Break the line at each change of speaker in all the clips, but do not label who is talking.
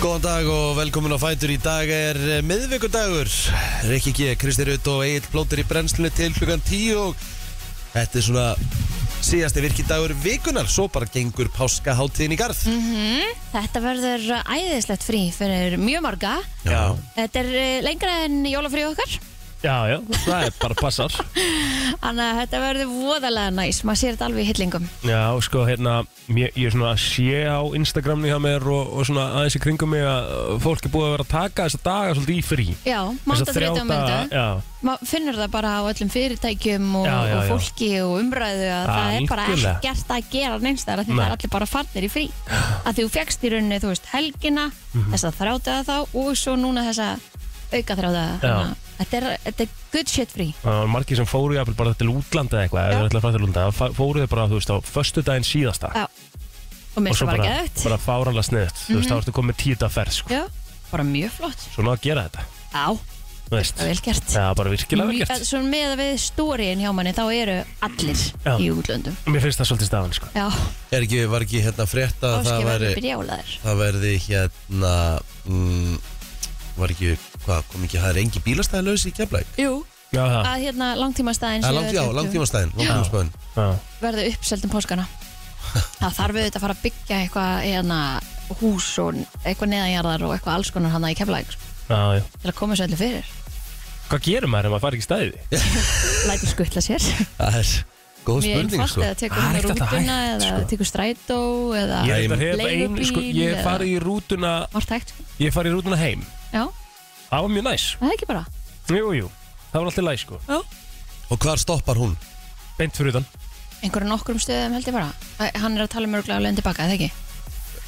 Góðan dag og velkomin á Fætur Í dag er eh, miðvikudagur Rikki G, Kristi Rutt og Egil Plóter í brennslunni til klukkan 10 og þetta er svona síðasti virkidagur vikunar svo bara gengur páskaháttíðin í garð
Mhm, Þetta verður æðislegt frí fyrir mjög marga.
Já,
Þetta er eh, lengra en jólafrí okkar.
Já, já, það er bara passar
Þannig að þetta verður voðalega næs. Maður sér þetta alveg í hillingum.
Já, sko, hérna, ég, ég er svona að sé á Instagramni hjá mér og, og svona aðeins í kringum mig að uh, fólk er búið að vera að taka þessa daga svolítið í frí
Já,
Þessa
mánda þrjóta og mynda.
Já,
Maður finnur það bara á öllum fyrirtækjum og,
Já, já,
og
já.
fólki og umræðu að það er bara
Algjörlega.
ekkert að gera neins þar að því
Nei.
það er allir bara farnir í frí. Að þú fegst í rauninni, þú veist, helgina,
Mhm.
þessa þrjóta þá og svo núna þessa auka þrjóta. Þetta er, þetta er good shit frí.
það var margir sem fóru jafnvel bara til útlanda eða eitthvað,
Já.
eða ætla að fara til útlanda þá fa- fóru þau bara, þú veist, á föstudaginn síðasta
Já. Og
og
mér finnst
svo
það bara Mhm.
bara,
geðvægt.
bara fáranlega sniðt þú veist, þá ertu komið tíu dag ferð, sko
Já, bara mjög flott.
svona að gera þetta,
Já,
þú veist
það er vel gert.
Já, bara virkilega vel
Mjög-
gert
Svo með að við stóriðin hjá manni þá eru allir
Já.
í útlöndum.
Mér finnst það svolítið stafan, sko
Já,
er ekki, var ekki hérna frétt að
áskil
það
verður
væri
brjálaðir.
það verði hérna mm, var ekki, hvað kom ekki það er engi bílastæði laus í Keflæk
Jú,
Já, það,
að hérna langtímastæðin
Já, langt, já, langtímastæðin, langtímastæðin.
já,
verður uppselt um páskana. Það þarf auðvitað að fara að byggja eitthvað hérna, hús og eitthvað neðanjarðar og eitthvað alls konar hana í keflæk sko,
já, já
til að koma svo öllu fyrir.
Hvað gerum maður ef maður fari ekki í stæði?
Lætur skuttla sér.
Það er góð
Mjög
spurning
einfalt
sko.
eða tekur
Það Ah, er
hún
ekkert hægt,
rútuna eða
sko.
tekur strætó eða
Ég,
Æ,
reyndar hef ein,
leigubíl
sko, ég
eða-
fari í rútuna
margt hægt. sko.
Ég fari í rútuna heim
Já,
Það var mjög næs
það er ekki bara.
Jú, jú Það var alltaf læs sko
Já.
Og hvar stoppar hún?
Beint fyrir utan
einhverjum nokkrum stöðum held ég bara Æ, hann er að tala um mörglega alveg tilbaka, eða ekki?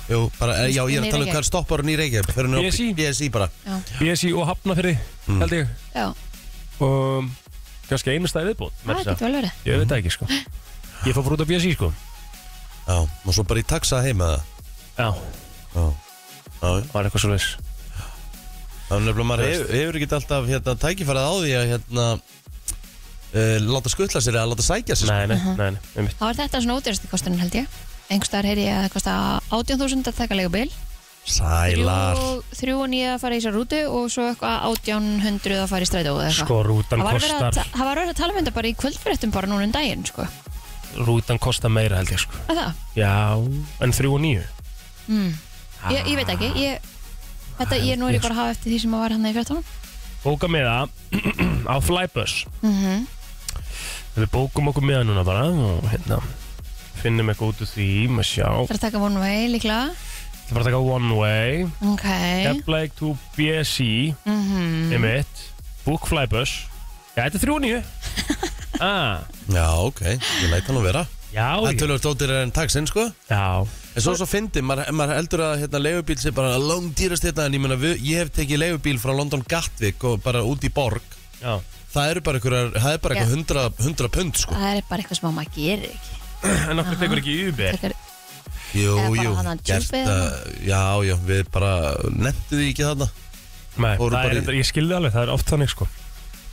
Jú, bara, já, ég
Inn
er
í
að tala um
Reykjavík.
hvar stoppar hún í Reykjavík Fyrir hún á
BSI.
BSI bara Hmm.
Já,
BSI og Hafnafyrri Held ég
já
Og um, Kannski einu stæði viðbútt
það getur vel verið
Ég veit það ekki sko Ég fór bara út á BSI sko
Já, og svo bara í taxa heima það
Já Það
Já, já, já.
var eitthvað svo leis
það er nefnilega maður hefur, hefur ekki alltaf hérna, tækifærið á því að hérna, uh, láta skuttla sér eða láta sækja sér sko?
Nei, nei, nei, nei einmitt.
Þá er þetta svona ódýrasti kosturinn held ég Einhverstaðar heyri ég að það kosta 18.000 að taka leigubil
Sælar
Þrjú og nýja að fara í þessar rútu og svo eitthvað 1800 að fara í strætó eða eitthvað
Sko, rútan
Það var verið að
kostar
ta- það var verið að tala um þetta bara í kvöldfréttum bara núna um daginn sko.
Rútan kostar meira held ég sko
að það, Mm.
Já En þrjú og nýju
ég, ég veit ekki ég, þetta, ég nú er ég bara að hafa eftir því sem að var hann í fjartónum
Bóka miða Á Flybus
Mhm.
Við bókum okkur miða núna bara Og hérna Finnum eitthvað út úr því Maður sjá
Það er að taka one way líklega
Það er bara að taka One Way
Ok,
Keflæk to BSI
Mhm.
Emitt Book Flybus Já, þetta er 39 ah,
Já, ok, ég læta hann að vera
Já,
Það er
ég-
tölvöld ódýrar en taxinn, sko
já
En svo er svo fyndi, maður maður heldur að hérna, leigubíl sé bara langdýrast hérna En ég meina, við- ég hef tekið leigubíl frá London Gatwick og bara út í borg
Já,
Það eru bara einhverjar, það er bara
Já.
eitthvað hundra, hundra pund, sko
það er bara eitthvað sem að maður gerir ekki
en okkur tekur ekki Uber
Tekur-
Jú,
Eða bara
jú,
þarna
gert
tjúpið
að, já, já, við bara nefndu því ekki þarna
Nei, það
Fóru bara
er,
í-
reyndar- ég skilði alveg, það er oft þannig sko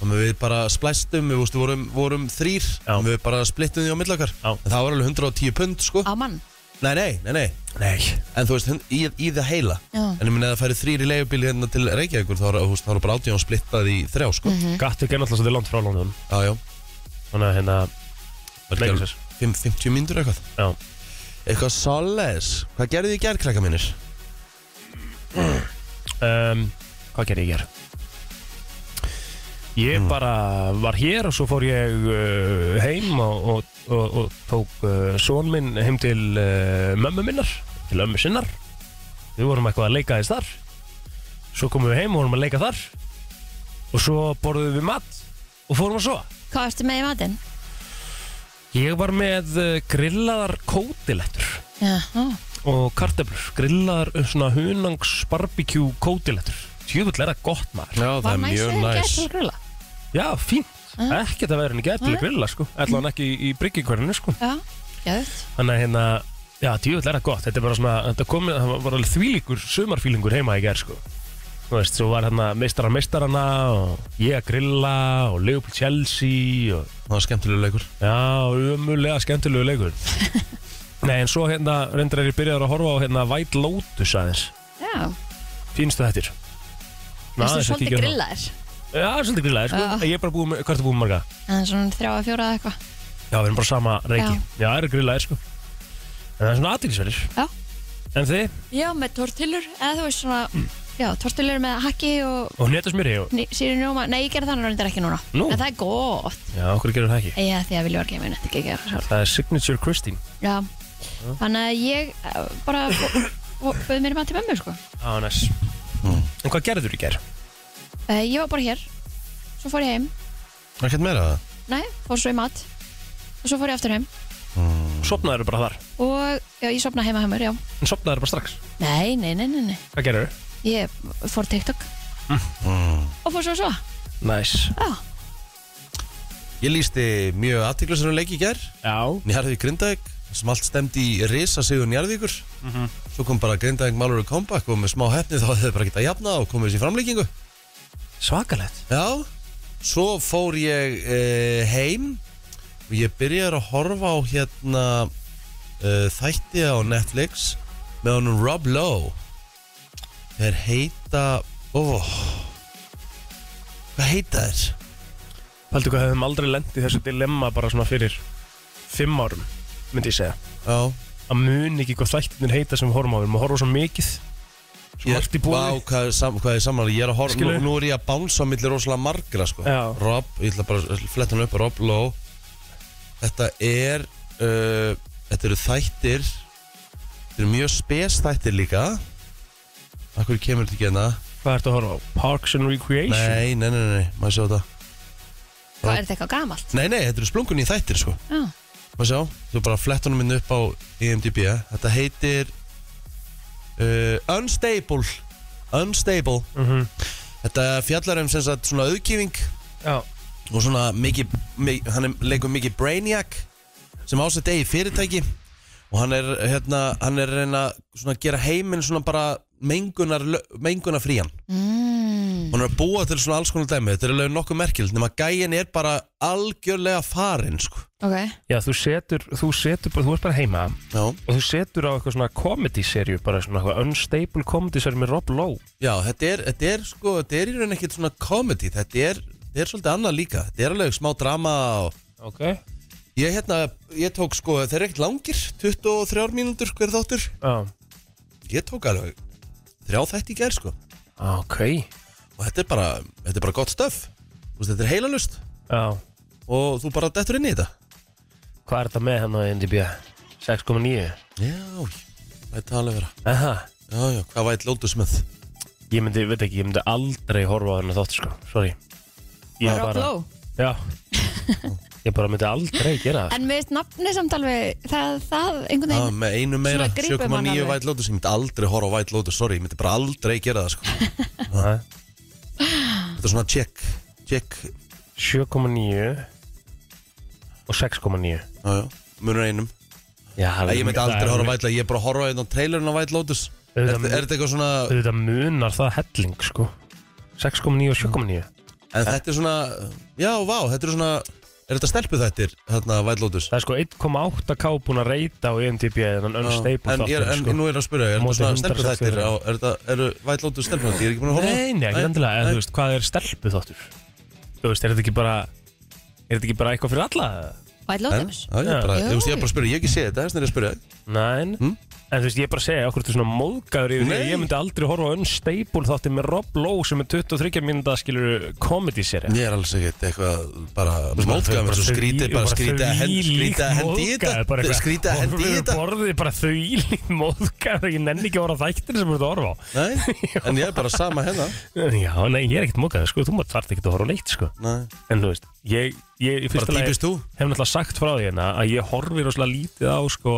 og við bara splæstum, við vústu, vorum, vorum þrýr
Já.
og við bara splittum því á millakar
Já.
en það var alveg 110 pund sko
á mann
nei, nei, nei, nei,
Nei
en þú veist, hun- í, í það heila
Já.
en ég minna að það færi þrýr í leigubíli hérna til Reykjavíkur þá eru er bara átjón splittað í þrjá sko
Mhm.
Gattu ekki náttúrulega svolítið langt frá London
já, já,
Þannig að hérna
Var ekki
Leikur
alveg
sér
5, 50 mínútur eitthvað
Já
eitthvað svolítið, hvað gerðu þið í gerð, krakka mínir?
um, Hvað gerði ég hér? Ég
Hmm.
bara var hér og svo fór ég uh, heim og, og, og, og tók uh, són minn heim til uh, mömmu minnar, til ömmu sinnar. Við vorum eitthvað að leika þess þar. Svo komum við heim og vorum að leika þar. Og svo borðum við mat og fórum að svo.
Hvað ertu með í matinn?
Ég var með uh, grillaðar kótilettur
Já,
og karteblur. Grillaðar uh, svona hunangs barbecue kótilettur. Tjöfull er það gott maður.
já,
var næs þegar gæt til að grilla
Já, fínt. Ekkert að vera henni gæti til að grilla, sko. Ætla hann ekki í, í bryggjikverðinu, sko.
Já, gæðut
Þannig að hérna, já, djúvill er það gott. Þetta er bara svona, þetta komið, það var alveg þvílíkur sumarfílingur heima í gerð, sko. Þú veist, svo var hérna meistara meistarana og ég að grilla og Leopold Chelsea og
það var skemmtilega leikur
já, umulega skemmtilegu leikur. Nei, en svo hérna, reyndar er ég byrjaður að horfa á hérna White Lotus aðeins.
Já,
fínstu þettir
Þú veist, svolítið grillaðir
hérna. Já, svolítið grillaðir, sko
Já.
Ég er bara búið með, hvað ertu búið með marga?
En svona þrjá að fjóra eða eitthvað
Já, við erum bara sama reiki Já, Já það eru grillaðir, sko En það er svona aðtilsverðir
Já.
En þið,
Já, með tortillur, eða þú veist svona
Mm.
Já, tortillur með hakki og
og hneta smjöri og...
síri njóma Nei, ég gerði þannig reyndar ekki núna
Nú.
En það er gott
Já, okkur gerir það ekki
Já, því að við ljóðum ekki með nætti ekki að gera sjálf
Það er Signature Christine
Já, þannig að ég eh, bara bauð mér í mann til mömmu, sko
Á, næs
Mm.
En hvað gerður í ger?
Eh, Ég var bara hér, svo fór ég heim
Ekkert meira það?
Nei, fór svo í mat Og svo fór ég aftur heim
Mm.
Sopnaður bara þar
Og já, ég sopnaði heima heimur, já
En sopnaður bara strax
Nei, nei, nei, nei, nei
Hvað gerður?
Ég fór á TikTok
Mm.
Og fór svo svo
Næs
Já,
Ég lísti mjög aðtiklisverðum leik í gær
Já
Njarðvík Grindavík sem allt stemdi í risa sigur Njarðvíkur
Mhm.
svo kom bara Grindavík Mallory comeback og með smá hefni þá hefði bara getað að jafna og komið þessi framlíkingu
Svakalegt
Já, svo fór ég uh, heim og ég byrjaði að horfa á hérna uh, þætti á Netflix með honum Rob Lowe þeir heita ó, hvað heita þeir?
Paldu hvað hefðum aldrei lent í þessu dilemma bara svona fyrir Fimm árum, myndi ég segja
Já,
Að mun ekki hvað þættinir heita sem við horfum á Við erum að horfa á svo mikið Svo
ég,
margt í
vá,
búið
hvað, er sam, hvað er samanlega ég er að horfa, nú,
Skilurðu?
nú er ég að bánsa á milli rosalega margra sko
Já.
Rob, ég ætla bara að fletta hann upp Rob Lowe þetta er uh, þetta eru þættir þetta eru mjög spes þættir líka Akkur kemur þetta ekki hérna
Hvað ertu að horfa á? Parks and Recreation?
Nei, nei, nei, nei, maður sjá þetta
hvað er þetta eitthvað gamalt?
Nei, nei, þetta eru splungun í þættir sko
Já,
Maður sjá, þú bara fletta hann minn upp á IMDb Þetta heitir uh, Unstable Unstable
Mhm.
Þetta fjallar um sem sagt svona auðkýfing
Já
og svona mikið, mikið hann er- leikur mikið Brainiac sem ásett eigi fyrirtæki og hann er hérna, hann er að reyna svona að gera heiminn svona bara mengunar, mengunar frían mm. hann er að búa til svona alls konar dæmi þetta er alveg nokkuð merkild nema gæin er bara algjörlega farinn sko.
ok
Já, þú setur, þú setur bara, þú ert bara heima
já.
Og þú setur á eitthvað svona comedy-serju Bara svona eitthvað unstable comedy-serju með Rob Lowe
já, þetta er, þetta er sko, þetta er í raun ekkert svona comedy, þetta er, þetta er svolítið annað líka, þetta er alveg smá drama og
Ok
ég hérna, ég tók sko, þeir eru ekkert langir 23 mínútur hver þáttur
Já
ég tók alveg þrjá þætti í gær sko
Ok
og þetta er bara, þetta er bara gott stöf veist, þetta er heilalust
Já
og þú bara dettur inn í þetta
Hvað er þetta með hann á NDB? 6,9
já, það er talað vera
Aha
já, já, hvað vært Lotus með
Ég myndi, veit ekki, ég myndi aldrei horfa á hennar þátt sko Sorry Ég
Rob Lowe.
Já Ég bara myndi aldrei gera það
En með nafni samt alveg Það, það einhvern
já,
veginn
Ah, með einu meira,
Svona grípur mann
7,9
alveg.
vært Lotus ég myndi aldrei horfa á vært Lotus, sorry, ég myndi bara aldrei gera það sko
Aha.
þetta er svona check, check
7,9 Og 6,9
já, já, munur einum
Já, það
Æ, ég myndi aldrei horfa á
væl
vært Lotus, ég er bara að horfa einn á trailerinn á vært Lotus er,
Auðvitað-
þetta- er þetta eitthvað svona,
Þetta munar það helling sko 6,9 og 7,9
en þetta er svona já, vá, þetta er svona er þetta stelpu þættir, hérna, vært Lotus
Það er sko 1,8k búin að reyta á E IMDb Þannig
Já,
unstable
En, ég er, en
þáttur sko
nú er ég að spyrja, er þetta
Móti
svona stelpur þættir
164.
á- Er þetta, eru vætlótu stelpur þættir? Ég er ekki búin að horfa á-
Nei, nei, ekki endilega, en þú veist, hvað er stelpu þáttur? Þú veist, er þetta ekki bara Er þetta ekki bara eitthvað fyrir alla?
White
En,
Lotus
já, ég er bara,
Já.
ég veist, ég er bara að spyrja, ég hef ekki séð þetta, þess vegna er ég að spyrja
Nein,
Mm.
en þú veist, ég er bara að segja Akkur þú svona móðgæður yfir því
Nei.
að Ég myndi aldrei horfa á unstable þáttir með Rob Lowe sem er 23 mínúta skilur komedíseri
Ég er alls ekkert eitthvað, bara
Þau
mótgæðum
bara
Svo
þau-
skrítið, bara skrítið að hendi
þvílík
Skrítið að hendi í
móðgæður, bara
þetta
eitthvað.
Skrítið að hendi í
Horfum
þetta
við borðið bara þau ílík móðgæður Ég nenni ekki að horfa á þættir sem þú ert að horfa á
Nei, en ég er bara sama hérna
Já, nei, ég er ekkert móðgæður, sko, þú maður þarf ekki að horfa á leitt, sko
Nei,
En þú veist, ég, ég í
bara
fyrsta lagi
típist þú
hef náttúrulega sagt frá því hérna að ég horfi rosalega lítið á sko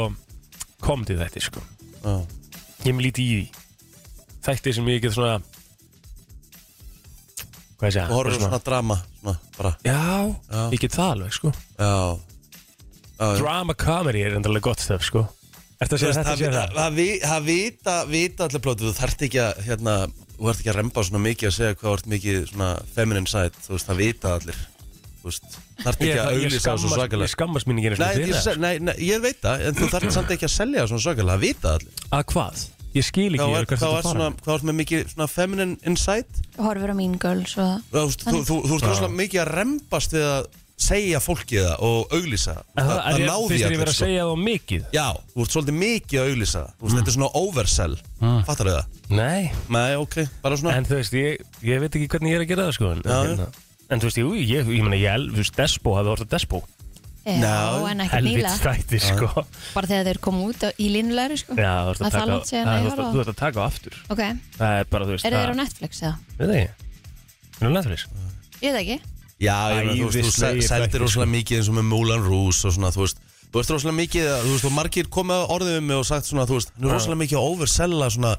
komdið þetta sko
Já.
ég er með lítið í því þætti sem ég get svona hvað ég segja
Þú horfum
bara
svona drama, svona, bara
já,
Já.
ég get það alveg sko
Já Já, já.
drama comedy er enda alveg gott stöf sko eftir að
Þú
segja
veist,
þetta
það-
segja
það-
það
það vi- það vita, vita allir plótið, þú þarft ekki að hérna, þú ert ekki að remba svona mikið að segja hvað þú ert mikið svona feminine side, þú veist, það vita allir þú veist, þarft ekki að
ég, ég,
auglýsa það svo
skammast, ég
svakalega
skammast mín ekki einu
Nei,
sinni
ég,
fyrir það
se- nei, nei, ég veit það, en þú þarft samt ekki að selja það svona svakalega, það vita allir
að hvað? Ég skil
Þá
ekki
er,
ég hvert
þá
þetta
er svona, þá er með mikið svona feminine insight
horfur á mín girls og
Þú, veist, þú, þú, þú ert rosalega mikið að rembast við að segja fólki það og auglýsa
En
Það,
er
það
ég,
náði
finnst þér ég verið
allir
að
sko
segja þá mikið? Mm.
Já, þú ert svolítið mikið að auglýsa það. Þú veist, Þetta er svona oversell Fattar þau það?
Nei,
Nei, ok, bara svona
en þú veist, ég, ég veit ekki hvernig ég er að gera það sko En,
Já, já.
en, en þú veist, jú, ég, ég, ég meina, ég, el- þú veist, Despo hafi orðið Despo
já,
Já,
en ekki nýla
Helvits þætti, sko
bara þegar þeir komu út á, í línulegri sko.
Já, þú veist að
að það
taka
langt séðan
það-
að
þú
ég
ert
horfa
að-
á.
Þú veist að taka á aftur
ok,
Það er bara, þú veist,
eru þeir á
það
Netflix eða?
Við það ekki Nú Netflix
ég veit ekki
Já, ég meina, þú veist, þú
Æðislegir
se-
þættir,
seldir
sko.
rosalega mikið eins og með Moulin Rouge og svona, þú veist Þú veist rosalega mikið, að- þú veist, og margir komið að orðið um mig og sagt svona, þú veist, hann er rosalega mikið að oversella svona,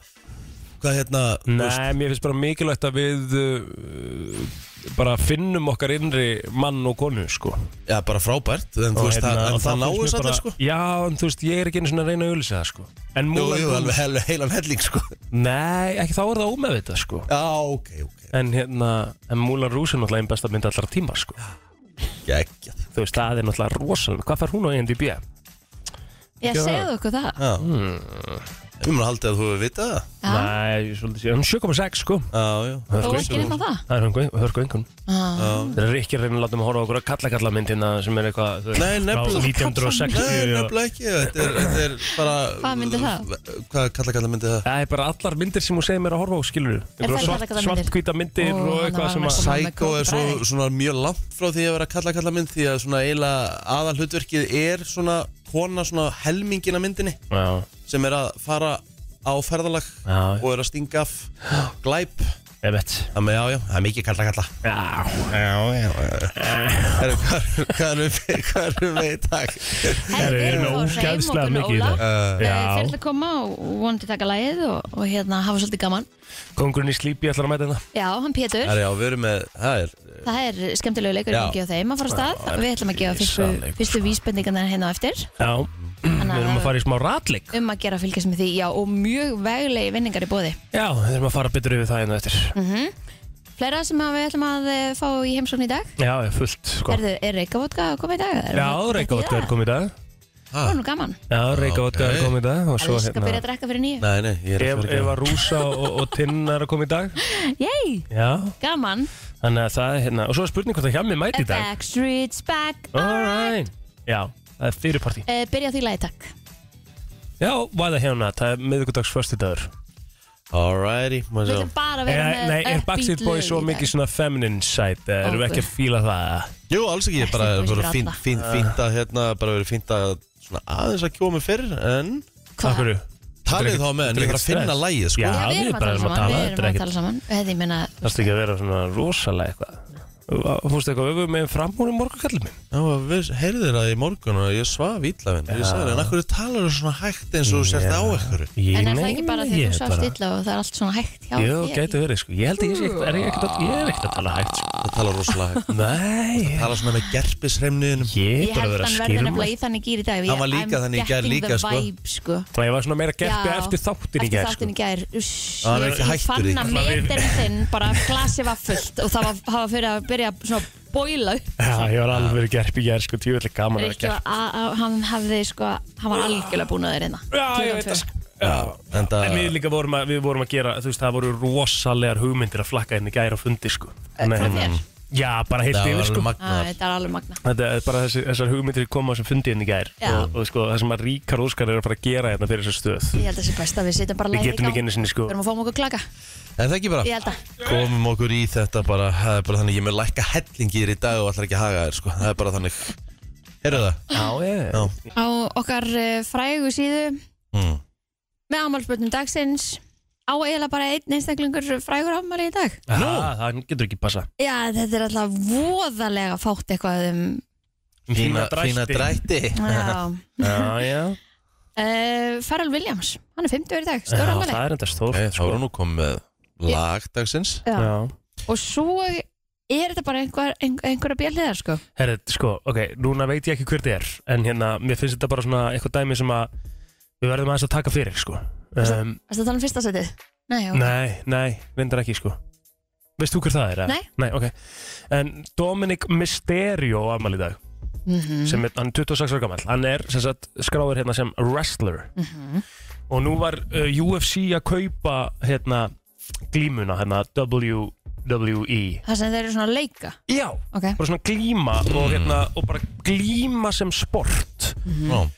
hvað hérna, þú veist,
Nei, mér finnst bara mikilvægt að við uh, bara finnum okkar innri mann og konu, sko.
já, bara frábært, en þú veist, það,
hérna,
en
og
það náu
finnst mér
satt
bara-
sko
Já, en þú veist, ég er ekki einu svona að reyna að auðlýsa það, sko. En
Jú,
Moulin
jú,
Rouge-
alveg heil, heilan helling, sko
Nei, ekki þá er það ómeðvitað, sko.
Já, ok, ok,
En hérna, en Moulin Rouge er náttúrulega einn besta mynd allra tíma, sko.
geggjað
Þú veist, það er náttúrulega rosalega. Hvað fær hún á E IMDb?
ég
Gerðu
segðu okkur það
Já, hmm. ég mun að haldi að þú hefur vitað það
Já.
Nei, svolítið sé, hún er 7,6, sko.
Já, já,
Þó ekki nema það.
Það er hörku, hörku engun.
Ah.
Það er ekki að reyna að láta mig horfa á okkur að kalla kalla myndina sem er eitthvað, þú veist,
Nei, nefnilega.
frá 1960.
Nei,
og-
nefnilega ekki, þetta er, þetta er bara
Hvað myndi það?
Hvað kalla kalla myndi það?
Það er bara allar myndir sem hún segir mér að horfa á skilur
Er það
svart,
kallakallamindir?
svart hvita myndir
Ó,
og
hann
eitthvað
var
sem að
næstum- Mamma með
Psycho er svo,
kóbraði.
svona mjög langt frá því að vera kalla kalla mynd því að svona eiginlega aðal hlutverkið er svona kona svona helmingina myndinni
Já,
sem er að fara á ferðalag
Já.
og er að stinga af glæp
ég veit
Þannig já, já, það er mikið kalla kalla
Já,
Já, já, já Herru, hvað- Hvað erum við- hvað erum við í dag?
það er
Herri, við
einu
erum þá hreim
ógæðslega
okkur
mikið í
Óla Eh,
það
Uh,
Já.
fyrir að koma og vonandi taka lagið og, og hérna hafa svolítið gaman
Kongurinn í slípi ætlar að mæta hérna. það
Já, hann Pétur,
Herru, já, við erum með, það er
það er skemmtilegu leikur
Já.
ekki á þeim að fara af stað Við ætlum að gefa fyrstu,
Risaleikur,
fyrstu vísbendingarnar hérna á eftir
Já, við
Þannig
erum að
að
fara í smá ratleik
um að gera að fylgjast með því Já, og mjög veglegi vinningar í bóði
Já, við erum að fara betur yfir
hérna
það einu eftir
Mhm. Fleira sem að við ætlum að eh, fá í heimsókn í dag
Já, ég er fullt sko.
Erðu, er Reykjavodka að koma í dag?
Já, Reykjavodka er komið í dag
Það var nú gaman
Já, Reykjavodka er
Ok.
komið í dag Og
Svo,
svo
Alveg skal byrja
hérna
að drekka fyrir nýju
Nei, nei, ég er
Ef- Eva Rúsa og, og Tinn er að koma í dag
Yey,
Já,
gaman
þannig að það er hérna Og svo er spurning hvort það hjá mig mæti í dag
Backstreet's back
Alright Já, það er fyrirparti
Eh, Byrja á því lagi takk
Já, væða hérna, það er miðvikudags föstudagur
Alrighty,
Við
maður sjá
viljum bara vera
Eh,
með
Nei, er
upbeat
Backstreet
lög
Boys
í
svo
dag.
mikið svona feminine side eh, Erum við ekki að fíla það?
Jú, alls ekki, ég bara
Ekki
bara
fyrir
fínt
alla.
fín,
Ah.
fínt að hérna, bara verið fínt að svona aðeins að kjóma mig fyrr en
Hvað?
Af hverju?
talið þá með, en
þetta er
ég þarf
ekkert
að finna
stress.
lægið, sko
Já. við
Já, við erum að
bara
tala
erum að
saman,
tala,
við
þetta er
erum að
ekkert-
tala saman Þetta ég meina,
Það er ekki að vera svona rosalega eitthvað Fórstu eitthvað öfum með fram úr um morgunkallum minn?
Já, við heyrðir það í morgun og ég svaf ítlafinn Ég sagði, en akkur talar þú svona hægt eins og þú sért á ykkur
Ég
en er það
meina
ekki bara því
ég
að þú sást illa og það er allt svona hægt hjá
Jú, gæti verið sko Ég held að ég sé ekkert, er ég ekkert að, ég er ekkert að tala hægt sko
Það talar rosalega hægt
Nei,
Talar svona með gerpisremniðinum
ég er
Ég
bara að vera að
held hann verði
skýrma
nefnilega í þannig gýr í dag
Hann var líka þannig í gær líka,
sko
sko.
vibe, sko
Og ég var svona meira gerpi
Já,
eftir þáttin í gær
Eftir
sko
þáttin í gær uss,
Já, hann er
ég-
ekki
Ég
hættur
fann
í-
að
Alla við-
metin þinn bara glasi var fullt og það var, það var fyrir að byrja svona að bóila upp
Já, ég var alveg verið gerpi í gær sko Tjóðlega gaman að vera
Rikki var
gerpi
að- að- hann hafði sko hann var algjörlega búin að hérna. þeir reyna
Já, ég veit það sko
En
En við
það,
líka vorum að, við vorum að gera, þú veist, það voru rosalegar hugmyndir að flakka inn í gæra fundi, sko. Þannig
frá
að-
þér?
Já, bara heilt
það var
yfir,
alveg
sko.
magnaðar
Þetta er alveg magna
Þetta er bara þessi, þessar hugmyndir koma á þessum fundi inn í gær
Já.
og, og sko, það sem að Ríkar Óskar er að fara að gera hérna fyrir þessar stöð.
Ég held að það sé best að við sitjum bara
Við
lagið í
getum
gang.
ekki einu sinni, sko.
Við erum að fá um okkur klaka
En það ekki
Ég
bara,
held að
komum okkur í þetta bara Það er bara þannig, ég er með lækka hellingir í dag og allar ekki að haga þér, sko Það er bara þannig Heyrðu það?
Já, ég.
Já.
á okkar eh, frægu síðu
Mm.
með ámálspötnum dagsins á eiginlega bara einn einstaklingur frægur ámáli í dag
Nú, það getur ekki passa.
Já, þetta er alltaf voðalega fátt eitthvað um
Fína, fína drætti
Já
Já, já.
Uh, Farrell Williams, hann er 50 í dag, stór
Já,
ámæli
það er enda stór.
Nei, Þá erum nú komið með lagdagsins
Já.
Já.
Og svo er þetta bara einhver, einhver, einhverja bjölliðar sko
Herrið, sko, ok, núna veit ég ekki hver þið er en hérna, mér finnst þetta bara svona eitthvað dæmi sem að við verðum aðeins að taka fyrir, sko. Um,
Varstu að tala um fyrsta setið? Nei, já
Nei, nei, reyndar ekki sko Veist þú hver það er? eða?
Nei.
Nei, ok En Dominic Mysterio á afmæli í dag
Mhm.
Mhm.
sem er, hann er 26 ára gamall Hann er sem sagt skráður hérna sem wrestler og nú var uh, UFC að kaupa hérna glímuna hérna E. WWE
Það sem þeir eru svona að leika
já,
Ok.
bara svona glíma
Mm.
og hérna og bara glíma sem sport
Mm-hmm.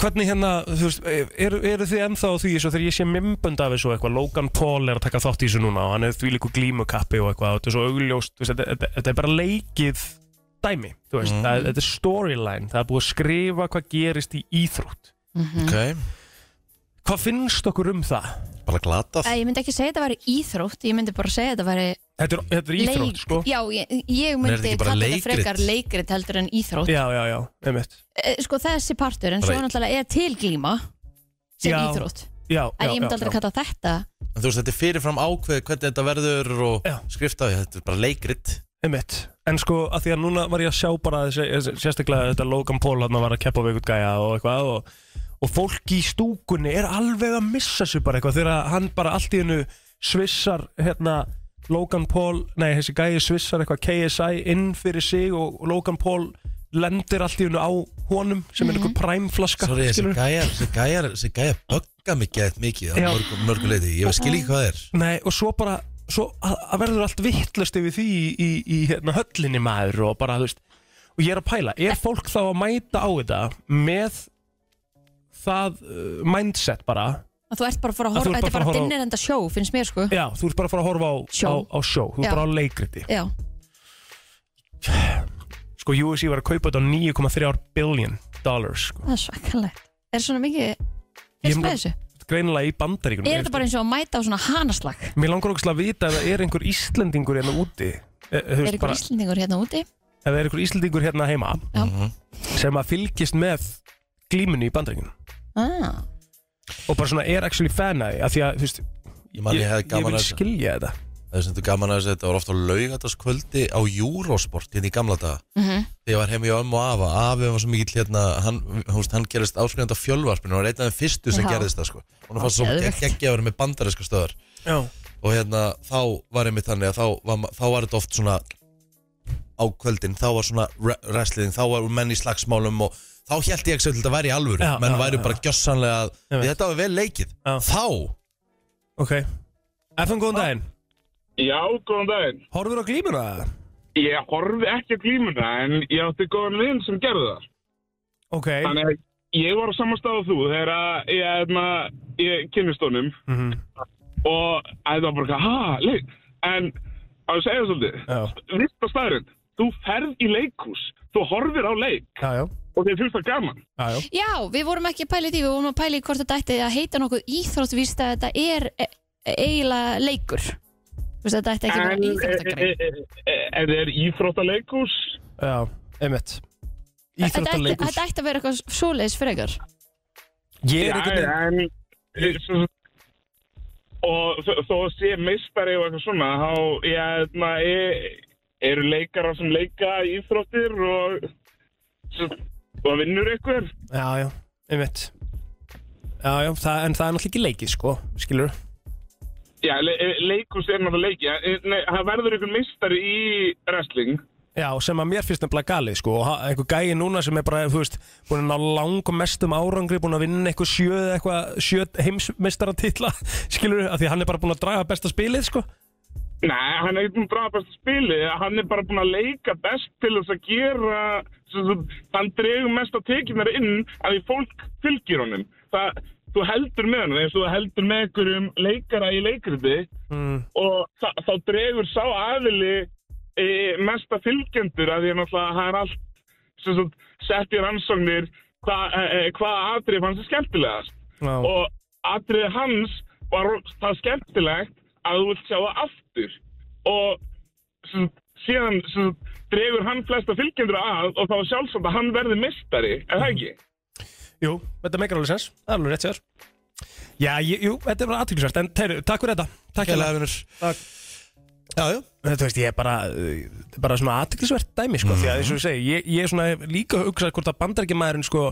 hvernig hérna, þú veist, eru er þið ennþá á því svo þegar ég sé mymbönd af þessu og eitthvað Logan Paul er að taka þátt í þessu núna og hann er því líku glímukappi og eitthvað og þetta er svo augljóst, þú veist, þetta, þetta, þetta er bara leikið dæmi, þú
Mm.
veist, það, þetta er storyline, það er búið að skrifa hvað gerist í íþrótt
Mm-hmm.
Ok,
hvað finnst okkur um það?
bara glatað
Æ, Eh, Ég myndi ekki segja þetta væri íþrótt Ég myndi bara segja þetta væri
Þetta er, þetta er íþrótt,
leik
sko
Já, ég, ég
er þetta
myndi
ekki bara
kalla
leikrit?
þetta frekar leikrit heldur en íþrótt
Já, já, já, einmitt
Eh, Sko þessi partur, en svo
Right.
náttúrulega er tilglíma sem
Já.
íþrótt
Já,
En
já,
ég myndi aldrei
já,
kalla þetta
En þú veist, þetta er fyrirfram ákveð hvernig þetta verður og
Já.
skrifta Þetta er bara leikrit
einmitt En sko, að því að núna var ég að sjá bara þessi, sérstaklega þetta Logan Paul hann var að keppa við eitthvað gæja og eitthvað og, og fólk í stúkunni er alveg að missa sig bara eitthvað þegar hann bara allt í hennu svissar hérna Logan Paul, nei, þessi gæji svissar eitthvað KSI inn fyrir sig og Logan Paul lendir allt í hennu á honum sem er eitthvað præmflaska
Mhm. Sorry, þessi
skilurðu?
gæjar, þessi gæjar, þessi gæjar bugga mig gett mikið á
Já.
mörgu, mörgu leiti Ég skil ekki hvað það er
Nei, og svo bara svo að- að verður allt vittlust yfir því í, í, í hérna, höllinni maður og bara, þú veist og ég er að pæla, er fólk þá að mæta á þetta með það uh, mindset bara
að þú ert bara að fara að
Að þú ert
horfa, þetta
bara
er
að
bara
horfa á-
dinnir enda sjó, finnst mér sko
já, þú ert bara að fara að horfa á
Sjó.
á, á sjó, þú ert
Já.
bara á leikriti
Já,
sko, USC var að kaupa þetta á 9,3 billion dollars, sko,
það er svakalegt Er svona mikið,
Ég
finnst
mun-
með þessu
greinilega í bandaríkunum
Er þetta bara eins og að mæta á svona hanaslag
Mér langar okkur að vita ef það er einhver Íslendingur hérna úti Eh, þú
Er
veist, bara-
ykkur íslendingur hérna úti
ef það er einhver Íslendingur hérna heima
Já.
sem að fylgist með glímunni í bandaríkunum
ah.
og bara svona er actually fan að því að því að, þú veist,
Ég man ég hefði
ég
gaman
vil
að þessu
skilja þetta
Það er sem þú gaman að þessu, þetta var ofta á laugataskvöldi á Eurosport hérna í gamla daga
Mhm.
Þegar ég var heima hjá ömmu og afa Afi var svo mikill hérna, hann, húst, hann gerist áskrifandi á fjölvarpinu og var einn af þeim fyrstu sem
Já.
gerðist það sko Hún fannst svo
Geðveikt.
geggja að vera með bandarinska stöðar
Já,
og hérna þá var einmitt þannig að þá var, ma- þá var þetta oft svona á kvöldin, þá var svona re- wrestling, þá var menn í slagsmálum og þá held ég ekki að þetta væri í alvöru
Já, já,
menn væri
já,
bara gjössanlega að
Ég veit.
þetta var vel leikið,
Já.
þá
ok FM, góðan daginn,
Já, góðan daginn.
horfur á glímuna?
Ég horfi ekki á glímuna en ég átti góðan vinn sem gerði það.
Ok,
Þannig að ég var á sama stað og þú þegar að ég, hérna, ég kynnist honum
Mhm.
og að það var bara eitthvað, ha, leik. En á að segja svolítið,
Já.
vitt á staðurinn, þú ferð í leikhús, þú horfir á leik
já, já,
og þið finnst það gaman.
já, já.
Já, við vorum ekki að pæla í því Við vorum að pæla í hvort þetta ætti að heita nokkuð íþróttvíst að þetta er e- e- eiginlega leikur Þú veist, Þetta ætti ekki að vera
eh,
íþróttagrein
En þið er íþróttaleikús,
já einmitt
Þetta ætti-
Íþróttaleikus
þetta ætti að vera eitthvað svoleiðis frekar
Já,
Ég er einhvern veginn
en svo- og þó- þó að sé meistari og eitthvað svona þá ég, na, ég, eru leikarar sem leika í íþróttir og, svo- og vinnur eitthvað
Já, já, einmitt Já, já, það, en það er náttúrulega ekki leikið, sko, skilur
Já, le, leikus er náttúrulega leiki en, nei, það verður eitthvað meistari í wrestling
Já, sem að mér finnst nefnilega galið, sko og ha- einhver gæi núna sem er bara, þú veist búin að ná langum mestum árangri búin að vinna eitthvað sjö, eitthvað sjö heimsmeistaratitla, skilur af því að hann er bara búin að draga besta spilið, sko
Nei, hann er ekki búin að draga besta spili hann er bara búin að leika best til þess að gera sem, sem, hann dregur mest að tekinar inn að því fólk fylgir honum það, þú heldur með hann eins og þú heldur með einhverjum leikara í leikriti
Mm.
og þa- þá dregur sá aðili e, mesta fylgjendur að því að náttúrulega það er allt sem sem, sett í rannsóknir hvað e, hva atrið fannst er skemmtilegast
Já.
og atriði hans var það skemmtilegt að þú vilt sjá það aftur og sem, síðan sem, dregur hann flesta fylgjendur að og þá er sjálfsagt að hann verði mistari, er það ekki?
Jú, þetta meikar alveg sens, það er alveg rétt sér Já, ég, jú, þetta er bara aðtryggisvært En teiru, takk fyrir þetta, takk
Kæla
hérna
hefinur
Takk.
Já, já,
Þú veist, ég er bara, uh, þetta er bara svona aðtryggisvært dæmi sko, Því að eins og ég segi, ég, ég er svona líka að hugsa Hvort að bandarækjamaðurinn sko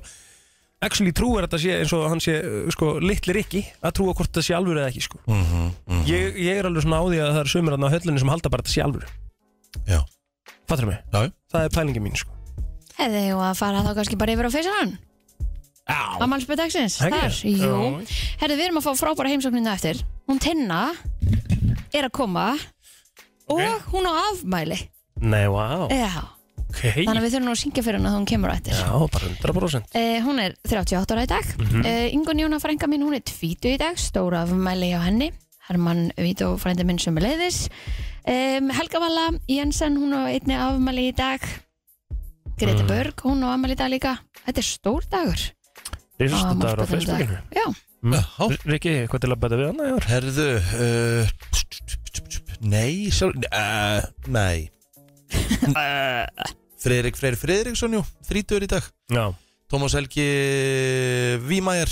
Actually trúir að þetta sé eins og hann sé uh, sko, Littlir ekki, að trúa hvort það sé alvöru eða ekki sko.
Mhm.
ég, ég er alveg svona á því að það er sömur Þannig á höllunni sem halda bara að þetta sé alvöru
já,
Fattur mig,
já
það er pælingin mín sko.
Hefði ég að fara þá kannski bara yfir á feysarann
Já,
Amalsbyrð dagsins,
Ekki?
þar, jú Herðu, við erum að fá frábæra heimsóknina eftir Hún Tinna er að koma og hún á afmæli
nei, vá,
Já,
ok
þannig að við þurfum nú að syngja fyrir hún að hún kemur á eftir
Já, bara 100%
Eh, hún er 38 ára í dag mm
Mhm.
-hmm. eh, Ingun Jóna frænka mín, hún er tvítu í dag stóra afmæli hjá henni Hermann Vító frænda minn sem er leiðis um, Helga Valla Jensen, hún á einni afmæli í dag Greta
Mm.
Börg, hún á afmæli í dag líka Þetta er stór dagur
Rísast
Á
þetta er á
afmælisbörn í dag.
Facebookinu Mm.
Já,
Já.
R- Rikki, hvað til að bæta við hana í ár?
Herðu uh, Nei, sjálf uh, Nei Friðrik Freyr Friðriksson, jú, 30 í dag
Já,
Tómas Helgi Vímæjar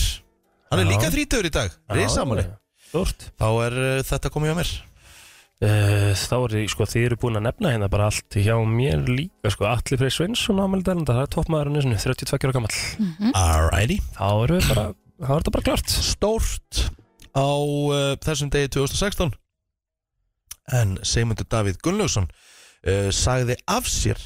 Hann er
Já.
líka 30 í dag, risamali
Já, Stort
Þá er uh, þetta komið hjá mér
Uh, þá er því, sko, þið eru búin að nefna hérna bara allt hjá mér líka, sko, Atli Frey Sveinsson ámældarinn, það er toppmaðurinn í sinni, 32 ára gamall.
Mhm.
Alrighty
Þá erum við bara, þá er þetta bara klart.
Stórt á uh, þessum degi 2016 En Sigmundur Davíð Gunnlaugsson uh, sagði af sér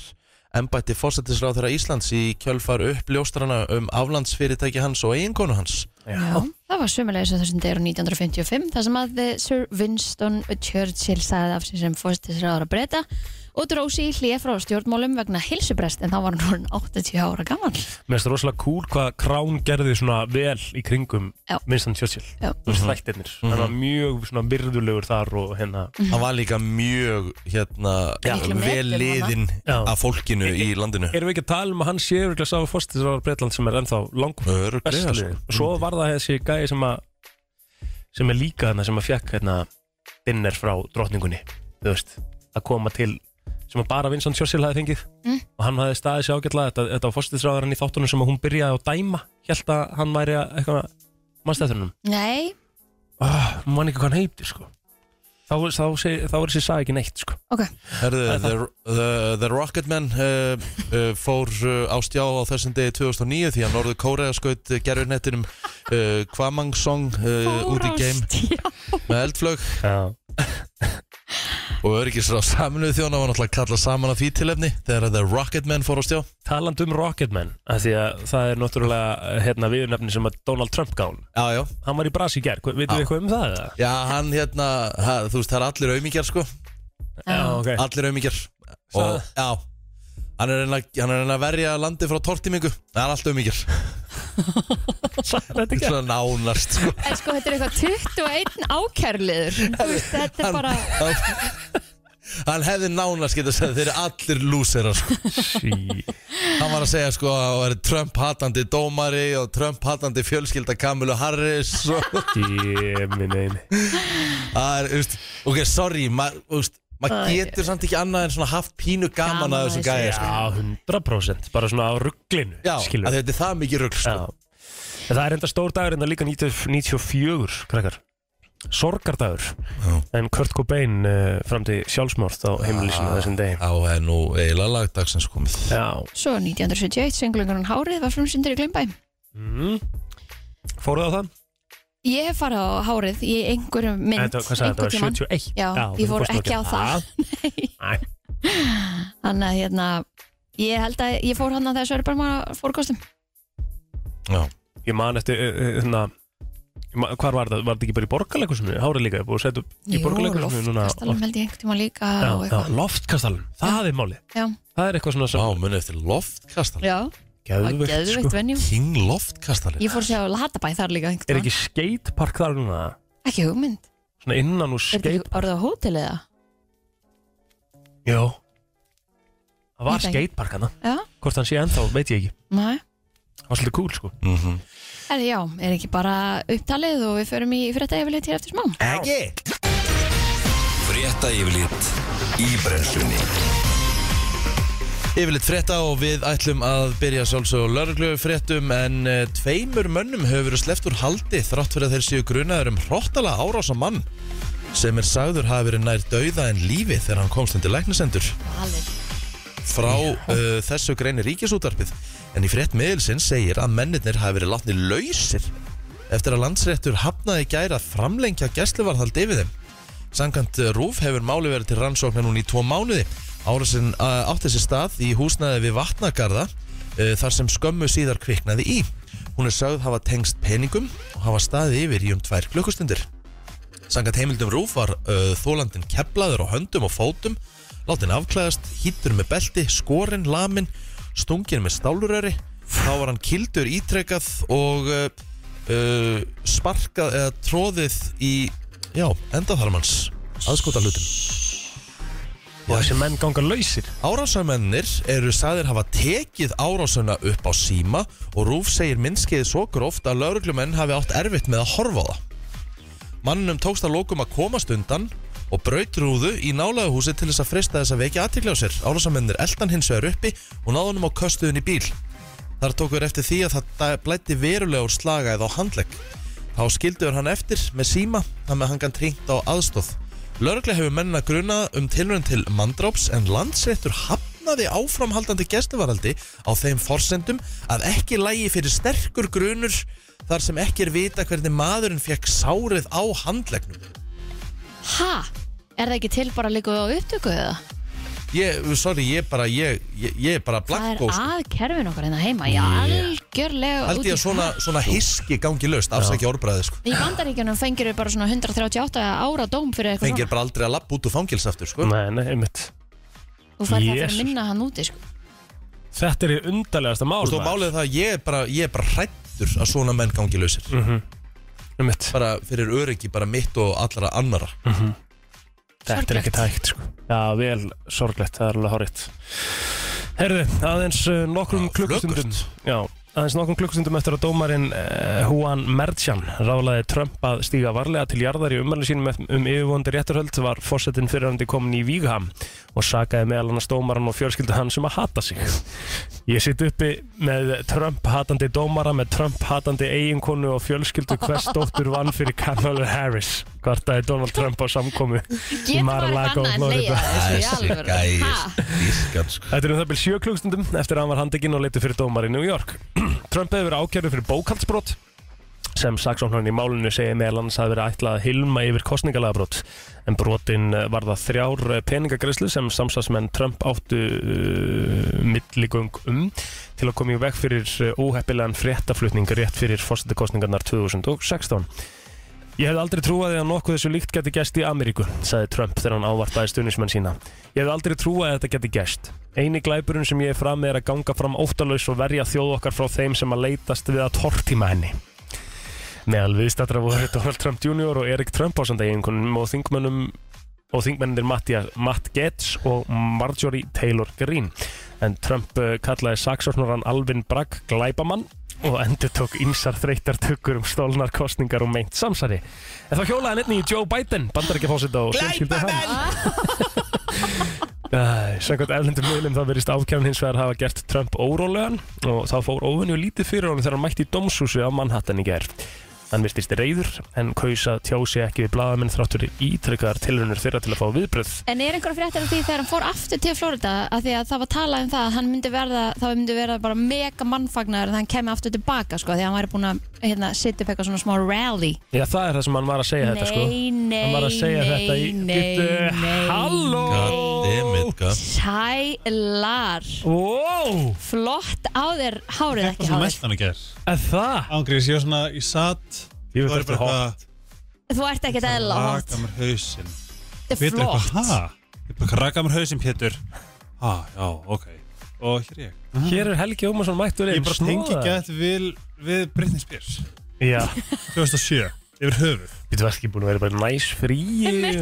embætti fórsættisráð þeirra Íslands í kjölfar uppljóstrana um aflandsfyrirtæki hans og eiginkonu hans
Já, það var sömulegis á þessum degur 1955 þar sem að eh, Sir Winston Churchill sagði af sér sem fórstisraður að breyta og dróð sér í hlið frá stjórnmálum vegna hilsubrest en þá var hann orðinn 80 ára gammal
Mér finnst það rosalega cool hvað Krán gerði svona vel í kringum
Já.
Winston Churchill
Já.
Þú
Mhm.
veist þættirnir Hann var mjög svona virðulegur þar og hérna
Hann var líka mjög hérna,
Miklu
vel
metin,
liðinn
Já. E-
af fólkinu í landinu
Erum við ekki að tala um að hann sé yfirlega sá fórstisraðar Breitland sem er ennþá langur
Öruglega
bestaliðin
sko.
Svo var það þessi gæi sem að sem er líka þarna sem að fekk hérna dinner frá drottningunni þú veist, að koma til sem að bara Winston Churchill hafi fengið
Mm.
og hann hafi staðið sér ágætlega þetta, þetta var fórstisraðarinn í þáttunum sem að hún byrjaði á dæma held að hann væri að eitthvað mannstættunum
Nei,
Ah.
oh, man ekki hvað hann heitir sko þá, þá, þá, þá er þessi sag ekki neitt sko
ok
Herðu, the, the, the Rocketman uh, uh, fór uh, á stjá á þessum degi 2009 því að Norður Kórea skaut uh, gerðurnettinum uh, Kwamang Song uh, út í game
Stjá.
með eldflög
já.
og öryggisra á saminuð þjóna var náttúrulega kallað saman af því tilefni þegar The Rocketman fór á stjá
talandi um Rocketman af því að það er náttúrulega hérna, viðurnefni sem að Donald Trump gán
Já, já,
hann var í Brasi í gær, Hva- vitum við eitthvað um það? eða?
já, hann hérna, ha, þú veist, það er allir aumingjar sko,
Já, ok
allir aumingjar og, já, hann er að reyna- hann er að reyna að verja landið frá tortimingu, það er allt aumingjar
Sagði þetta ekki?
svona nánast sko
En sko, þetta er eitthvað 21 ákærliður Þú veist, þetta er bara
hann, hann hefði nánast getað að segja þeir eru allir lúserar sko.
Sí.
hann var að segja sko að það væri Trump hatandi dómari og Trump hatandi fjölskylda Kamilu Harris og
Jémin eini
það er, þú veist, ok, sorry maður veist, maður getur samt ekki annað en svona haft pínu gaman
Gaman
að
að
þessu
þessu,
gæja sko.
Já, 100% bara svona á rugglinu
já, að þetta er það mikið rugl sko.
Já. En Það er enda stór dagur en það er líka 94 krakkar sorgardagur en Kurt Cobain uh, framdi sjálfsmórð á heimilísinu þessum degi
Já, það er nú eiginlega lagdagsins komið
Já,
Svo 1971, söngleikurinn Hárið var frumsyndir í Glimbæ
mm. fóruð á það?
Ég hef farið á Hárið í einhverjum mynd
Þetta, hvað sagði þetta?
einhvern tímann.
71?
Já, ég
þú
fór
fórst nú
ekki á það.
Nei,
Þannig að hérna, ég held að ég fór hann að þessu er bara maður fórkostum
já.
ég man eftir uh, uh, hérna ég man- Hvar var það? Var það ekki bara í borgarleikusinu? Hárið líka, búið að setja upp í borgarleikusinu núna
Kastalum held ég einhvern tíma líka
Já,
og
já,
eitthvað
loftkastalum, það er málið
Já,
Það er eitthvað svona
já,
sem
munið eftir loftkastal
já, það var
geðveikt,
geðveikt
sko.
venjum
King loftkastal
Ég fór sér á Latabæ þar líka
Er
einhvern tímann.
ekki skatepark þar núna?
ekki hugmynd,
Svona innan úr
er þetta
skate
ekki orðið á hótel eða?
Jó Það var
Ég veit ekki.
skatepark hana
Já,
Hvort hann sé ennþá, veit ég ekki
næ
Það var svolítið cool sko
mm -hmm.
Er, já, er ekki bara upptalið og við förum í frétta yfirleitt hér eftir smá
Ekki
Frétta yfirlit í brennslunni
Yfirleitt frétta og við ætlum að byrja sjálfsög lörglu fréttum en eh, tveimur mönnum hefur verið sleppt úr haldi þrátt fyrir að þeir séu grunaður um hróttala árása mann sem er sagður hafi verið nær dauða en lífi þegar hann komst undir læknisendur
Valið.
frá uh, þessu greini ríkisútarpið en í frétt miðilsinn segir að mennirnir hafi verið látni lausir eftir að landsréttur hafnaði í gær að framlengja gæsluvarðhald yfir þeim Samkvæmt eh, RÚF hefur máli verið til rannsóknar núna í tvo mánuði Árásin uh, átti sér stað í húsnaði við Vatnagarða uh, þar sem skömmu síðar kviknaði í Hún er sögð hafa tengst peningum og hafa staðið yfir í um tvær klukkustundir. Sangat heimildum Rúf var uh, þólandin keplaður á höndum og fótum, látin afklæðast, hýttur með belti, skorinn, lamin, stungin með stáluröri. Þá var hann kildur ítrekað og uh, uh, sparkað eða tróðið í, já, endaþarmans, aðskota hlutum.
Og þessi menn ganga lausir
Árásamennir eru sagðir hafa tekið árásuna upp á síma og Rúf segir minnskeiði svo gróft að lauruglumenn hafi átt erfitt með að horfa á það. Mannum tókst að lókum að komast undan og braut rúðu í nálega húsi til þess að frista þess að vekja aðtikla á sér. Árásamennir eldan hins vegar uppi og náðunum á köstuðin í bíl. Þar tókur eftir því að það blætti verulega úr slaga eða á handlegg. Þá skilduður hann eftir með síma þar með hann kann trínt á aðstóð. Lörglega hefur mennina grunað um tilrönd til mandróps en landsreittur hafnaði áframhaldandi gestuvaraldi á þeim forsendum að ekki lægi fyrir sterkur grunur þar sem ekki er vita hvernig maðurinn fekk sárið á handleggnum.
Ha? Er það ekki til bara líka á upptöku eða?
Ég, sorry, ég bara, ég, ég, ég er bara
Það er
blankó. sko.
að kerfin okkar hérna heima, já, algjörlega
Held ég að svona, svona hiski gangi löst, afsækja orðbræðið sko.
Í bandaríkjunum fengir við bara svona 138 ára dóm fyrir eitthvað
Fengir bara aldrei að lappa út úr fangilsaftur sko.
Nei, nei, einmitt
svona Þú fær það fyrir
Jesus.
minna hann úti sko.
Þetta er í undarlegasta mál
Þú veist, og
maður.
málið er það að ég er bara, ég er bara hrættur að svona menn gangi lausir
Mhm. Einmitt Mhm.
bara fyrir öryggi bara mitt og allra annara
Þetta er
Sorglegt.
ekki tækt sko Já, vel sorglegt, það er alveg horrið Herðu, aðeins uh, nokkrum
Já,
klukkustundum
flökurt.
Já, aðeins nokkrum klukkustundum eftir að dómarinn uh, Juan Merchan rálaði Trump að stíga varlega til jarðar í ummæli sínum ef- um yfirvóndi réttarhöld var fórsetin fyrirhandi komin í Vígham og sakaði meðal annars dómarann og fjölskyldu hann sem að hata sig Ég sitt uppi með Trump hatandi dómara með Trump hatandi eiginkonu og fjölskyldu hvers dóttur vann fyrir Kamala Harris hvartaði Donald Trump á samkomi
Getur maður
Mar-a-Lago,
eitthvað annað en
Florida.
leiða þessu í alvöru? Ha?
gæðist
Þetta er um það byrjum sjö klukkstundum eftir að hann var handekinn og leitið fyrir dómar í New York. Trump hefur verið ákjörður fyrir bókaldsbrot sem saksóknarinn í málinu segir meðal annars hafi verið ætlað að hilma yfir kostningalagabrot en brotin eh, varða þrjár eh, peningagreiðslu sem samsvarsmenn Trump áttu uh, milligöng um til að koma í veg fyrir eh, óheppilegan fréttaflutning rétt fyrir fórsetakostningarnar 2016. Ég hefði aldrei trúaði að nokkuð þessu líkt geti gæst í Ameríku, sagði Trump þegar hann ávartaði stunismenn sína. Ég hefði aldrei trúaði að þetta geti gæst. Eini glæpurinn sem ég er fram með er að ganga fram óttalaus og verja þjóð okkar frá þeim sem að leitast við að tortíma henni. Meðal viðstættra voru Donald Trump Jr. og Erik Trump ásanda eiginkunum og þingmönnum og þingmennir Mattia- Matt Getz og Marjorie Taylor Greene en Trump eh, kallaði saksóknarann Alvin Bragg glæpamann og endur tók ímsar þreytar tökur um stólnar kostningar og meint samsari en þá hjólaði hann einnig í Joe Biden bandar ekki fósitt á Glæpamenn Samkvæmt eflendum miðlum þá verist ákjæfn hins vegar hafa gert Trump órólegan og þá fór óvenju lítið fyrir honum þegar hann mætti í domshúsi á Manhattan í gerð Hann virtist reyður en kaus að tjá sig ekki við blaðamenn þráttur ítrekkaðar tilhörnur þeirra til að fá viðbröð.
En er einhverja fréttar af því þegar hann fór aftur til Florida af því að það var talað um það að hann myndi verða það myndi verða bara mega mannfagnar þegar hann kemur aftur tilbaka sko því að hann væri búin að hérna, setja upp eitthvað svona smá rally
Já, það er það sem hann var að segja þetta sko.
Nei, nei,
Hann var að segja
nei,
þetta í...
nei,
Bíddu,
nei.
Halló!
Sælar
Wow!
Flott á þér hárið ekki
svona
hárið
meltan að ger
Er það?
Ángriðis, ég var svona, ég satt
Ég
Þú
veit
er
þetta
bara
hótt.
eitthvað
Þú ert ekkert eðla hótt
Raka mér hausinn
Þetta er
Pétur er
flott
eitthvað, ha? Ég er bara raka mér hausinn, Pétur Ha, já, ok Og hér er ég
Hér er Helgi Ómarsson mættur
Ég bara tengi gett við, við Britney Spears
Já,
2007 Yfir höfuð
við varum ekki búin að vera bara næs frí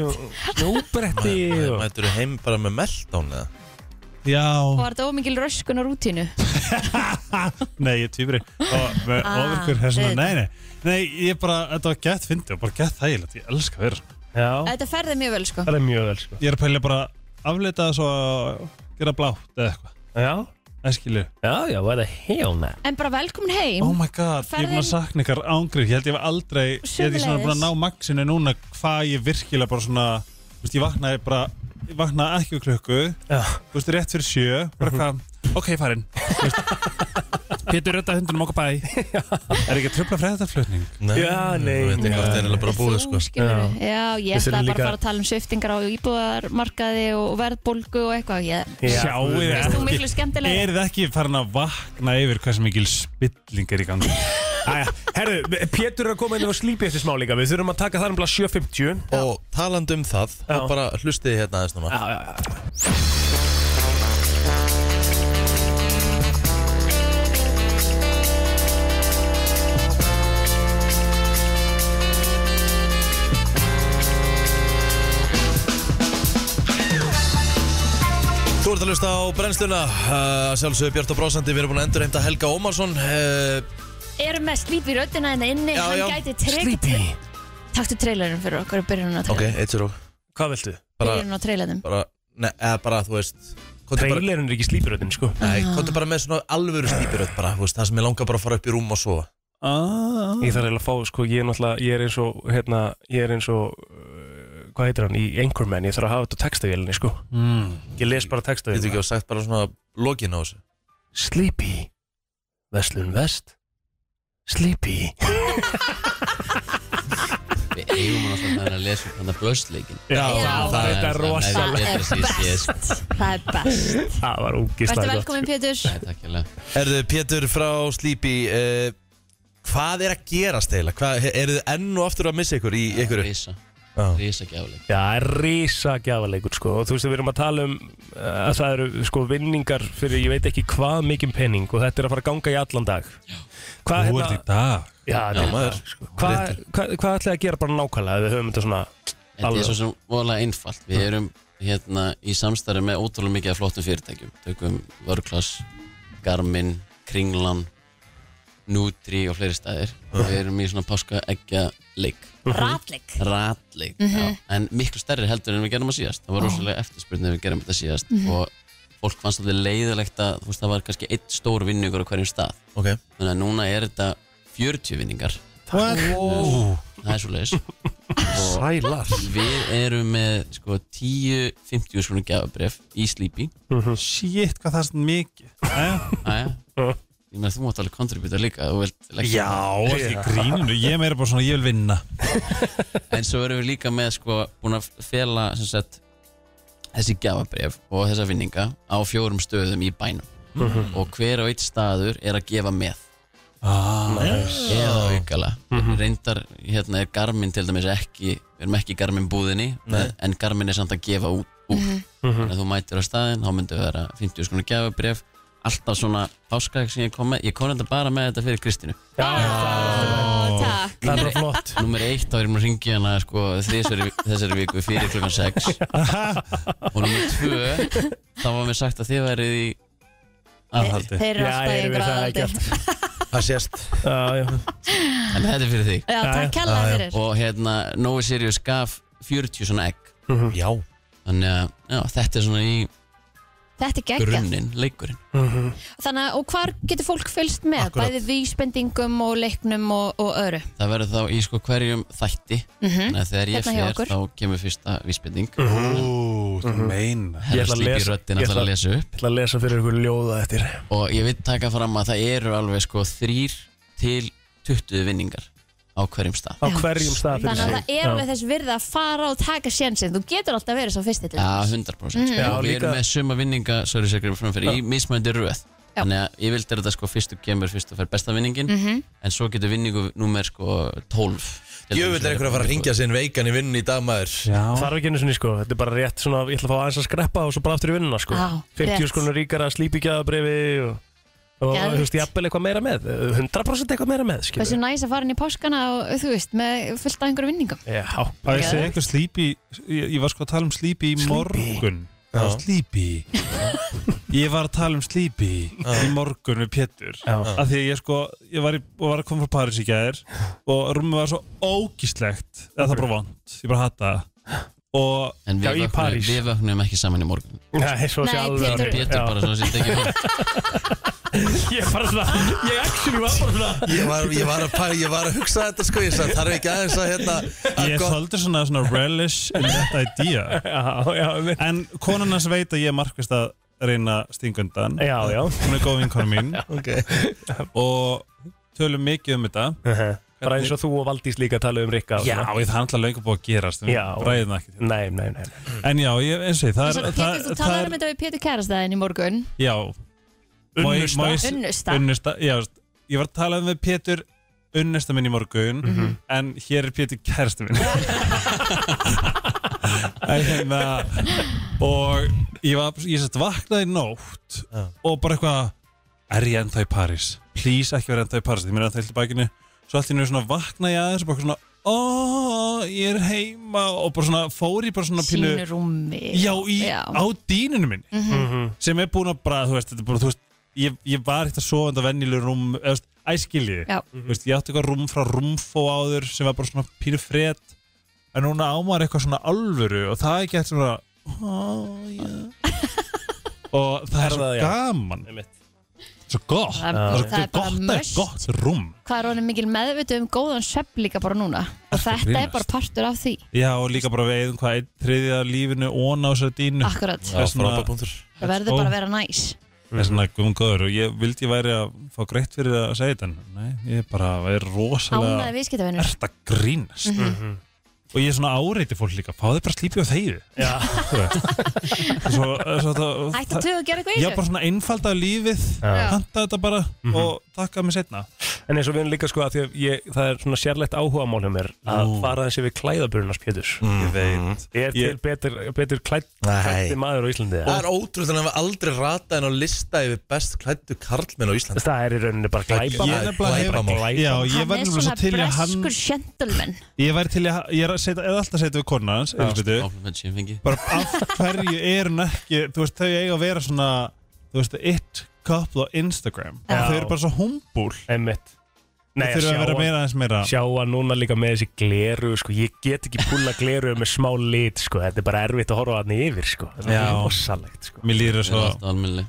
og snjóbretti og...
Mætur þú heim bara með meldán eða?
Og
Já
var þetta ómikil röskun á rútínu
Nei, ég er týpri Og með
Ah,
ofurkur hér svona,
auðvitað.
nei, nei Nei, ég bara, þetta var gett fyndi og bara gett þægilegt Ég elska að vera svona
Já,
Þetta ferði mjög vel sko
það er mjög vel sko.
Ég er að pælja bara afleita það svo að gera blátt eða eitthvað
Já,
Það skilju
já, já, það er hjána.
En bara velkomin heim
Oh my god, ég er búin
Ferðin-
að sakna ykkar ángrið Ég held ég var aldrei, ég held ég svona búin að ná maxinu núna hvað ég virkilega bara svona Þú veist, ég vaknaði bara, ég vaknaði ekki úr klukku
Já. Mhm.
Þú veist, rétt fyrir sjö, bara hvað Ok, farin Pétur rötta hundunum okkar bæ Er ekki að tröfla fræðarflutning?
Nei,
Já, nei,
Þú veit
nei.
ekki hvort það er eiginlega bara búið sko
Já. Já, ég
Við þurfum
ætlaði bara
líka-
að fara að tala um sviftingar á íbúðarmarkaði og verðbólgu og eitthvað ég,
Sjáið
Veist þú
ekki
miklu skemmtilega
Er þið ekki farin að vakna yfir hvað sem mikil spilling er í gangi?
Æja, herru, Pétur er að koma inn og slípi eftir smá líka Við þurfum að taka það um 7.50
Og talandi um það,
Já.
þá bara hlustiði hérna aðeins núna
Já, já, já
Þú ert að hlusta á brennsluna uh, Sjálfsögur Björn og Brósandi, við erum búin að endurheimta Helga Ómarsson uh,
Erum með slípi röddina hérna inni
Já,
Hann
já.
gæti tryggt Taktu trailerum fyrir okkur og byrjunum á
Ok,
trailerum
eitt sér og
Hvað viltu?
bara,
Byrjunum á trailerum
bara, ne, eða bara, þú veist komdu bara,
Trailerinn er ekki slípiröðin, sko
Nei, komdu bara með svona alvöru snýpiröð bara, þú veist, það sem ég langar bara að fara upp í rúm og sofa
Ah.
Ég þarf eiginlega að fá, sko, ég er náttúrulega Ég er eins og, hérna, ég er eins og uh, Hvað heitir hann? Í Anchorman, ég þarf að hafa þetta á textavélinni, sko
Mm.
Ég les bara hérna.
Getur
textavélinni
ekki að sagt bara svona lokin á þessu
Sleepy Vestlun Vest Sleepy
Við eigum hann alltaf að lesa upp hann að blöstleikin
Já,
Já,
það er þetta
Það
rosalega
Betra
er
síst, yes.
best Það er best
Það var
Vertu
ógislega
velkomin Pétur
Nei, takk hérlega
Erðu Pétur frá Sleepy uh, Hvað er að gerast eiginlega? Hvað- Eru þið enn og aftur að missa ykkur í ykkur?
Rísa,
Já.
rísa gjáleik
Já, rísa gjafaleikur sko og þú veist að við erum að tala um uh, að það eru sko vinningar fyrir ég veit ekki hvað mikinn penning og þetta er að fara að ganga í allan dag Hvað hérna-
Þú ert í dag
Já, já
maður.
sko. Hvað hva, hva ætlaði að gera bara nákvæmlega ef við höfum þetta svona
Þetta
Alveg.
er svo sem voðalega einfalt Við erum hérna í samstarfi með ótrúlega mikið af flottum fyrirtækjum Tökum Vörklass, Garmin, Kringlan, Nutri og fleiri staðir og Við erum í svona páska eggja leik
Mhm.
Ratleik
ratleik en miklu stærri heldur en við gerum að síðast það var rosalega eftirspurn þegar við gerum þetta síðast og fólk fannst þetta leiðilegt að þú veist, það var kannski eitt stór vinningur á hverjum stað
Ok,
þannig að núna er þetta 40 vinningar það er svo leiðis og
Sælar
við erum með sko, 10-50 skrúnum gafabref í Sleepy
Mhm. Shit, hvað það er svona mikið Æja,
aðja ég meina þú mátt alveg kontributa líka þú vilt leggja
Já, ekki gríninu Ég er meira bara svona, ég vil vinna
En svo erum við líka með sko búin að fela sem sagt þessi gafabref og þessa vinninga á fjórum stöðum í bænum og hver og eitt staður er að gefa með eða aukala reyndar hérna er Garmin til dæmis ekki við erum ekki í Garmin búðinni en Garmin er samt að gefa út, út. þannig að þú mætir á staðin þá myndi vera 50 skona gafabref alltaf svona páskaðeg sem ég kom með ég kom þetta bara með þetta fyrir Kristínu
Takk
Það er bara flott
Númer eitt þá er ég múin að ringja hana sko, þrísveri, þessari viku fyrir klukkan 6 og númer tvö þá var mér sagt að þið værið í aðhaldi
Þeir eru
Já,
alltaf í
erum við
einhverja
það ekki
aðaldi
það sést
Já, já
en þetta er fyrir þig
Já, takk kella fyrir
og hérna Nói Sirius gaf 40 svona egg
Já,
þannig að já, þetta er svona í
Þetta er geggjað
grunnin, leikurinn
Mhm.
Þannig að, og hvar getur fólk fylgst með?
Akkurat.
Bæði vísbendingum og leiknum og, og öru
það verður þá í sko hverjum þætti þannig að þegar ég
Hérna hjá okkur.
fer þá kemur fyrsta vísbending
Ú, þú meina
Mhm. Ég
Herra
ætla að
Sleepy
lesa-
Röddin
ég
ætlar
ætla-
að lesa upp
Ég ætla að lesa fyrir ykkur ljóða eftir
og ég vil taka fram að það eru alveg sko þrýr til 20 vinningar á hverjum stað
Á
Já.
hverjum stað fyrir
Þannig að það er
Já.
alveg þess virði að fara og taka sjensin Þú getur alltaf verið svo fyrst til
Já, 100% mm.
Mhm.
Já,
og við
líka-
erum með suma vinninga sorry, segir ég framfyrir, í mismændi röð
Já. Mhm.
þannig að ég vildi þetta sko fyrst og kemur fyrst og fær besta vinningin en svo getur vinningu númer sko 12 til
jöfull
dæmis,
er einhver að fara að ringja sinn veikan í vinnun í dag maður
Já,
Þarf ekki einu sinni sko, þetta er bara rétt svona, ég ætla að fá aðeins að skreppa og svo bara aftur í vinnuna sko
Já,
50
rétt.
skrúnur ríkara, slípi gjafabrifi og, og
Geðveikt.
þú veist, jafnvel eitthvað meira með 100% eitthvað meira með, skilur
Hversu næs að fara inn í páskana og þú veist með fullt af einhverju vinningum
Já,
það er segja eitthvað slípi ég, ég var sko að tala um slípi í
Sleepy.
morgun Já, slípi Ég var að tala um slípi í morgun við Pétur
Já.
Af því að ég sko, ég var, í, og var að koma frá París í gæðir og rúmið var svo ógíslegt eða það er bara vond, ég bara hata það og
en
Já, í
við, vöknum,
París.
við vöknum ekki saman í morgun
Nei, svo sé
Nei,
alveg
Pétur-
alveg-
Pétur
Já.
bara svona sem tekið hún
Ég er bara svona, ég actually var bara svona
Ég var, ég, var að, pæ- ég var að hugsa þetta sko Ég sagði þarf ekki aðeins að hérna að
ég er
gott-
svolítið svona, svona relish in that idea
Já, já, mitt
en konan hans veit að ég er markvist að reyna að stinga undan
Já, já
hún er góð vinkona mín
okay.
og tölum mikið um þetta
Uh-huh. Bara eins og þú og Valdís líka tala um Rikka og
Já,
svona.
ég það er alltaf löngu búið að gerast en við
Já.
ræðum það ekki til.
Nei, nei, nei nei.
En já, ég, eins og ég, það
Þess
er
að Pétur, þú
það
talar um þetta við Pétur Kærastæðin í morgun
Já, Má ég-
Unnusta.
má ég-
Unnusta
unnusta Já, veist, ég var að tala um við Pétur unnesta minn í morgun en hér er Pétur kærstu minn En hérna, og ég var ég satt vaknaði í nótt og bara eitthvað er ég ennþá í París? Please ekki vera ennþá í París því mér er ennþá í bakinu svo allt í njög svona vakna ég aðeins og bara eitthvað svona ó, ég er heima og bara svona fór ég bara svona pínu
sínu rúmi
Já, í,
Já.
á dýninu minni sem er búin að bara, þú veist, þetta er bara, þú veist ég, ég var eitt að sofa enda vennilu rúm eða, þú veist, æskilji,
Já.
þú veist, ég átti eitthvað rúm frá rúmfó áður sem var bara svona pínu fred en núna ámar eitthvað svona alvöru og það er ekki eftir svona oh, yeah. og það er svo
það, já.
gaman
Einmitt.
svo gott,
Það-
það
það er
er
bara
gott, það er
must.
gott rúm
hvað er honum mikil meðvitu um góðan svepp líka bara núna og
Ertu að
þetta er
grínast?
bara partur af því
já, og líka bara við eigum hvað einn þriðið af lífinu og ná sér dýnu
akkurat,
Það er svona-
frábær punktur.
það verður bara að vera næs
Það
Mhm.
er svona guðmgóður og ég vildi ég væri að fá greitt fyrir að segja þetta en Nei, ég er bara, það er
ánæði
rosalega
viðskiptavinnur
ert að grínast
Mhm.
Og ég er svona áreiti fólk líka, fáðu bara slípi á þegið
Já.
Þú veist. Og svo, svo það,
ættu
það,
að gera eitthvað í
Ég er
þessu
bara svona einfalda lífið,
Já.
handa þetta bara og takka mig setna
En eins og við erum líka sko að, að ég, það er svona sérlegt áhuga mál hjá mér að
Nú.
fara þessi við klæðaburunars Péturs
Ég veit
Ég er til
Ég-
betur, betur klædd, klæddi maður á Íslandi
Það er ótrúð þannig að við aldrei rata en á lista yfir best klættu karlmenn á Íslandi
Það er í rauninni bara glæpa
Ég
Ég er nefnilega hef-
Glæpamál.
Já, ég
hann
væri
er
nefnilega svo
svona
til í að hann
breskur gentleman
Ég væri til í að, ég er að setja, eða alltaf setja við konuna hans, Elisabethu
Kompliment sem ég fengi
bara af hverju er hún ekki þú veist, þau eiga að vera svona þú veist, it couple á Instagram
Já.
þau eru bara svo humbúl
Emmitt Nei,
þau
að
þurfa að vera
sjá,
meira aðeins meira
að- sjá að núna líka með þessi gleru sko. Ég get ekki púla gleru með smá lit sko. Þetta er bara erfitt að horfa hann yfir sko. Það er
Já.
rosalegt sko.
mér
Ég er
líður það svo
alltaf almennileg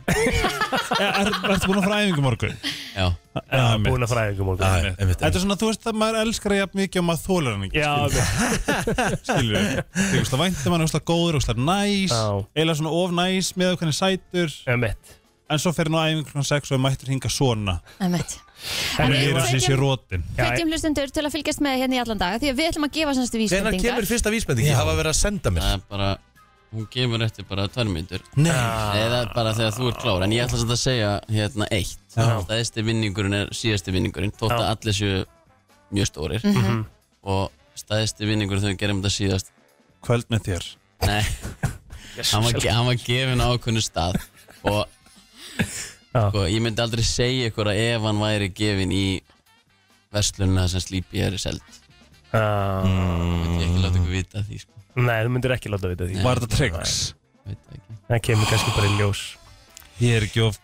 Ja, er- ertu búin að fara æfingu morgun?
Já,
Já,
einmitt.
Búin að fræðingum og
Já, einmitt,
þetta er svona, þú veist, það maður elskar það jafn mikið og maður þólar hann ekki
Já, einmitt.
skilur við þú veist, það væntum hann, þú veist, það góður, þú veist, næs
Já.
eiginlega svona of næs með hvernig sætur
Einmitt
en svo fer hann á æfingu klokkan 6 og er mættur hinga svona
Einmitt.
En
En
mér
við
líður
ég-
það sem sé
hvetjum-
rótin
hvetjum hlustendur til að fylgjast með hérna í allan dag því að við ætlum að gefa semst
Hvenær kemur
vísbendingar
fyrsta vísbending? Ég hafa verið að senda mér
það er bara Hún gefur eftir bara tvær myndur
Nei.
Eða bara þegar þú ert klár En ég ætla samt að segja hérna eitt Stæðsti vinningurinn er síðasti vinningurinn Þótt að
Já.
allir séu mjög stórir
Mhm.
Og stæðsti vinningurinn þegar við gerum þetta síðast
kvöld með þér
Nei, hann var, ge- hann var gefin á okkunni stað Og
Já.
sko, ég myndi aldrei segja ykkur að ef hann væri gefin í Verslunna sem slípi er seld
Já.
Ég ekki láta ykkur vita af því sko.
Nei, þú myndir ekki láta vita því
var þetta tricks?
Veit það ekki.
Það kemur kannski bara í ljós
ég er ekki of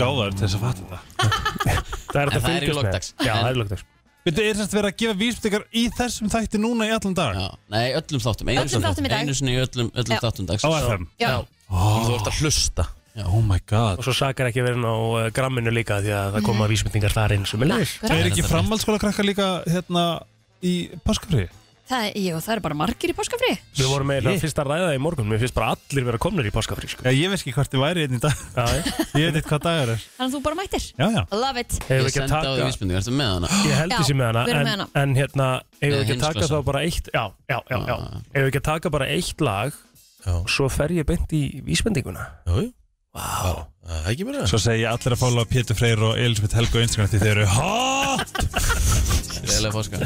gáðar til þess að fatta þetta
Það er hægt
En
að
það er í
fylgjast
lok
með.
dags.
Já,
En-
það er í lokdags
Þetta er semst verið að gefa vísbyggar í þessum þætti núna í allan dag
Já. Nei, öllum þáttum einu
Öllum
sinni-
þáttum í dag.
Einu sinni í öllum, öllum
Já.
þáttum dags
á FM
Já,
Þú ert að hlusta
Oh my god
Og svo sakar ekki að vera inn á eh, gramminu líka Því að það koma vísmyndingar þar inn sem er leir
Það
akkurat.
er ekki framhaldsskóla krakkar líka hérna í páskafri
það, er- jú, það er bara margir í páskafri
Við vorum með það fyrst að ræða í morgun Mér finnst bara allir vera komnir í páskafrí sko.
Já ég veist ekki hvort þið væri einn í dag
Já, já.
Ég veit eitthvað dagur er
þannig að þú bara mættir
Já já
Love it
Eigum
Ég
við ekki að
sendi á því
taka
vísbendingu, ertu með hana?
Ég held
Já,
þessi með hana
við erum með
En,
hana.
en hérna, eigum við
Nei,
ekki að taka
heimsklassa.
þá bara eitt Já, já, já, já
Ah.
Eigum við ekki að taka bara eitt lag Og svo fer ég beint í vísmyndinguna
Jú, jú. Vá, það er ekki mér að
Svo segi ég allir að fóla Pétur Freyr og Elisabeth Helga á Instagram því þeir eru HOT
Gleðilega páska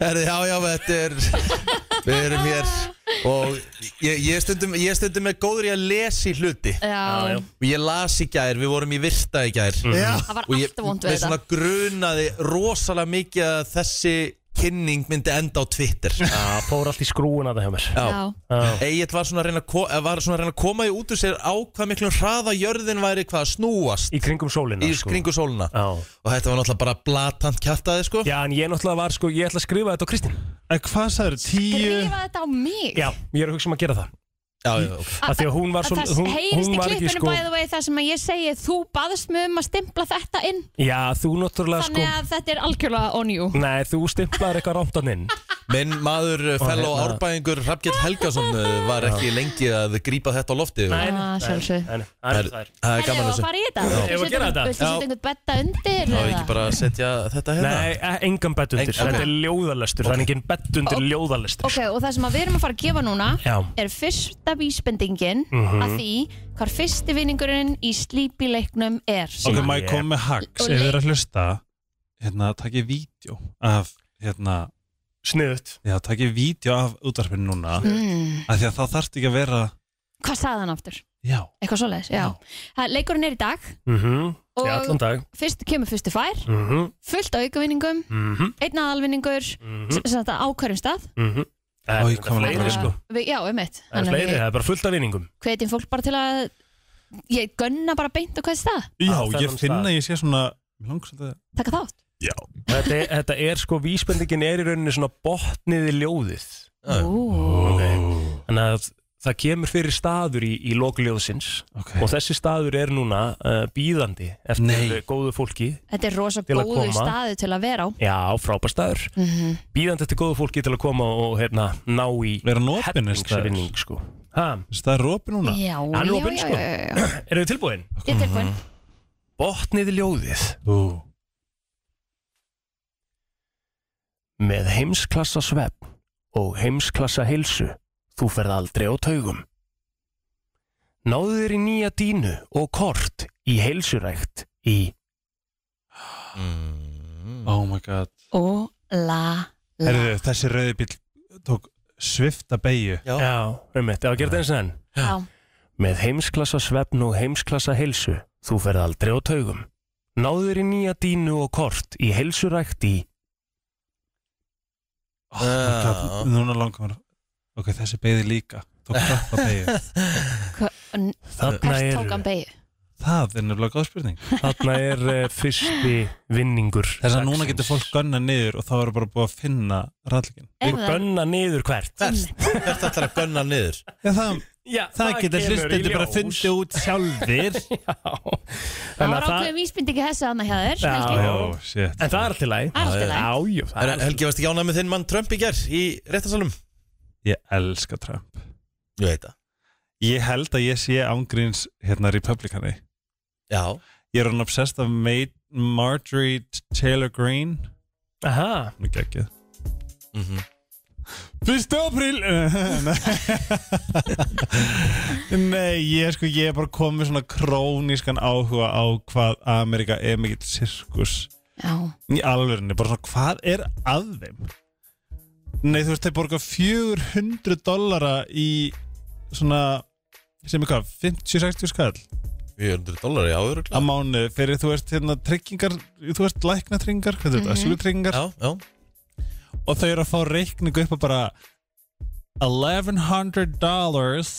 Herði, já, já, þetta er Við erum hér Og ég, ég, stundum, ég stundum með góður í að lesi hluti
Já, Mhm.
Og ég las í gær, við vorum í virta í gær Já
það var
Og ég
alltaf vond
með
við
svona
þetta
grunaði rosalega mikið að þessi kynning myndi enda á Twitter
Það fór allt í skrúuna það hjá mér
Já,
Já,
Egið var svona að reyna að, ko eh, var svona að reyna að koma í út úr sér á hvað miklum hraða jörðin væri hvað að snúast
Í kringum sólina
í
sko.
kringu sóluna
Já.
og þetta var náttúrulega bara blatant kjartaði sko
Já, en ég náttúrulega var sko Ég ætla að skrifa þetta á Kristín
En hvað sagður? Tíu
grífa þetta á mig
Já, ég er að hugsa um að gera það
já, já, ok.
Af því að hún var
Að
svo
það
hún,
heyrist
hún
í
var ekki
klippinu
sko
by the way þar sem að ég segi þú baðst mig um að stimpla þetta inn
Já, þú náttúrulega sko
þannig að þetta er algjörlega on you
Nei, þú stimplaður eitthvað rámtan inn
minn maður eh, fellow
hérna-
árbæðingur Hrafgjell Helgason eh, var ekki lengi að grípa þetta á lofti og-
nei, Ah, nei, sjálfsögðu.
nei,
Það er- það er gaman
Herðu,
þessu
að fara í þetta?
Eigum við að gera þetta?
Viltu setja einhvern
Já.
betta undir?
þá er
eða?
ekki bara að setja þetta
Nei,
hérna
e- engan bett undir,
Engan-
þetta er ljóðalestur Það er engin bett undir ljóðalestur
Ok, og það sem að við erum að fara að gefa núna
Já.
er fyrsta vísbendingin mm
Mhm.
að því hvar fyrsti vinningurinn í slípileiknum er
Ok,
Sem
maður
ég-
kom með
Og
hacks Ef þið
leik-
eru að hlusta hérna, takk ég vídeo af, hérna,
Sniðut
já, takk ég vídeo af útvarpinu núna
mm.
af því að það þarf ekki að vera
Hvað sagði hann aftur?
já,
Eitthvað svoleiðis, já, Það- Leikurinn er í dag,
Mhm.
Í
Og-
allan dag
fyrst kemur fyrstu fær
Mhm,
fullt á aukavinningum,
mhm,
einn aðalvinningur
mhm,
sem þetta á hverjum stað
mhm. Það
Oj,
er
hvað var
fleiri,
langt.
sko.
við, Já, um eitt
Það er fleiri, það er bara fullt af vinningum
hvetjum fólk bara til að ég gunna bara beint á hvert stað
já,
Á
ég
þennan
finn
stað.
að ég sé svona langsæta,
taka þátt
þetta, er- þetta er sko, vísbendingin er í rauninni svona botniði ljóðið
Ú,
Þannig að það kemur fyrir staður í, í lokljóðsins
ok,
og þessi staður er núna uh, býðandi eftir
Nei.
góðu fólki
Þetta er rosa
Til að
góðu
koma. Mhm.
staðu til að vera á
Já, frábær staður
mm
Býðandi eftir góðu fólki til að koma og hérna, ná í
vera nópinn
hellingsvinning sko. Ha,
það er rópi núna
Já,
Hann er
já,
opinn,
já,
sko.
já, já, já.
eru þið tilbúin? Mhm.
Ég er tilbúin
Botnið ljóðið
Ú.
Með heimsklassa svefn og heimsklassa heilsu þú ferð aldrei á taugum. Náðu þér í nýja dínu og kort í heilsurækt í
Mm.
oh my god
Ó, la, la
Herðu, þessi rauði bíl tók svifta beigju
Já, um þetta, já, gerðu eins og enn.
Já.
Með heimsklassa svefn og heimsklassa heilsu þú ferð aldrei á taugum. Náðu þér í nýja dínu og kort í heilsurækt í
oh
Ah.
my god, núna langar mér ok, þessi beigði líka tók krabba beigju
N-
Þarna
Hvert tók hann
er,
beigju?
það er nefnilega góð spurning
þarna er uh, fyrsti vinningur
þess að núna
dagsins.
getur fólk gönna niður og þá eru bara búið að finna rallingin
Er
og gönna niður hvert
Einmitt.
Hvert ætlar að gunna niður?
Já, það,
Já,
það geta
kemur í
hlustandi bara að
ljós.
fundi út sjálfir
Já.
Það
Þannig
var
að það
ákveðum vísbindingi þessu hann hjá þér
Já.
Helgi.
Ó, shit.
En það er allt í lagi
Allt í lagi.
Já, jú, það er
Herra,
allt í lagi
Helgi, varst ekki ánæg með þinn mann Trump í gerð í réttarsalum?
ég elska Trump
Ég veit það
ég held að ég sé ángríns hérna republikani
Já,
ég er hann obsessed af Ma- Marjorie Taylor Greene
Aha,
Hún er geggið Fyrsta apríl Nei, ég er sko Ég er bara komið svona krónískan áhuga Á hvað Amerika er mikill sirkus
Já,
Í alvörinni, bara svona hvað er að þeim Nei, þú veist, þeir borga 400 dollara Í svona Sem er hvað, 50-60 skall
400 dólar, já,
Á
öruglega
mánu, fyrir þú veist hérna Tryggingar, þú veist lækna tryggingar Hvað er þetta, sjúlutryggingar
Já, já
og þau eru að fá reikningu upp að bara 1100 dollars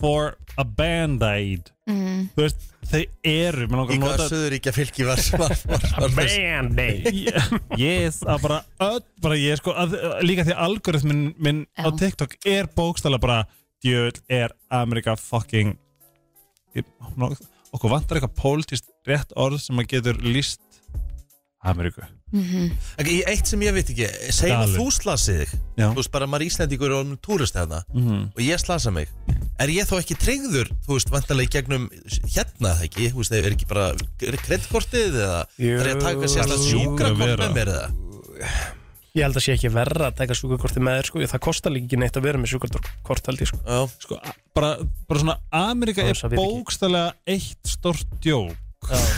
for a band-aid
mm,
þú veist, þau eru mér langar
Í
að
hvaða
nota
söðuríkja fylki var var, var, var, var
bandi
yes, að bara, öll, bara ég, sko, að, líka því að algoritmin minn á
Já.
TikTok er bókstala bara djöl er Amerika fucking ég, okkur vantar eitthvað politist rétt orð sem að getur líst Ameríku
Mhm.
Í eitt sem ég veit ekki, segjum að
Dalur.
þú slasið þig
Já.
Þú veist bara maður Íslandingur og túrist þarna
Mhm.
og ég slasa mig Er ég þá ekki tryggður, þú veist, vantarlega í gegnum hérna það ekki, þú veist, er ekki bara er kreddkortið eða
Jú,
þarf ég að taka sérstætt
það hlýtur
að
sjúkrakort
vera.
með mér eða
Ég held að sé ekki verra að taka sjúkarkorti með þér sko. Það kostar líka ekki neitt að vera með sjúkarkort held ég sko.
Já,
sko, a- bara, bara svona Amerika
Það
er
er svo við ekki.
bókstælega eitt stort djók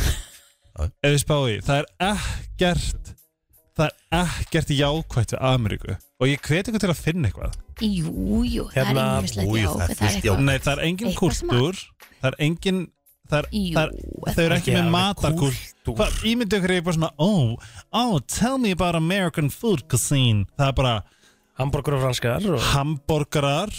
ef við spáði það er ekkert það er ekkert jákvætt við Ameríku og ég hveti ykkur til að finna eitthvað
Jú, jú, það er
Hérna,
einhverslega
jú,
já,
það er
það er
fullt
eitthvað
nei, það er engin
Eitthvað sem
kultúr það er engin það er,
Jú,
það er, þau eru ekki með
alveg
matarkúl
kúltúr.
Hvað, ímyndi ykkur ég bara svona oh, oh, tell me about American food cuisine það er bara
Hamburgur og franskar og...
hambúrgarar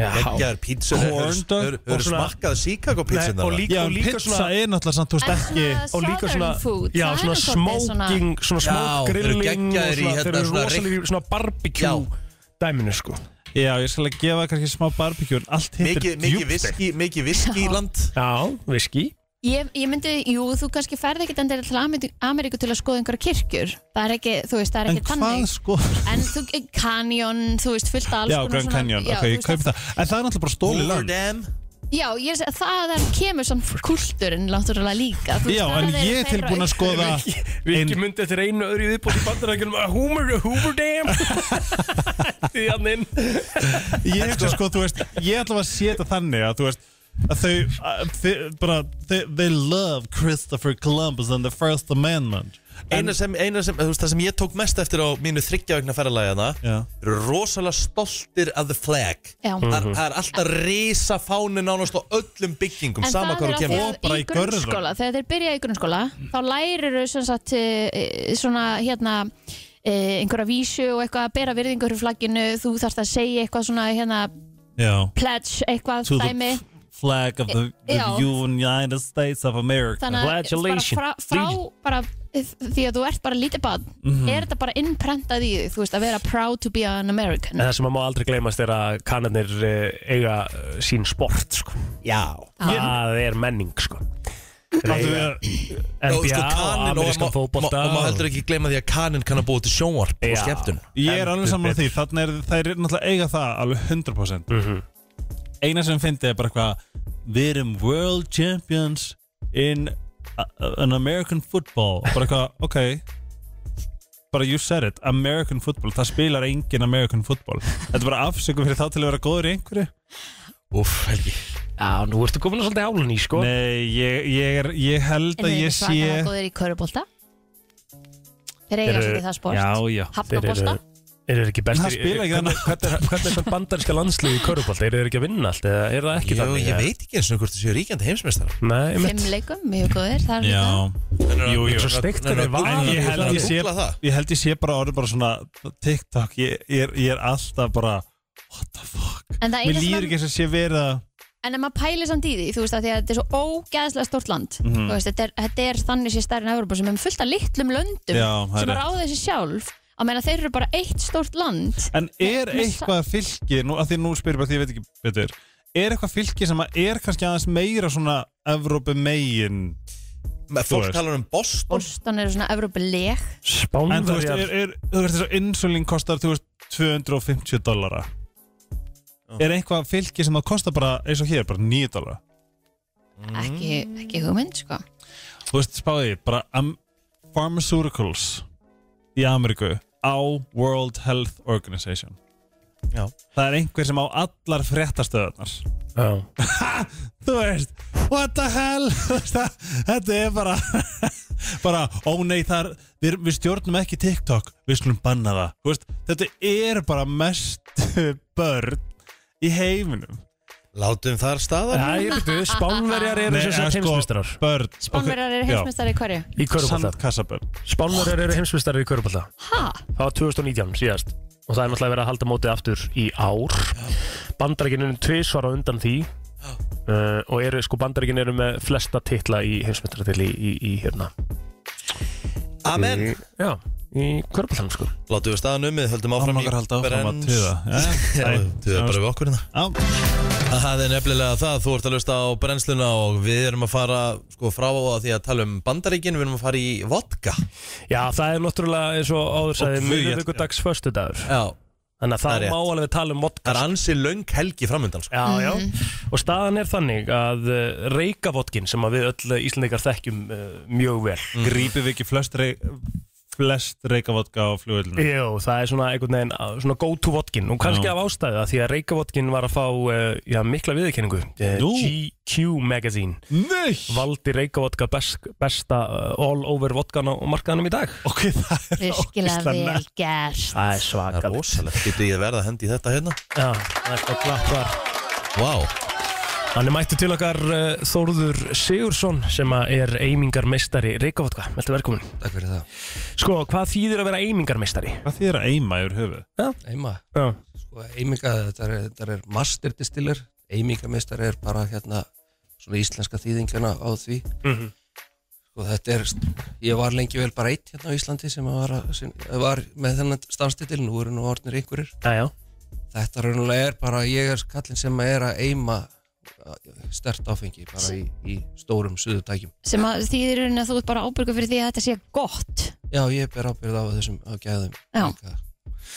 Já,
geggjar pítsu
Corn dog
Hefur
og svona-
smakkað Chicago
Nei,
pítsun
og líka,
já,
og
pizza
líka svona
er náttúrulega samt, þú veist
En
ekki
svona
og líka
southern
svona,
food,
já,
það er
svona
nú svolítið svona-
smoking svona
Já,
smoke
þeir eru
grilling og
geggjaðir í
svona, þeir
hérna
eru
svona
rosalega í svona barbecue
Já.
dæminu sko
Já, ég skal að gefa kannski smá barbecue en allt hitt
Mikið
er
mikið
djúbstegt.
viski, mikið viski
Já.
land
Já, viski
Ég, ég myndi, jú, þú kannski ferð ekkert endilega til Ameríku- Ameríku til að skoða einhverja kirkjur Það er ekki, þú veist, það er
En
ekki
hvað
tannig
sko?
En þú, kanjón, þú veist, fullt af alls
Já,
konar
Grand
svona-
Canyon,
já,
ok,
þú
ég
veist,
kaupi það En það er náttúrulega bara stóli
Hoover
land
Dam
Já, ég, seg- það er, kemur samt kulturinn náttúrulega líka þú veist,
Já,
það
en
eru
ég er
þeirra
tilbúin að
upp-
skoða
Viki
ein-
myndi eftir einu öðru í viðbótt í bandarækjunum að Hoover, Hoover Dam Því hann inn
Ég hugsa sko, þú veist, ég ætla að setja þannig að þú veist að þau, að, þau bara, þau, they love Christopher Columbus and the First Amendment
eina sem, eina sem, þú veist, það sem ég tók mest eftir á mínu þryggjavægna ferðalæðina
Já.
eru rosalega stoltir af the flag
Já.
það, er- það er alltaf risa fáni nánast á öllum byggingum
En
sama
það
hvað
er
þú
af því
kemur
Og bara
að
í
í grunnskóla,
görðum.
þegar þeir byrja í grunnskóla, þá lærir þau sem sagt eh, svona hérna eh, einhverja vísu og eitthvað að bera virðingu fyrir flagginu, þú þarft að segja eitthvað svona hérna
Já.
pledge eitthvað
To the
dæmi
Flag of the, the
E- Já.
United States of America
þannig að bara
Congratulations.
frá, frá bara, eh, því að þú ert bara lítið bad er þetta bara innprentað í þig, þú veist að vera proud to be an American
En það sem maður má aldrei gleymast er að kanarnir eh, eiga eh, sín sport sko.
Já,
Það er menning sko. Þeir eiga NBA
og sko
og
kanin og,
amerískan
og, og, og
fótbolta
maður heldur ekki gleyma því að kanin kann að búa til sjónvarp og
Já.
skemmtun
Ég er alveg
Heldur
saman að því,
betur.
þannig er þær eru náttúrulega eiga það alveg 100%
Mhm.
Eina sem fyndi er bara eitthvað Við erum world champions in a, an American football Bara eitthvað, ok Bara you said it, American football Það spilar engin American football Þetta er bara afsöku fyrir þá til að vera góður í einhverju
Úff, Helgi
Já, nú ertu komin að svolítið álun í sko.
Nei, ég, ég, er, ég held
en
að
þeir
ég
eru svakalega
sé
góðir í körubólta þeir eiga
Eru-
svolítið það sport
Já, já
Þeir
hafnabólta,
Eru þeir ekki
En
bestir
það spila ekki
Hvernig hvernig er hvernig er það bandarinska landslið í körubalt? Eru þeir ekki að vinna allt? Eða er það ekki
Jú,
þannig?
ég veit ekki eins og hvort þú séu ríkjandi heimsmeistar
Nei,
fimm
mitt
leikum mjög góðir, það er líka
Já,
Jú, jú, svo steikt er þeir
En ég held ég sé-
Googlað það.
ég held ég sé bara orðið bara svona TikTok, ég, ég, er, ég er alltaf bara What the fuck
En það eina
Mér
sem
líður
að-
ekki þess að sé verið að
en ef maður pælir samt í því, þú veist að því að þetta er svo ógæðslega stort land
Mhm.
mm. veist, þetta, er, þetta er þannig sér stærri en Európa sem er fullt af litlum löndum
Já, það er
sem
rétt.
ráða þessi sjálf að meina þeir eru bara eitt stort land
En er
Nei, mér sa-
eitthvað fylki nú, að Því nú spyrir bara því ég veit ekki betur Er eitthvað fylki sem að er kannski aðeins meira svona Evrópu megin
Me-
Þú
Fólk
veist.
talar um Boston
Boston eru svona Evrópuleg
En þú veist,
Spánverjar
er, er, þú veist þess að insulin kostar þú veist, 250 dollara Er eitthvað fylki sem að kosta bara eins og hér, bara 9 dollara
ekki, ekki hugmynd sko
þú veist, spáði, bara um, pharmaceuticals í Ameríku á World Health Organization
Já.
það er einhver sem á allar fréttastöðunar
Já.
þú veist, what the hell Þú veist, það- þetta er bara bara, ó nei, þar við, við stjórnum ekki TikTok, við skulum banna það Þú veist, þetta er bara mestu börn í heiminum
Látum þar staðar sko,
Nei, ég veit, spánverjar eru sem
en
sagt heimsmyndstarar
börn
Spánverjar eru heimsmeistari í hverju?
í körubólta
Sandkassabörn
Spánverjar eru heimsmyndstarar í körubólta
Ha?
Það var 2019 síðast og það er náttúrulega verið að halda mótið aftur í ár Bandaríkin eru tvisvar á undan því uh, og eru, sko, Bandaríkin eru með flesta titla í heimsmyndstaratill í, í, í hérna
Amen
í, Já, í körubóltanum sko
Látum við staðan ummið, höldum
Áfram
áfram
okkar halda áfram að
brenns-
tuða
Já, Tuða bara við okkur hérna
Já,
Það er nefnilega það, þú ert að lusta á brennsluna og við erum að fara sko, frá á því að tala um bandaríkin, við erum að fara í vodka
Já, það er náttúrulega eins og áður sagði
Og flugið-
miðvikudags föstudagur
Já,
Þannig að
Það
það
er
má alveg tala um vodka
það er ansi löng helgi framöndan sko.
Já, já, og staðan er þannig að eh, reykavotkin sem að við öll íslendingar þekkjum uh, mjög vel
grípum við ekki flest, reik, flest reikavodka á flugvöldinu
Jú, það er svona einhvern veginn uh, svona go to vodkin og kannski
Já.
af ástæðu að því að reykavotkin var að fá uh, já, mikla viðurkenningu Eh,
Nú.
GQ Magazine
Nei!
valdi reykavotka best, besta uh, all over vodkan á markaðanum í dag
Ok, það er
Virkilega
ógeðslega
vel
nett.
gert
Það er
Það er
svakalegt
rosalegt, getur ég verða að hendi í þetta hérna
Já, það er sko klappar
Vá,
Hann er mættu til okkar uh, Þórður Sigursson sem að er eimingarmeistari reykavotka, veltu velkomin
Takk fyrir það
Sko, hvað þýðir að vera eimingarmeistari?
Hvað þýðir að eima yfir höfuð?
Eima,
Já,
sko, eiminga, þetta er, þetta er master distiller Eimingameistari er bara hérna svona íslenska þýðingana á því
Mhm.
Sko, þetta er, ég var lengi vel bara eitt hérna á Íslandi sem var, að- sem var með þennan stanstitil Nú eru nú orðnir einhverjir
já, já
Þetta raunulega er bara, ég er kallinn sem er að eima uh, stert áfengi bara í, í stórum suðutækjum
sem að þýðir í rauninni að þú ert bara ábyrgur fyrir því að þetta sé gott
Já, ég ber ábyrð á þessum á gæðum
Já.
líka.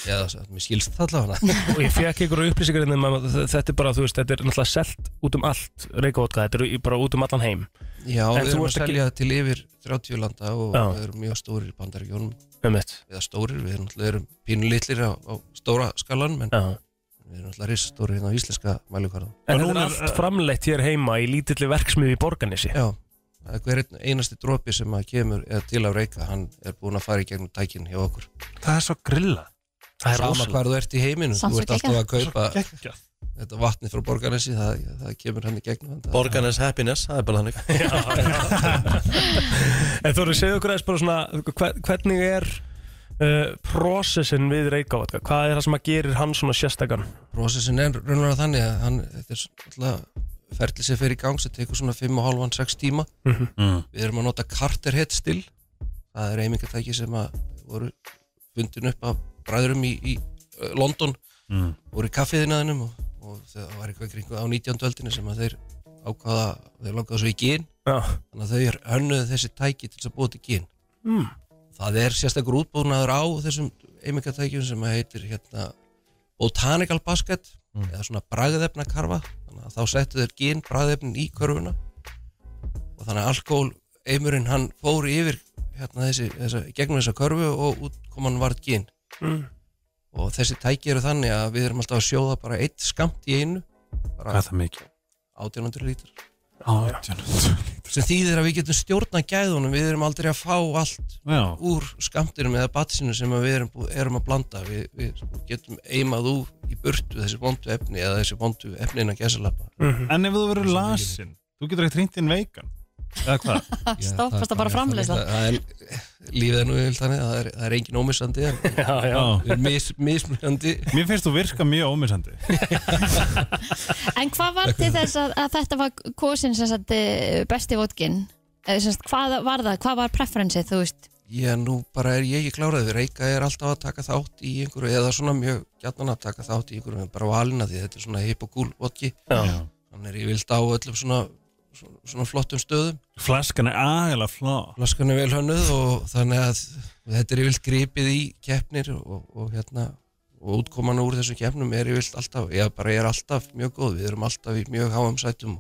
Já, það er mér skilst það allavega
og ég fekk einhverju upplýsingar um að þetta er bara, þú veist, þetta er náttúrulega selt út um allt reykavótka, þetta er í- bara út um allan heim
Já,
En
við
þú
erum að
ert ekki-
selja til yfir 30 landa og
Já.
við erum mjög stórir í bandaríkjónum
um mitt
eða stórir, við erum, náttúrulega- erum pínulitlir á, á stóra skalan en
Já.
við erum alltaf risastórir hérna á íslenska mælikvarðan
en þetta
núna
er
er-
allt framleitt hér heima í lítilli verksmiði í Borganesi
Já, að hver einn- einasti dropi sem að kemur eða til að reyka, hann er búin að fara í gegnum tækin hjá okkur
Það er svo grilla
Það er
sama
rosalega
hvar þú ert í heiminu,
Samt
þú ert
svo
alltaf að kaupa
Gekka
þetta vatni frá borgarnesi, það, það kemur hann í gegnum hann
Borgarnes happiness, það er bara þannig
En þú eru að segja okkur aðeins bara svona hve- hvernig er uh, prosessin við reykjávatka hvað er það sem að gerir hann svona sérstakann
Prosessin er raunlega þannig að hann, þetta er svona alltaf ferli sem fer í gang sem tekur svona 5,5-6 tíma
Mhm.
Mm.
Við erum að nota Carter Head Still það er reymingatæki sem að voru fundin upp af bræðurum í, í eh, London
Mm.
voru í kaffiðinaðinum og, og það var eitthvað kringu á 19. öldinni sem að þeir ákvaða, þeir langaðu svo í gin
Já,
þannig að þau hönnuðu þessi tæki til þess að búa til gin
Mm.
það er sérstakur útbúnaður á þessum eimingatækjum sem heitir hérna, botanical basket eða svona bragðefna karfa þannig að þá settu þeir gin bragðefnin í körfuna og þannig að alkohol eimurinn hann fór yfir hérna, þessi, þessa, gegnum þessa körfu og út kom hann varð gin
Mm.
og þessi tæki eru þannig að við erum alltaf að sjóða bara eitt skamt í einu
Hvað
bara
er það mikið?
1800 lítur
Átján
sem þýðir að við getum stjórna gæðunum við erum aldrei að fá allt
Já
úr skamtinum eða batsinu sem að við erum, bú- erum að blanda við, við sko getum eimað úr í burtu þessi vondu efni eða þessi vondu efni innan gæsalappa
Mm-hmm. En ef þú verður lasin Þú getur ekkert ringt inn veikan Eða hvað?
Stoppast það bara framleiðsla
Það- það er- lífið er nú yfir þannig að það er, það er engin ómissandi en
já, já.
við erum mis, mismunandi
Mér finnst þú virka mjög ómissandi
En hvað var til þess að, að þetta var kosin sem sagt eh, besti vodkin? Eh, Sem sagt, hvað var það? Hvað var preferensið, þú veist?
Já, nú bara er ég ekki klárað við Reykja er alltaf að taka þátt í einhverju eða svona mjög gætnan að taka þátt í einhverju en bara valina því þetta er svona hip og gúl vodki
Já.
hann er yfirlt á öllum svona, svona, svona flottum stöðum
Flaskan er aðeila flá
Flaskan er vel hönnuð og þannig að þetta er yfirlt gripið í keppnir og, og hérna og útkoman úr þessum keppnum er yfirlt alltaf já, bara er alltaf mjög góð, við erum alltaf í mjög háum sætum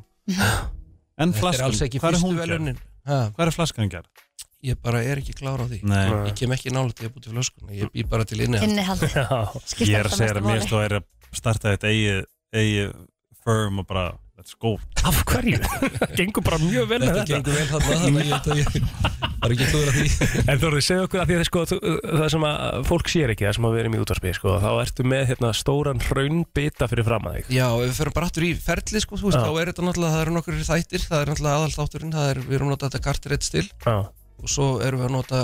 þetta
En
er
flaskan,
alls ekki
hvað er
fyrstu
hún gerð?
velunin ha,
Hvað er flaskan gerð?
ég bara er ekki klár á því
Nei
ég kem ekki nála til að búti flaskuna, ég bý bara til inni
Innihald
Já.
Ég
skiptir
er að
alltaf
segja þér
mestu
að mér
máli.
finnst þú er að starta þetta eigið eigi firm og bara let's go
Af hverju? Gengur bara mjög vel með
þetta
þetta
gengur vel þarna þannig að ég held að ég var ekki klúður á því
En þú eru að segja okkur að því að sko, þú- það sem að fólk sér ekki, það sem að við erum í útvarpi sko, þá ertu með hérna, stóran hraunbita fyrir fram að þig
Já, ef við förum bara aftur í ferli sko, þú veist,
Já.
þá er þetta náttúrulega, það eru nokkur þættir, það er náttúrulega aðal þátturinn, það er, við erum notað þetta kartirétt stil
Já,
og svo erum við að nota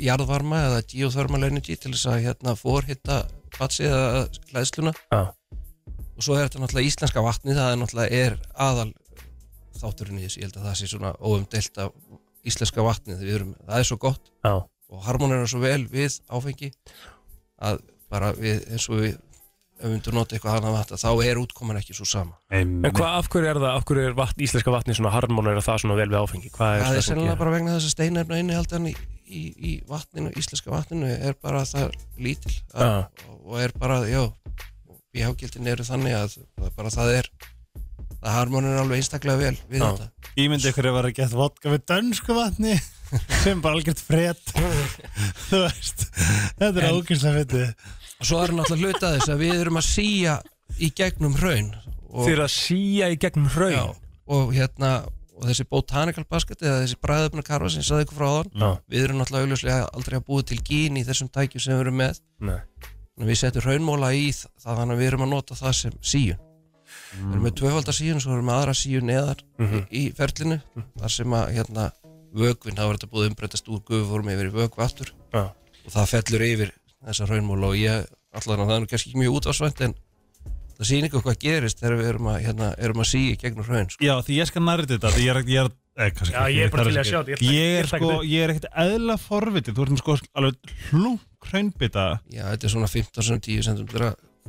jarðvarma eða geothermal energy til þess að hérna forhitta batsið eða hlæðsluna
já,
og svo er þetta náttúrulega íslenska vatni, það er náttúrulega er aðal þátturinn í þessu, ég held að það sé svona óumdelt af íslenska vatni, við erum, það er svo gott
já
og harmonera svo vel við áfengi að bara við, eins og við ef við myndum nota eitthvað annað vatn að þá er útkoman ekki svo sama.
En hvað, af hverju er það, af hverju er vatn, íslenska vatni svona harmónur að það svona vel við áfengi? Hvað er
Það er
svona fólki-
sennilega bara vegna þess að steinefna innihaldan í, í, í vatninu, íslenska vatninu er bara það lítil að,
Já.
og er bara, já bíhágildin eru þannig að það er bara það er það harmonera alveg einstaklega vel við
Já.
þetta.
Ímyndi ykkur að vera að geta vodka með dönsku vatni sem bara algjört fred þú veist þetta er ógæslega fyndið
Og svo er náttúrulega hluta þess að við erum að síja í gegnum hraun og,
Þið eru að síja í gegnum hraun
já, og hérna og þessi botanical basket eða þessi bræðöfna karfa sem ég saði ykkur frá þaðan
Já.
við erum náttúrulega augljóslega aldrei að búa til gín í þessum tækjum sem við erum með
Nei.
Þannig að við setjum raunmóla í þ- það þannig að við erum að nota það sem síun við
Mm.
erum með tvöfaldar síun svo erum við með aðra síun neðar
Mhm.
í, í ferlinu þar sem að hérna vögvinn, það var þetta búið að umbreytast úr gufuformi yfir í vögv aftur
Já.
og það fellur yfir þessa raunmóla og ég allan að það er nú kannski ekki mjög útvarsvænt en það sýnir ykkur hvað gerist þegar við erum að, hérna, erum að síu gegnum raun sko.
Já því ég skal nærið þetta því ég er, ég er, eh, kannski,
Já, ég er bara til í að sjá þetta,
þetta
ég ætla-
Ég
ég
er,
ætla
sko,
ekki
ég er ekkert eðla forvitið þú ert með sko alveg hlunk hraunbita
Já, þetta er svona 15-10 cm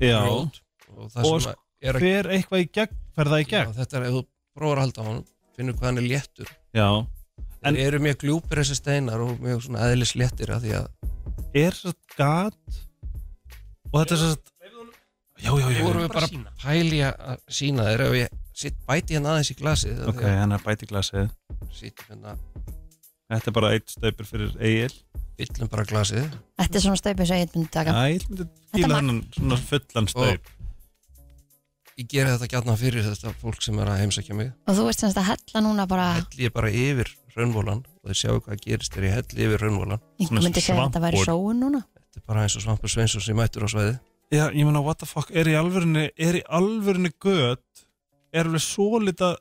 Já
rót og það
Og
sem að er að
Hver eitthvað í gegn, fer það í
Já,
gegn
þetta er, ef þú prófar að halda á hann finnur hvað hann er léttur
Já En-
en eru mjög gljúpir þessi steinar og mjög svona eðlis léttir af því að
Er þetta gat og þetta er þetta Já, já, já
þú vorum við
bara
bara
sýna.
pæli að sína þeir ef ég sitt bæti hérna aðeins í glasið
Ok, hann er bæti glasið
sitt hérna,
Þetta er bara eitt staupur fyrir Egil
fyllum bara glasið
Þetta er svona stöpið sem ég myndi taka
Egil myndi fíla
var-
hennan svona fullan staup
ég gera þetta gætna fyrir þetta fólk sem er að heimsækja mig
Og þú veist semst að hella núna bara
hell ég bara yfir raunvólan og þeir sjáu hvað gerist þegar ég helli yfir raunvólan
Einhver myndi segja að þetta væri sóun núna
þetta er bara eins og Svampur Sveinsson sem mættur á svæði
Já, ég meina, what the fuck, er í alvörinu er í alvörinu gött er alveg svo lita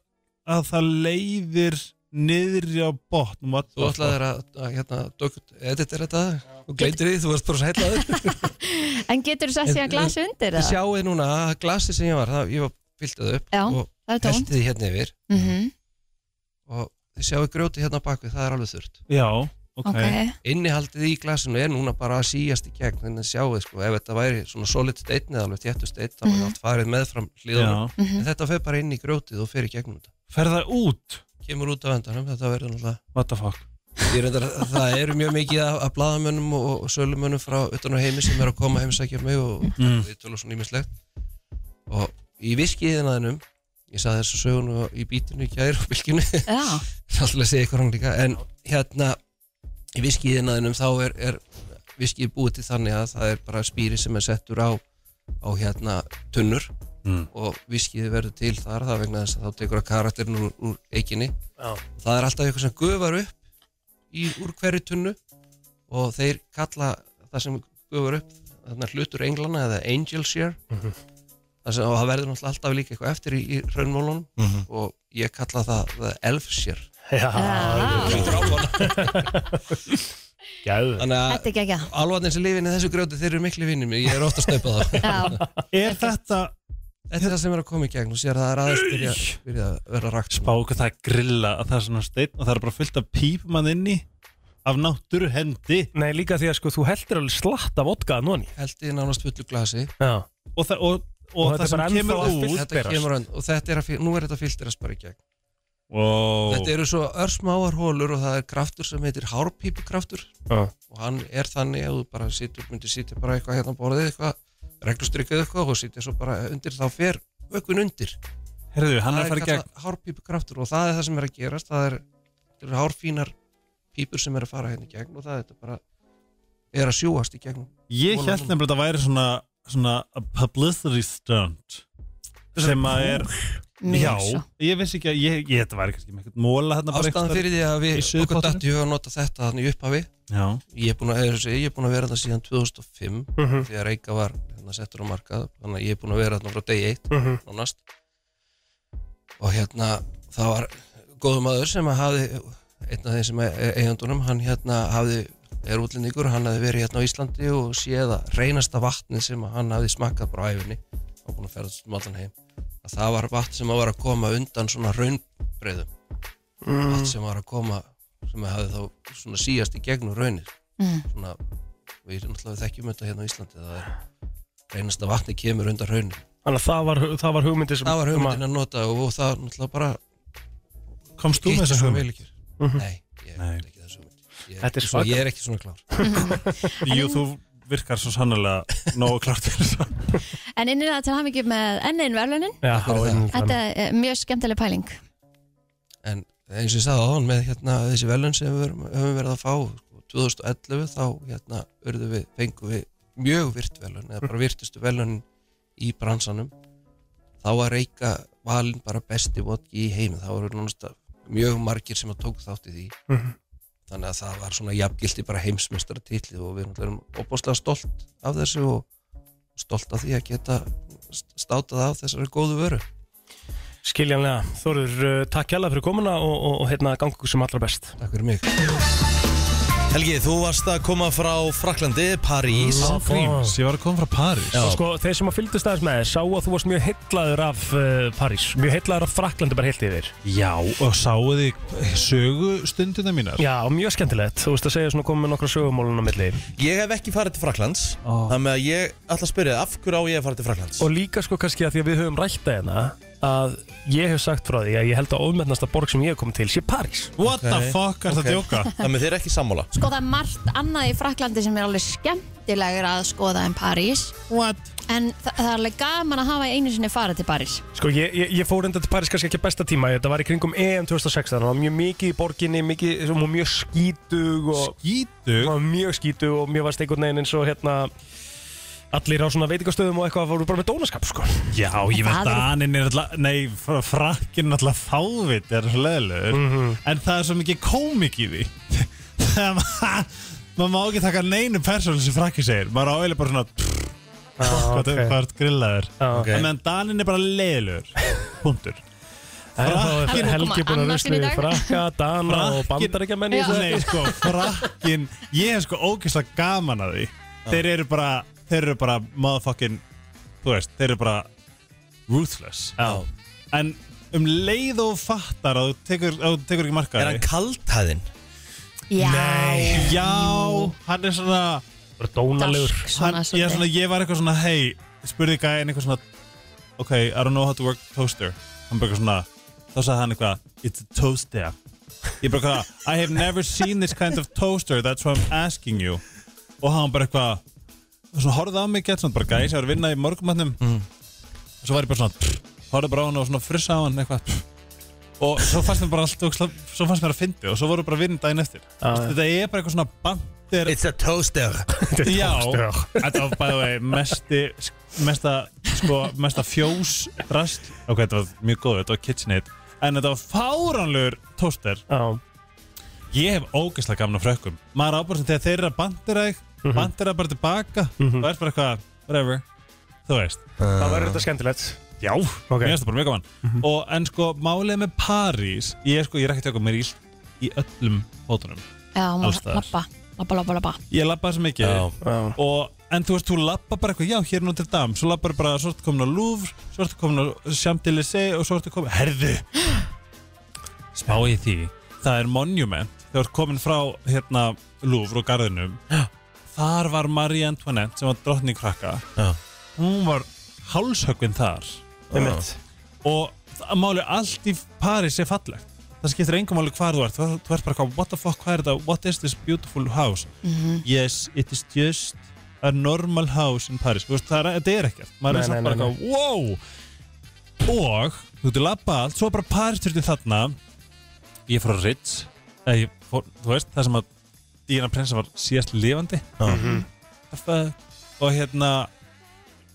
að það leiðir niðri á botn what
þú
the fuck
ætlaðir að, að hérna, dökut, editera þetta og gleyndir því, þú varst bara sætlaður
En getur þú sett síðan glasi undir
Þið
það?
sjáuð núna að glasið sem ég var, það, ég var fylgtað upp
Já,
og
það er tómt
heldi því hérna yfir
mm
og þið sjáuð grjóti hérna á bakvið, það er alveg þurrt.
Já, ok,
Ok,
Innihaldið í glasinu er núna bara að síjast í gegn, þannig að sjáuð, sko, ef þetta væri svona solid steinn eða alveg þéttu steinn, þá var
Mhm.
allt farið meðfram hlýðunum.
Já,
mhm.
En þetta fer bara inn í grjótið og fer í gegnum þetta.
fer það út
Kemur út af endanum, þetta verður náttúrulega.
what the fuck
Ég reyndar, það eru mjög mikið af, af bladamönnum og, og sölumönnum frá utan á heimi sem er að koma að heimsækja mig og
mm.
við tölum svona ímislegt og í viskiðinaðinum ég saði þessu sögunu í bítinu í kjær og bylginu,
já,
alltaf að segja ykkur hann líka en hérna í viskiðinaðinum þá er, er viskið búið til þannig að það er bara spýri sem er settur á, á hérna tunnur
Mm.
og viskið verður til þar það er vegna þess að þá tekur að karakterin úr, úr eikinni
Já.
það er alltaf eitthvað sem gufar upp í, úr hverju tunnu og þeir kalla það sem gufar upp þarna hlutur englana eða angel share
Mhm.
það sem, og það verður náttúrulega alltaf líka eitthvað eftir í, í raunmólunum
Mhm.
og ég kalla það, það elf share
já
Gæðu
þannig að
Þetta er gegja
alvarnir sem lifin í þessu grjóti þeir eru miklu vinnir mér, ég er ofta að snaupa það
Já,
Er þetta
þetta er það sem er að koma í gegn og sér að það er aðeins byrja, byrja að vera rakt
spá hvað það er grilla að það er svona steinn og það er bara fullt af pípum að inni af náttúru hendi
Nei, líka því að sko, þú heldur alveg slatta vodka að nóni
held ég nánast fullu glasi
Já,
og það, og, og
Og þetta
það
er bara
sem
ennþá
kemur
að
út
fylla-
þetta
Útberast.
kemur hann og þetta er að, fil- nú er þetta filterast bara í gegn
wow.
Þetta eru svo örsmáar hólur og það er kraftur sem heitir hárpípukraftur
Já.
og hann er þannig að þú bara situr, myndir sitja bara eitthvað hérna á borðið eitthvað reglustrykkuð eitthvað og sitja svo bara undir þá fer vökun undir
Herðu, hann er að
það
fara í gegn
hárpípukraftur og það er það sem er að gerast það er, það eru hárfínar pípur sem er að fara hérna í gegn og það er þetta bara er að sjúast í gegn
Ég held nefnilega að þetta væri svona, svona a publicity stunt sem að er Já,
mjög svo
ég vissi ekki að ég, ég þetta væri kannski með eitthvað móla hérna bara
ástæðan
eitthvað
fyrir því að
í
við okkur
suðupottinum?
dætti við að nota þetta þannig upphafi
Já,
ég er búin að, eins og ég segi, ég er búin að vera þarna síðan 2005
Mhm.
þegar Reykja var hérna, settur á markað þannig að ég er búin að vera þarna frá degi 1
Mhm.
nánast og hérna það var góðum maður sem að hafi einn af þeim sem er eigandunum hann hérna hafi, er útlendingur hann hafi verið hérna á Íslandi og séð að reynasta vatnið sem að hann hafi smakkað bara á æfinni og búin að ferðast um allan heim að það var vatn sem að var að koma undan svona raunbreyðum vatn sem var að koma sem hafi þá svona síjast í gegnum raunir
Mm.
svona, við náttúrulega þekkjum þetta hérna á Íslandi það er reynast að vatni kemur undan raunin
þannig að það var, það var hugmyndi sem um
það var hugmyndin að nota og, og það náttúrulega bara
komst þú með þessa
svo
hugmynd? Mhm.
vel ekki nei, ég
Nei.
er ekki þessu hugmynd ég,
Þetta er
er
svaka-
svo, ég er ekki svona klár
Jú, þú virkar svo sannlega nógu klart fyrir þess að
En innilega til hamingju með ennin verðlunin
Já,
Þetta er
einmitt
Þetta
þannig.
er mjög skemmtileg pæling
en eins og ég sagði á hann með hérna, þessi velun sem við höfum- höfum verið að fá sko, 2011 þá hérna, urðum við, fengum við mjög virt velun eða bara virtustu velun í bransanum þá var reyka valin bara besti vodki í heimi þá voru nánast mjög margir sem að tók þátt í því þannig að það var svona jafngildi bara heimsmeistara og við náttúrulega erum opaslega stolt af þessu og stolt af því að geta st- státað af þessari góðu vöru
Skiljanlega, Þorur, uh, takk hjálpa fyrir komuna og, og, og hérna gangu ykkur sem allra best
Takk fyrir mig
Helgi, þú varst að koma frá Fraklandi, París
Love Dreams.
Ég var að koma frá París
Já.
Og sko, þeir sem að fylgdist aðeins með þér sáu að þú varst mjög heitlaður af uh, París Mjög heitlaður af Fraklandi bara heilt yfir
Já, og sáu þið sögu stundina mínar
Já, og mjög skemmtilegt, þú veist að segja svona komið með nokkra sögumólun á milli
Ég hef ekki farið til Fraklands
Ó.
Þannig að ég ætla að spyrja af hverju á ég að fara til Fraklands
Og líka sko kannski að því að við höfum rætta hérna Að ég hef sagt frá því að ég held að ofmennasta borg sem ég hef komið til sé París
What
Ok.
the fuck er það að
Ok.
djóka?
Þannig að þeir eru ekki sammála
Sko það er margt annað í Fraklandi sem er alveg skemmtilegra að skoða en París
What?
En þa það er alveg gaman að hafa einu sinni fara til París
Sko ég, ég, ég fór enda til Paris kannski ekki á besta tíma Þetta var í kringum EM 2016 Það var mjög mikið í borginni, mikið, hún var mjög skítug og
Gítu?
Hún var mjög skítug og mjög varst einhvern veginn eins og hérna allir á svona veitingastöðum og eitthvað voru bara með dónaskap sko
Já, ég veit
Það
að
er-
aninn er alltaf, nei, fr- frakkinn er alltaf fávit, er svo leðilegur
Mhm.
En það er svo mikið kómik í því Þegar maður, maður má ekki taka neinu persónu sem frakki segir Maður áeilir bara svona, pff, hvað okay.
Ah, ok.
hvert grillaður
Já, ok.
En meðan daninn er bara leðilegur, hundur
En þá er
Alveg
Helgi
koma
búin að
annað
rusli
sinni í dag.
frakka, dana og bandaríkjamenn í þessu
Nei, sko, frakkinn, ég hef sko ógeðslega gaman að því Þeir eru bara, þeir eru bara motherfucking, þú veist, þeir eru bara ruthless
Já.
En um leið og fattar að þú tekur, að þú tekur ekki markaði
Er hann kaltæðin?
Já,
Já, hann er svona
Bara dónalegur
dark,
hann,
svona,
ég, er
svona,
svona ég var eitthvað svona, hei Spurði gæðin eitthvað svona Ok, I don't know how to work toaster Hann bara eitthvað svona Þá sagði hann eitthvað, it's a toaster Ég bara eitthvað, I have never seen this kind of toaster That's why I'm asking you Og hann bara eitthvað Svona horfði á mig gett svona, bara gæði sem var að vinna í morgumatnum
Mm.
Og svo var ég bara svona pff, Horfði bara á hann og svona frissa á hann eitthvað pff. Og svo fannst mér bara allt ógeðslega- Svo fannst mér að fyndi og svo voru bara vinna daginn eftir Þetta er bara eitthvað svona bandir
It's a toaster
Já,
toaster.
þetta var bæði vei mesti, mesta, sko, mesta fjós rast Ok, þetta var mjög góð, þetta var KitchenAid En þetta var fáranlegur tóster
Já,
Ég hef ógeðslega gaman af frökkum Maður ábúrst þegar þeir eru að bandera þig
Mhm.
Bandera bara tilbaka mm -hmm. Og er bara eitthvað, whatever Þú veist
það verður þetta skemmtilegt Já, ok Mhm.
Mér finnst það bara mjög gaman og, En sko, málið með París Ég er sko, ég er ekki tökum mér íl Í öllum fótunum
já,
alls
maður
staðar.
lappa, lappa, lappa, lappa
Ég labbaði svo mikið
Já.
og, En þú veist, þú labba bara eitthvað Já, hér er Notre Dame Svo labbar bara, svo ertu komin á Louvre Svo ertu komin á Champs-Élysées Og svo ertu komin, herðu Spá í því Það er monument Þegar þú ert komin frá, hérna, Louvre og Garðinum Þar var Marie Antoinette Sem var drottning krakka
Já.
Hún var hálshöggvin þar
Einmitt.
og það- máli allt í París er fallegt það skiptir engum máli hvar þú ert þú, þú ert bara eitthvað, what the fuck, hvað er þetta what is this beautiful house yes, it is just a normal house in Paris, þú veist, það er, þetta er ekkert maður
Nei,
er samt
nei,
bara
nei,
eitthvað, wow og þú ert að labba allt, svo er bara Paris þurfti þarna ég fór að Ritz eða ég fór, þú veist, það sem að Díana Prinsa var síðast lifandi -hmm. og hérna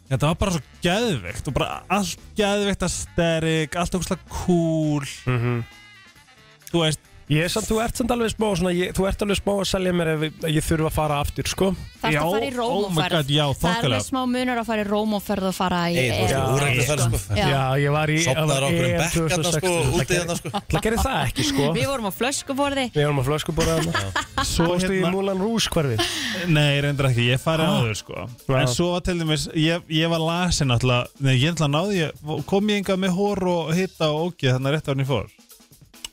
Þetta var bara svo geðveikt og bara allt geðveikt að sterk, allt okkur slag cool Þú veist,
Mhm. Ég er samt, þú ert samt alveg smá svona, ég, Þú ert alveg smá að selja mér ef ég- ég þurfa að fara aftur sko
Það er að fara í
oh my
rómóferð
god, já,
Það er
þokkalega
alveg smá munar að fara í rómóferð og fara í
Egil, þú veist,
Já,
úrættu þar
sko.
sko
Já.
Já, ég var í
Sopnar okkur um bekk hérna sko, úti hérna sko
Það gerir það ekki sko
Við vorum á flöskuborði
Við erum að flöskubóra Svo
Fórstu
hérna
í
í Múlan Rús hverfið
Nei, reyndar ekki, ég farið ah. áður sko
Já.
En svo var til dæmis, ég, ég var lasin alltaf Nei, ég ætla að náði, ég, kom ég enga með hór og hitta og ógið þannig rétt árin ég fór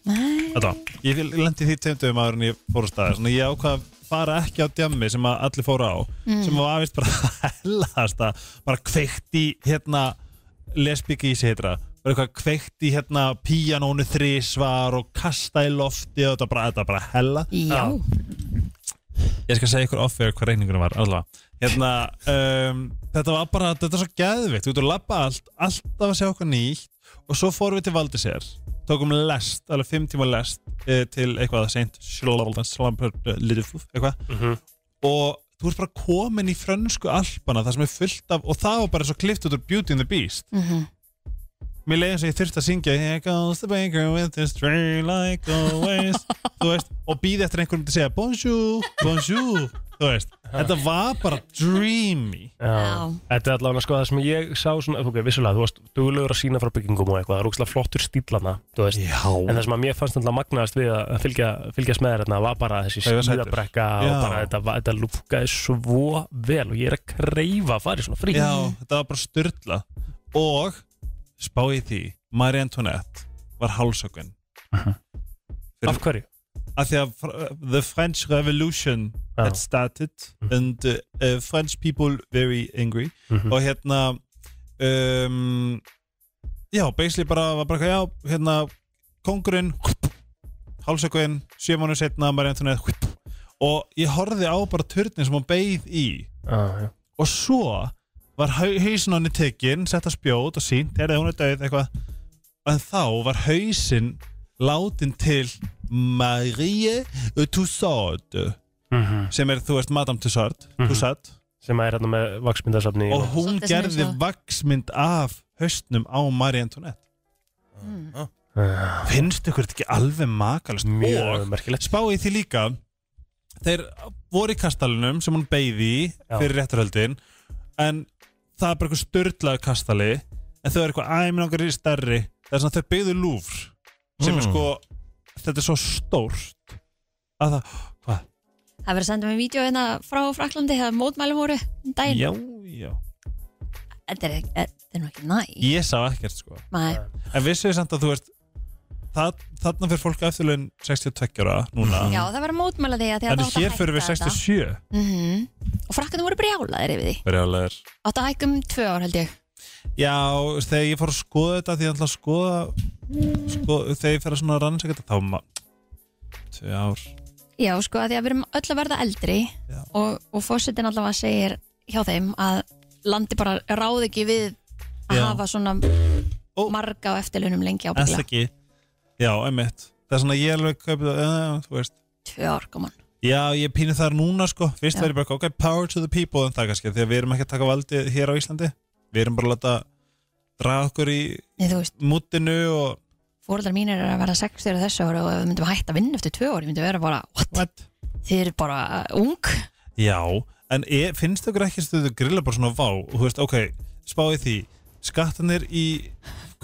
Nei.
Þetta, ég vil- lendi því tveimtöfum áður en ég fór á staði Svona ég ákvað að fara ekki á djammi sem að allir fóru á Sem var aðvist bara hellast að Bara kveikt í hérna lesbíki í setra Bara eitthvað kveikt í hérna píanónu þrísvar og kasta í lofti og þetta bara, þetta bara hella
Já,
Ég skal segja ykkur off-air hvað reyningurinn var allavega. Hérna, um, þetta var bara, þetta er svo geðvikt Þú ert að labba allt, alltaf að sjá okkur nýtt Og svo fórum við til Valdisér Tókum lest, alveg fimm tíma lest eh, Til eitthvað að seint Slaldan, slampur, lirfuf, eitthvað Og þú ert bara komin í frönsku alpana Það sem er fullt af Og það var bara svo klift út úr Beauty and the Beast Mér leiði eins og ég þurfti að syngja Here goes the baker with his tray like always Þú veist, og býði eftir einhverjum til að segja Bonjour, bonjour Þú veist, þetta var bara dreamy
Já.
Þetta er allavega sko það sem ég sá svona, ok, vissulega, þú varst duglegur að sína frá byggingum og eitthvað, það er ógslag flottur stílana, þú veist,
Já.
en það sem að mér fannst alltaf magnaðast við að fylgja, fylgjast með þér þarna var bara þessi
Það var sætur.
smíðabrekka og
Já.
bara þetta, var- þetta lúkaði svo vel og ég er að kreyfa að fara í svona frí.
Já, þetta var bara styrla Og spáði því Marie Antoinette var hálsökun
Af hverju?
Af því að fr- the French Revolution
Já.
had started and uh, French people very angry
Mhm.
og hérna um, já, basically bara var bara eitthvað, já, hérna kongurinn hálsökuinn, sjö mánu setna Marie Antoinette og ég horfði á bara turnin sem hún beigð í
Já, já.
og svo var hausin hann í tekin sett að spjót og sínt, er það hún er döið eitthvað en þá var hausin látin til
Mhm.
Marie Toussaint sem er, þú veist, Madame Toussaint, Toussaint
sem er hérna með vaksmyndasafni
og hún
Svolítið sem
gerði
eins og-
vaksmynd af höstnum á Marie Antoinette
Mm. Ah,
finnst ykkur þetta ekki alveg makalist
mjög
og
merkilegt
spáði því líka þeir voru í kastalunum sem hún beigði í
Já.
fyrir rétturhöldin en það er bara eitthvað störtlaðu kastali en þau er eitthvað æminn okkar í stærri það er svona þau beigðu lúfr sem er sko, þetta er svo stórt að það, hvað?
Það verður að senda mér vídeo hérna frá Fraklandi það mótmælum voru um daginn.
Já, já
Þetta er, þetta er nú ekki næ.
Ég sá ekkert sko
Nei,
En vissu þið samt að þú veist það, Þarna fyrir fólk eftirlaun 62 ára núna
já það verður að mótmæla því að því að
En
það átt að
hér fyrir við
hækka þetta.
67
Mhm. Og frakkarnir voru brjálaðir yfir því.
Brjálæður
Átt að hækka um tvö ár held ég.
Já, þú veist, þegar ég fór að skoða þetta Því ég ætla að skoða, skoða Þegar ég fyrir að svona rannsaka þetta Þá ma... Tvö ár
Já, sko, að því að við erum öll að verða eldri
Já.
og, og fórsetin allavega segir hjá þeim að landi bara ráð ekki við að
Já.
hafa svona
Ó.
marga á eftirlunum lengi
En það
ábyggla.
ekki Já, einmitt Það er svona ég alveg kaupið uh, Þú veist
Tvö ár, koman.
Já, ég pínu þar núna sko Fyrst
Já.
verður bara ok, power to the people en það kannski Því að við erum ekki að taka valdi hér á Íslandi Við erum bara að láta draga okkur í
Nei, þú veist,
mútinu og
fóreldrar mínir er að verða 60 á þessu ára og ef við myndum að hætta að vinna eftir tvö ár, ég myndum að vera bara, what?
What?
Þið eru bara ung.
Já, en e, finnst okkur ekki stöðu grilla bara svona vá og þú veist, ok, spáði því skattanir í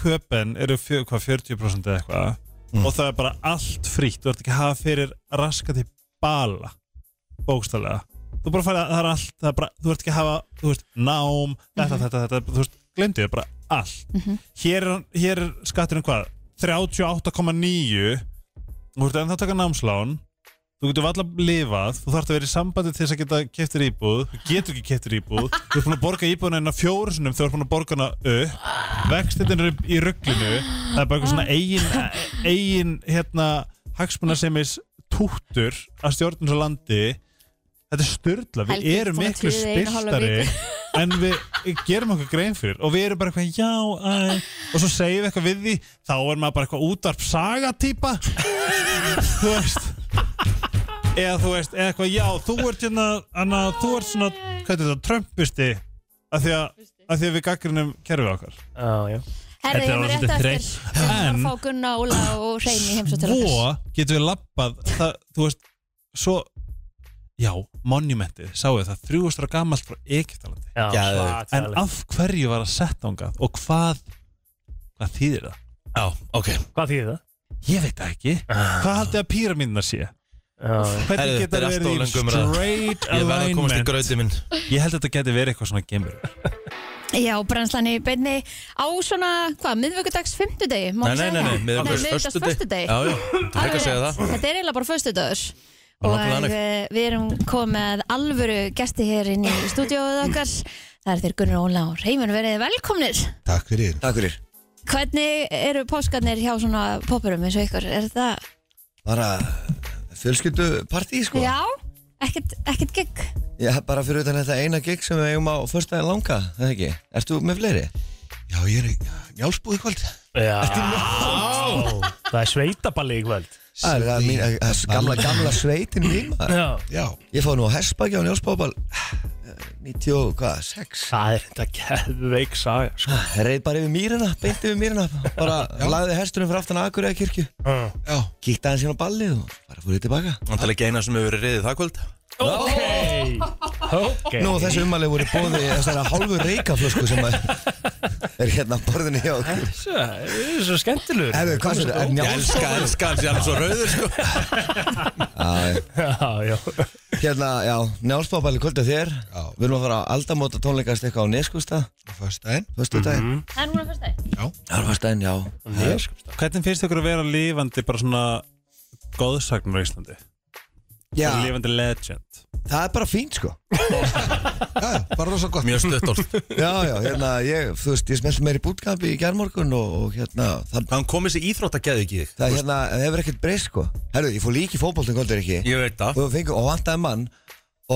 köpen eru fjö, hvað, 40% eða eitthvað og það er bara allt frítt þú ert ekki að hafa fyrir raskati bala bókstallega þú bara farið að það er allt, það er bara, þú ert ekki að hafa þú veist, nám, þetta, þetta, þetta þú veist, glemdi þau bara allt hér, er, hér er skatturinn hvað 38,9 þú ert ennþá að taka námslán þú getur valla lifað, þú þarfst að vera í sambandi til þess að geta keftir íbúð, þú getur ekki keftir íbúð þú ert búin að borga íbúðina hérna hennar fjóru sinum þú ert búin að borga hana upp vextindin er í rugglinu það er bara eitthvað svona eigin eigin hérna hagsmuna sem er túttur að stjórnum svo landi þetta er styrla, við
Helgi,
erum
búin að
miklu
tíða í eina hálfa
spiltari en við gerum okkur grein fyrir og við erum bara eitthvað já æ. og svo segjum við eitthvað við því þá er maður bara eitthvað útvarp sagatýpa þú veist eða þú veist, eða eitthvað já, þú ert hérna, hana, þú ert svona hvað er þetta, trömpusti af því að, af því að við gaggrinum kerfið okkar
Já, já.
Herði,
Þetta
ég
var
mér rétt
svolítið
eftir
þreytt.
Við erum
En-
að fá Gunna, Óla og Hrein í heimsótt til
svo
okkar.
getum við labbað það, þú veist, svo já, monumentið, sáu það 300 ára gamalt frá Egyptalandi
Já,
Geðveikt.
en
svakalegt.
af hverju var að setja ángað og hvað hvað þýðir það?
Já, ok
Hvað þýðir það?
Ég veit það ekki, hvað haldið að píramíndina sé?
Já,
Hvernig
Herðu, þetta
geta
er allt
verið
of
í
löng umræða.
straight
Ég verð að komast í
alignment?
gröti minn
Ég held að þetta geti verið eitthvað svona gemur
Já, brennslan í beinni á svona, hvað, miðvöggudags fimmtudegi? má ég
Nei, nei,
segja
nei, nei,
það?
miðvikudags föstudegi.
föstudegi.
Já, já, þú fekk að segja það
Þetta er eiginlega bara föstudagur
Það er
og
nokkuð þannig.
eh, við erum komið með alvöru gesti hér inn í stúdíóið okkar Það er þeir Gunnar Óla og Reymur verið velkomnir
Takk fyrir
Takk fyrir
Hvernig eru páskarnir hjá svona poppurum eins og ykkur? Er það,
Bara fjölskyldupartí sko
já, ekkert, ekkert gig?
Já, bara fyrir utan þetta eina gig sem við eigum á förstæðin langa, það er ekki? Ert þú með fleiri?
Já, ég er í njálsbúð í kvöld
já. Það er sveitaballi í kvöld
Það er- það er mín, það er gamla, gamla sveitin mín maður.
Já,
Já,
Ég fóð nú á Hespaki á eh, Njálsbóbal 96
það er þetta geðveik saga sko.
Ah, Reið bara yfir mýrina, beint yfir mýrina Bara lagði hestunum fyrir aftan Akureyra kirkju
já
Kíkti aðeins hérna á ballið og bara fór ég tilbaka
Það er ekki eina sem hefur verið riðið það kvöld
Ok Ok
Nú og þessi ummæli voru bóði þessara hálfu reikaflösku sem að er hérna á borðinu hjá okkur
Það er svo skemmtilegur
Herðu, hvað er þetta? Er
Ég
Njálsbóbal?
elska, elska hans, ég er alveg svo rauður sko
Já, já
sko. Hérna, já, Njálsbóbal í kvöldu þér
Já.
Við erum að fara að aldamóta tónleikast eitthvað á Neskusta
Föstæðin
Föstu daginn?
Það er núna fyrstæði
Það var fyrstæðin, já
Hvernig finnst ykkur að vera lifandi bara svona góðsagnur á Íslandi?
Já,
Bara Lifandi legend
það er bara fínt sko
Já, já, bara rosa gott
Mjög stuttorð
Já, já, hérna, ég, þú veist, ég smelti mér í bútkampi í gærmorgun og, og hérna, það,
Hann komið sér íþróttageði ekki í þig
það hérna, það hefur ekkert breyst, sko. Herru, ég fór líki fótboltum kvöldur ekki
Ég veit það
og við fengum, og vantaði mann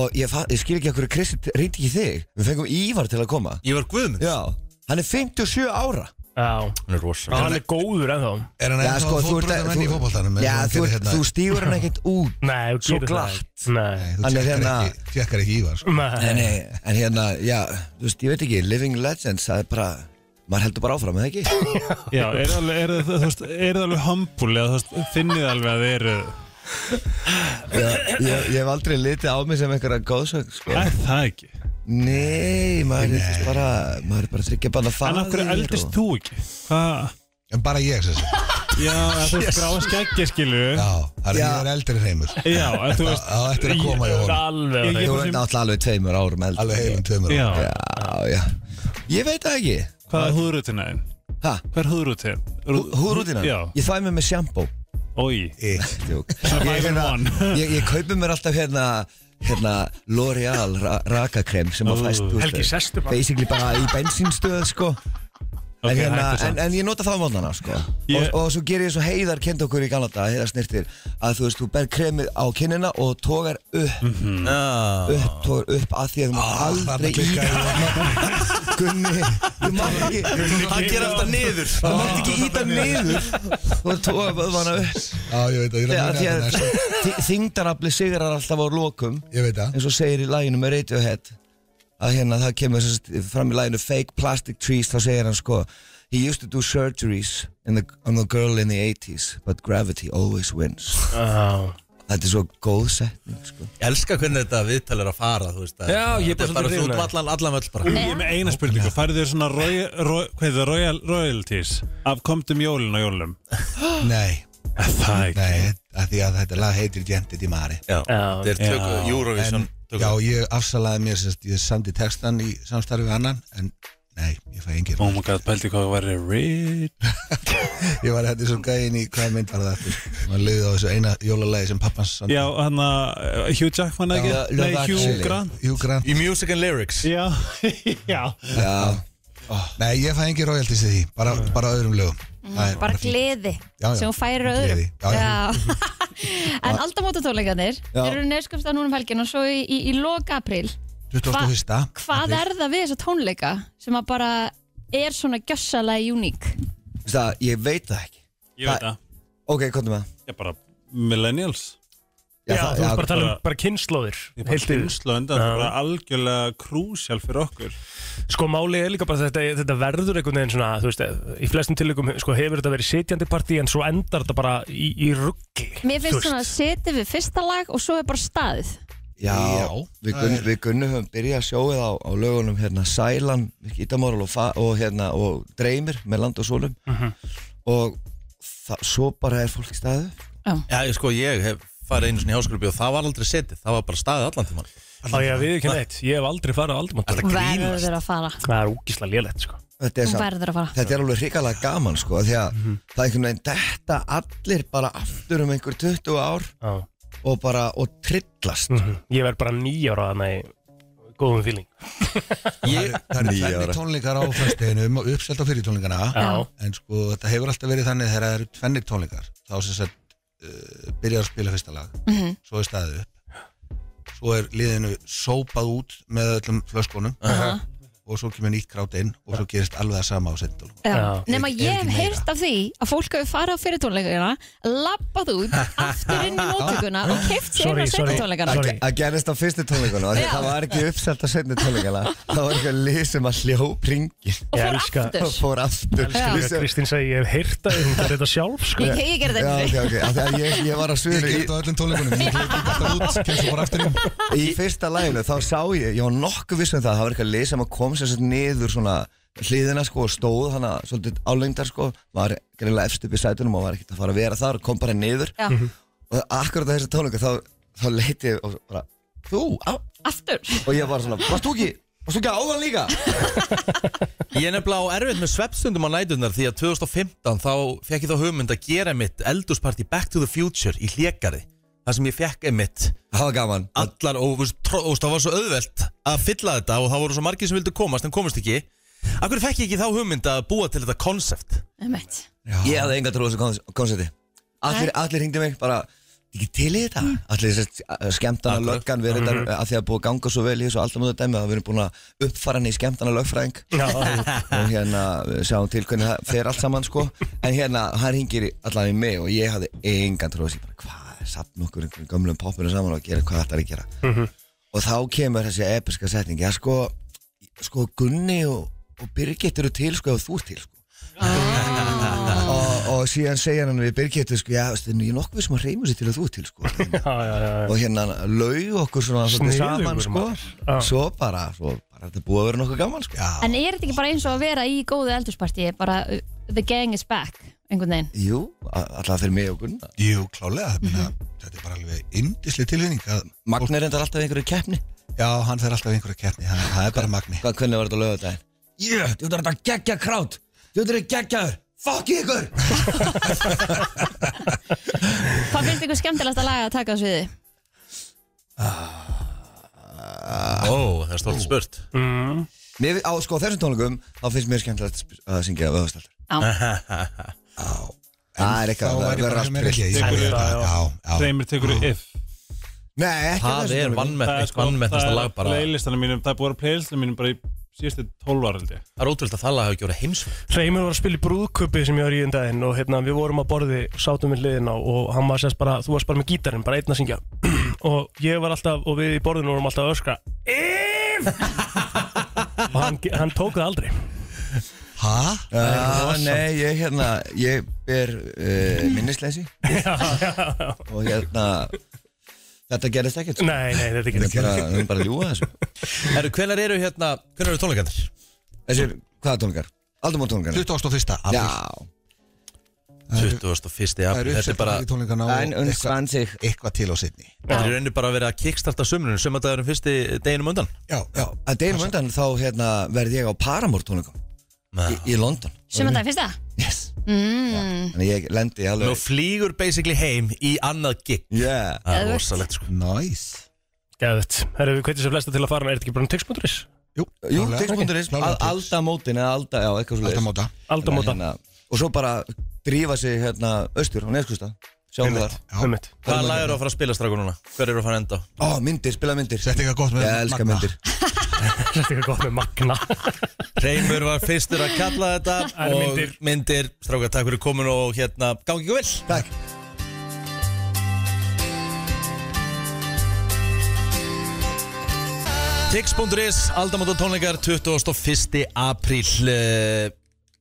og ég, fa- ég skil ekki okkur Kristi reyndi ekki þig. Við fengum Ívar til að koma.
Ég var guðmund
Já, hann er 57 ára.
Já,
Hann er rosa
hann er góður ennþá
Er hann
Já,
ennþá
sko,
að
þú ert-
fótbröðum enn í
þú-
fótboltanum?
Já,
eða hann
þú,
gerir
hérna. þú stígur hann ekkert út
Nei, þú
Svo
gerir það
glatt.
ekki. Nei,
Þú
hann er
tjekkar
hérna-
ekki- Tjekkar ekki ívar, sko
nei
Nei, nei, en hérna, já, þú veist, ég veit ekki, Living Legends, það er bara, maður heldur bara áfram, eða ekki?
Já, er það alveg, er það, þú veist, er það alveg humble eða þú veist, finnið alveg að þið eru
Ég, ég, ég hef aldrei litið á mig sem einhverja góðsögn, sko.
Er það ekki?
Nei, maður er þess bara, maður er bara þryggja banna faðir.
En af hverju eldist
og-
þú ekki? Hvað?
En bara ég, sem sagt
Já, að þú veist, gráða skeggja skilju
Já, það er
Já.
ég er eldri hreimur
Já, að þú veist
Það á eftir að koma í
Ég er
honum
Alveg á
Ég-
hreinu.
Þú ert náttúrulega hérna alveg tveimur árum eldri.
Alveg heilum tveimur
Já,
árum.
Já, já. Ég veit það ekki.
hvað er húðrutina þinn?
Hæ?
Hvað er húðrutin?
Húrútina?
Já,
Ég þvæmi mig með sjampó.
oi
Í,
Djók.
Svona
Ég, hérna-
five in one.
ég, ég kaupi mér alltaf hérna hérna L'Oreal ra rakakrem sem að fæst þú veist,
Helgi, sestu bara.
basically bara í bensínstöð sko
Ok,
en, hérna,
hættu
en,
samt.
en ég nota það á mótnana sko.
Ég-
og, og svo ger ég svo heiðar kend okkur í galanda, heiðar snirtir að þú veist, þú ber kremið á kinnina og tógar upp, upp tógar upp að því að þú mátt
Þarna
aldrei
klikkaði
í
ég
Gunni, þú mátt ekki
Hann ger alltaf niður
þú mátt ekki íta niður þú tógar vöðvana upp
Já, ég veit að ég er
Já,
að
því
muna þetta
að
næst
þi- þyngdarafli sigrar alltaf á lokum
Ég veit að
eins og segir í læginu með Radiohead að hérna það kemur sest, fram í læginu Fake Plastic Trees þá segir hann sko He used to do surgeries in the, on the girl in the 80s but gravity always wins
Já.
Þetta er svo góð setning sko
Ég elska hvernig þetta viðtal er að fara þú veist, að-
Já, ég er bara
Þetta
svolítið
bara þú
hrifinn af
allan, allan völl bara
Ég er með eina spurningu, færðu þér svona roy, roy, hvað heitir það, royal, royalties af komdum jólin á jólum?
Nei,
Það ekki
nei, að því að þetta lag heitir Gentit í Mari
Já,
Já.
þetta er tökur Eurovision
En, já, ég afsalaði mér sérst, ég samdi textan í samstarfi við annan En, nei, ég fæ engin
Oh my god, pældi hvað það væri rich
Ég var hætti svo gæðin í hvað mynd var það aftur Man liði á þessu eina jólalagi sem pappans samdi.
Já, hann að eh, Hugh Jackman ekki?
Já,
Nei,
Love
Hugh
Actually.
Grant
Hugh Grant
Í Music and Lyrics
Já, já
Já, Mm.
Nei, ég fæ engin royalties í því, bara, bara öðrum lögum Það er
Mm, bara
fínt.
gleði
Já, já.
sem hún færir öðrum
Gleði, já, já.
en aldamótatóleikanir
Já.
þeir eru nefskapsta núna um helgin og svo í, í, í lok april
21.
hvað er það við þessa tónleika sem að bara er svona gjössalega uník
þú veist það, ég veit það ekki
Ég veit það
Ok, komdu með það
Ég bara, millennials
Já,
það-
þú ert bara að tala
bara-
um bara kynnslóðir
Ég bara
Heilt yfir
kynslu undan, það
Já.
er bara algjörlega krúsjál fyrir okkur
Sko máli er líka bara þetta, þetta verður einhvern veginn svona, þú veist, í flestum tillegum sko, hefur þetta verið sitjandi partí en svo endar þetta bara í, í ruggli
mér finnst svona að setja við fyrsta lag og svo er bara staðið
Já,
Já,
við,
það
gunn,
er-
við Gunni höfum byrjað að sjóið á, á lögunum hérna Sælan, Ítamorl og, Fa- og, hérna, og Dreymir með land og sólum
Mhm.
og það, svo bara er fólk í staðu
Já, ég, sko, ég hef farið einu svona í háskólubi og það var aldrei setið, það var bara staðið allan tímann
Á ég að við ekki neitt, ég hef aldrei farið á aldamótt
Þetta
Hún
grínast
verður að fara
Það er úkislega lélegt sko
Þetta
Ah.
er,
Hún
samt,
verður að fara
þetta er alveg hrikalega gaman sko því að
Mhm.
það er einhvern veginn detta allir bara aftur um einhver 20 ár
Já. Mhm.
og bara og trillast
Ég verð bara nýjára þannig góðum fíling
Ég,
Það eru
Níu ára.
tvenni tónleikar á fæsteginu um uppselt á fyrir tónleikana
Já,
en sko þetta hefur alltaf verið þannig þegar það eru tvenni tónleikar þá sem sagt uh, byrjar að spila fyrsta lag
Mhm.
svo er staðið upp svo er liðinu sópað út með öllum flöskunum og svo kemur nýtt krát inn og svo gerist alveg það sama á setjum
Já.
Nefn
Er-
að ég
er ekki
hef
meira?
heyrt af því að fólk hefur farið á fyrirtónleikana labbað út, aftur inn í móttökuna og keft
Ah,
sér
Sorry,
að
sorry,
setjónleikana
sorry.
að gerist á fyrstu tónleikunum af því að
Já.
það var ekki uppselt á setni tónleikana það var eitthvað lið sem að hljóp ringin
og
Ég
fór
elska-
aftur
og fór aftur
Já.
Líka Kristín segi ég hef heyrt að hún gerir þetta sjálf sko
Ég, ég gerði
Já,
þetta
ok,
ekki
ok, af því að ég, ég var að
Ég
suður
gerði
í,
þetta á öllum tónleikunum ég hleyp ekki alltaf út, kemst svo bara aftur inn
í fyrsta læginu þá sá ég, ég var nokkuð viss um það það var eitthvað lið sem að kom sér svolítið niður svona hliðina sko og stóð hana svolítið álengdar sko, var greinlega efst upp í sætunum og var ekkert að fara að vera þar og kom bara niður
Já.
og akkurat á þessu tónleika þá, þá leiti ég og bara þú, á,
Aftur
og ég var svona, varst þú ekki varst þú ekki áðan líka?
ég er nefnilega á erfitt með svefstundum á nætunar því að 2015 þá fekk ég þá hugmynd að gera mitt eldursparti Back to the Future í hlékari Það sem ég fekk einmitt
það var gaman,
allar og, og, og, og það var svo auðvelt að fylla þetta og það voru svo margir sem vildu komast en komast ekki Akkur fekk ég ekki þá hugmynd að búa til þetta konsept
Einmitt.
ég hafði enga trú á þessu koncerti allir, allir hringdi mig bara ekki til í þetta
Mm.
Allir þess að skemmtana löggan Við erum
Mhm.
þetta að því að búið að ganga svo vel í þessu alltaf mútu dæmi að við erum búin að uppfara hann í skemmtana lögfræðing
Já.
og hérna við sjáum til hvernig það fer allt saman sko en hérna hann hringir í- allan í mig og ég hafði engan tróð sér bara hvað er samt nokkur einhverjum gömlum poppunum saman og gera hvað þetta er að gera
Mhm.
og þá kemur þessi episka setning já sko, sko Gunni og, og Birgit eru til sko ef þú ert til sko. og, og síðan segja hann við Birgit sko, já, veistu, ég er nokkuð viss um að reyma sér til að þú ert til sko. og hérna laug okkur svona svolítið
Sniðugur
saman sko.
Já.
svo bara, svo bara þetta er búið að vera nokkuð gaman sko.
En er þetta ekki bara eins og að vera í góðu eldursparti bara uh, the gang is back einhvern veginn
jú, a- alltaf fyrir mig og Gunna
Jú, klálega, mm þetta er bara alveg indisli tilfinning að
Magni er endar alltaf í einhverju keppni
já, hann fer alltaf í einhverja keppni, það, það er bara Magni
Hvað, hvernig var þetta lögðu þetta? Jö, þú ert að gegja krát Þú ert að gegjaður Fuck ykkur
Hvað finnst ykkur skemmtilegast að laga að taka á sviði?
Ó, það er stórt spurt
Mm.
Mér, á sko, þessum tónleikum þá finnst mér skemmtilegt að sp- að syngja vöðvastæltur Það er eitthvað, það er
bara
verið
sem er ekki
allt
Já,
Tekur-
já, já,
Reymir tekur í if
Nei, ekki á
Það
þessum
er
tónleikum.
vannmett, vannmettasta lag bara Það
Playlistanum mínum, það er búið að vera playlistanum mínum bara í síðustu 12 ára held ég
er ótrúlega að það lag hafi ekki verið heimsvöld
Reymur var að spila í brúðköpi sem ég var í um daginn og hérna við vorum að borði, sátum við hliðina og hann var sérst bara, þú varst bara með gítarinn, bara einn að syngja og ég var alltaf, og við í borðinu vorum alltaf að öskra If! og hann, hann tók það aldrei
Hæ?
Já, Ah, nei, ég hérna, ég er uh, minnisleysi og hérna þetta gerist ekkert sko.
Nei, nei, þetta er
Við
ekki
erum bara, við erum bara að ljúga þessu
Herru, hvenær eru hérna, hvenær eru tónleikandir?
Þessir, hvaða tónleikar? Aldamót tónleikar?
21. apríl.
Já,
Það eru-
21.
Það eru
apríl Þetta er
uppsett
bara,
í tónleikana og
en unn
eitthvað-
svansig
eitthvað til og sinni
þetta er í rauninu bara að vera að kickstarta sömrunum Sömmandagarum fyrsti deginum undan
Já, já,
Að deginum undan þá hérna, verð ég á Paramore tónleikum í, í London
Sumandag fyrsta?
Yes
Mm.
Þannig ég lendi alveg
Nú flýgur basically heim í annað gig
Yeah
Það er
Geðvegt.
rosalegt sko
nice
Gæðut, herru við hvetjum sér flesta til að fara, er þetta ekki bara um tix.is?
Jú,
Jú,
klálega.
tix.is,
Klálega tix.
aldamótin eða alda, já, eitthvað svo
Alltaf móta
Aldamóta,
hérna, Og svo bara drífa sig hérna austur á Neskusta Sjáum við þar hérna.
Já,
ummitt
Hvaða lag eru að fara að spila strákur núna? Hver eru að fara að enda? á?
Ó, myndir, spila myndir
Sett eitthvað gott með
Ég elska
Magna.
myndir
Þetta er ekki gott með magna
Reymur var fyrstur að kalla þetta
Það eru
og
myndir.
myndir strákar, takk fyrir komin og hérna, gangi ykkur vel
Takk
Tix.is, aldamóta tónleikar 21. apríl eh,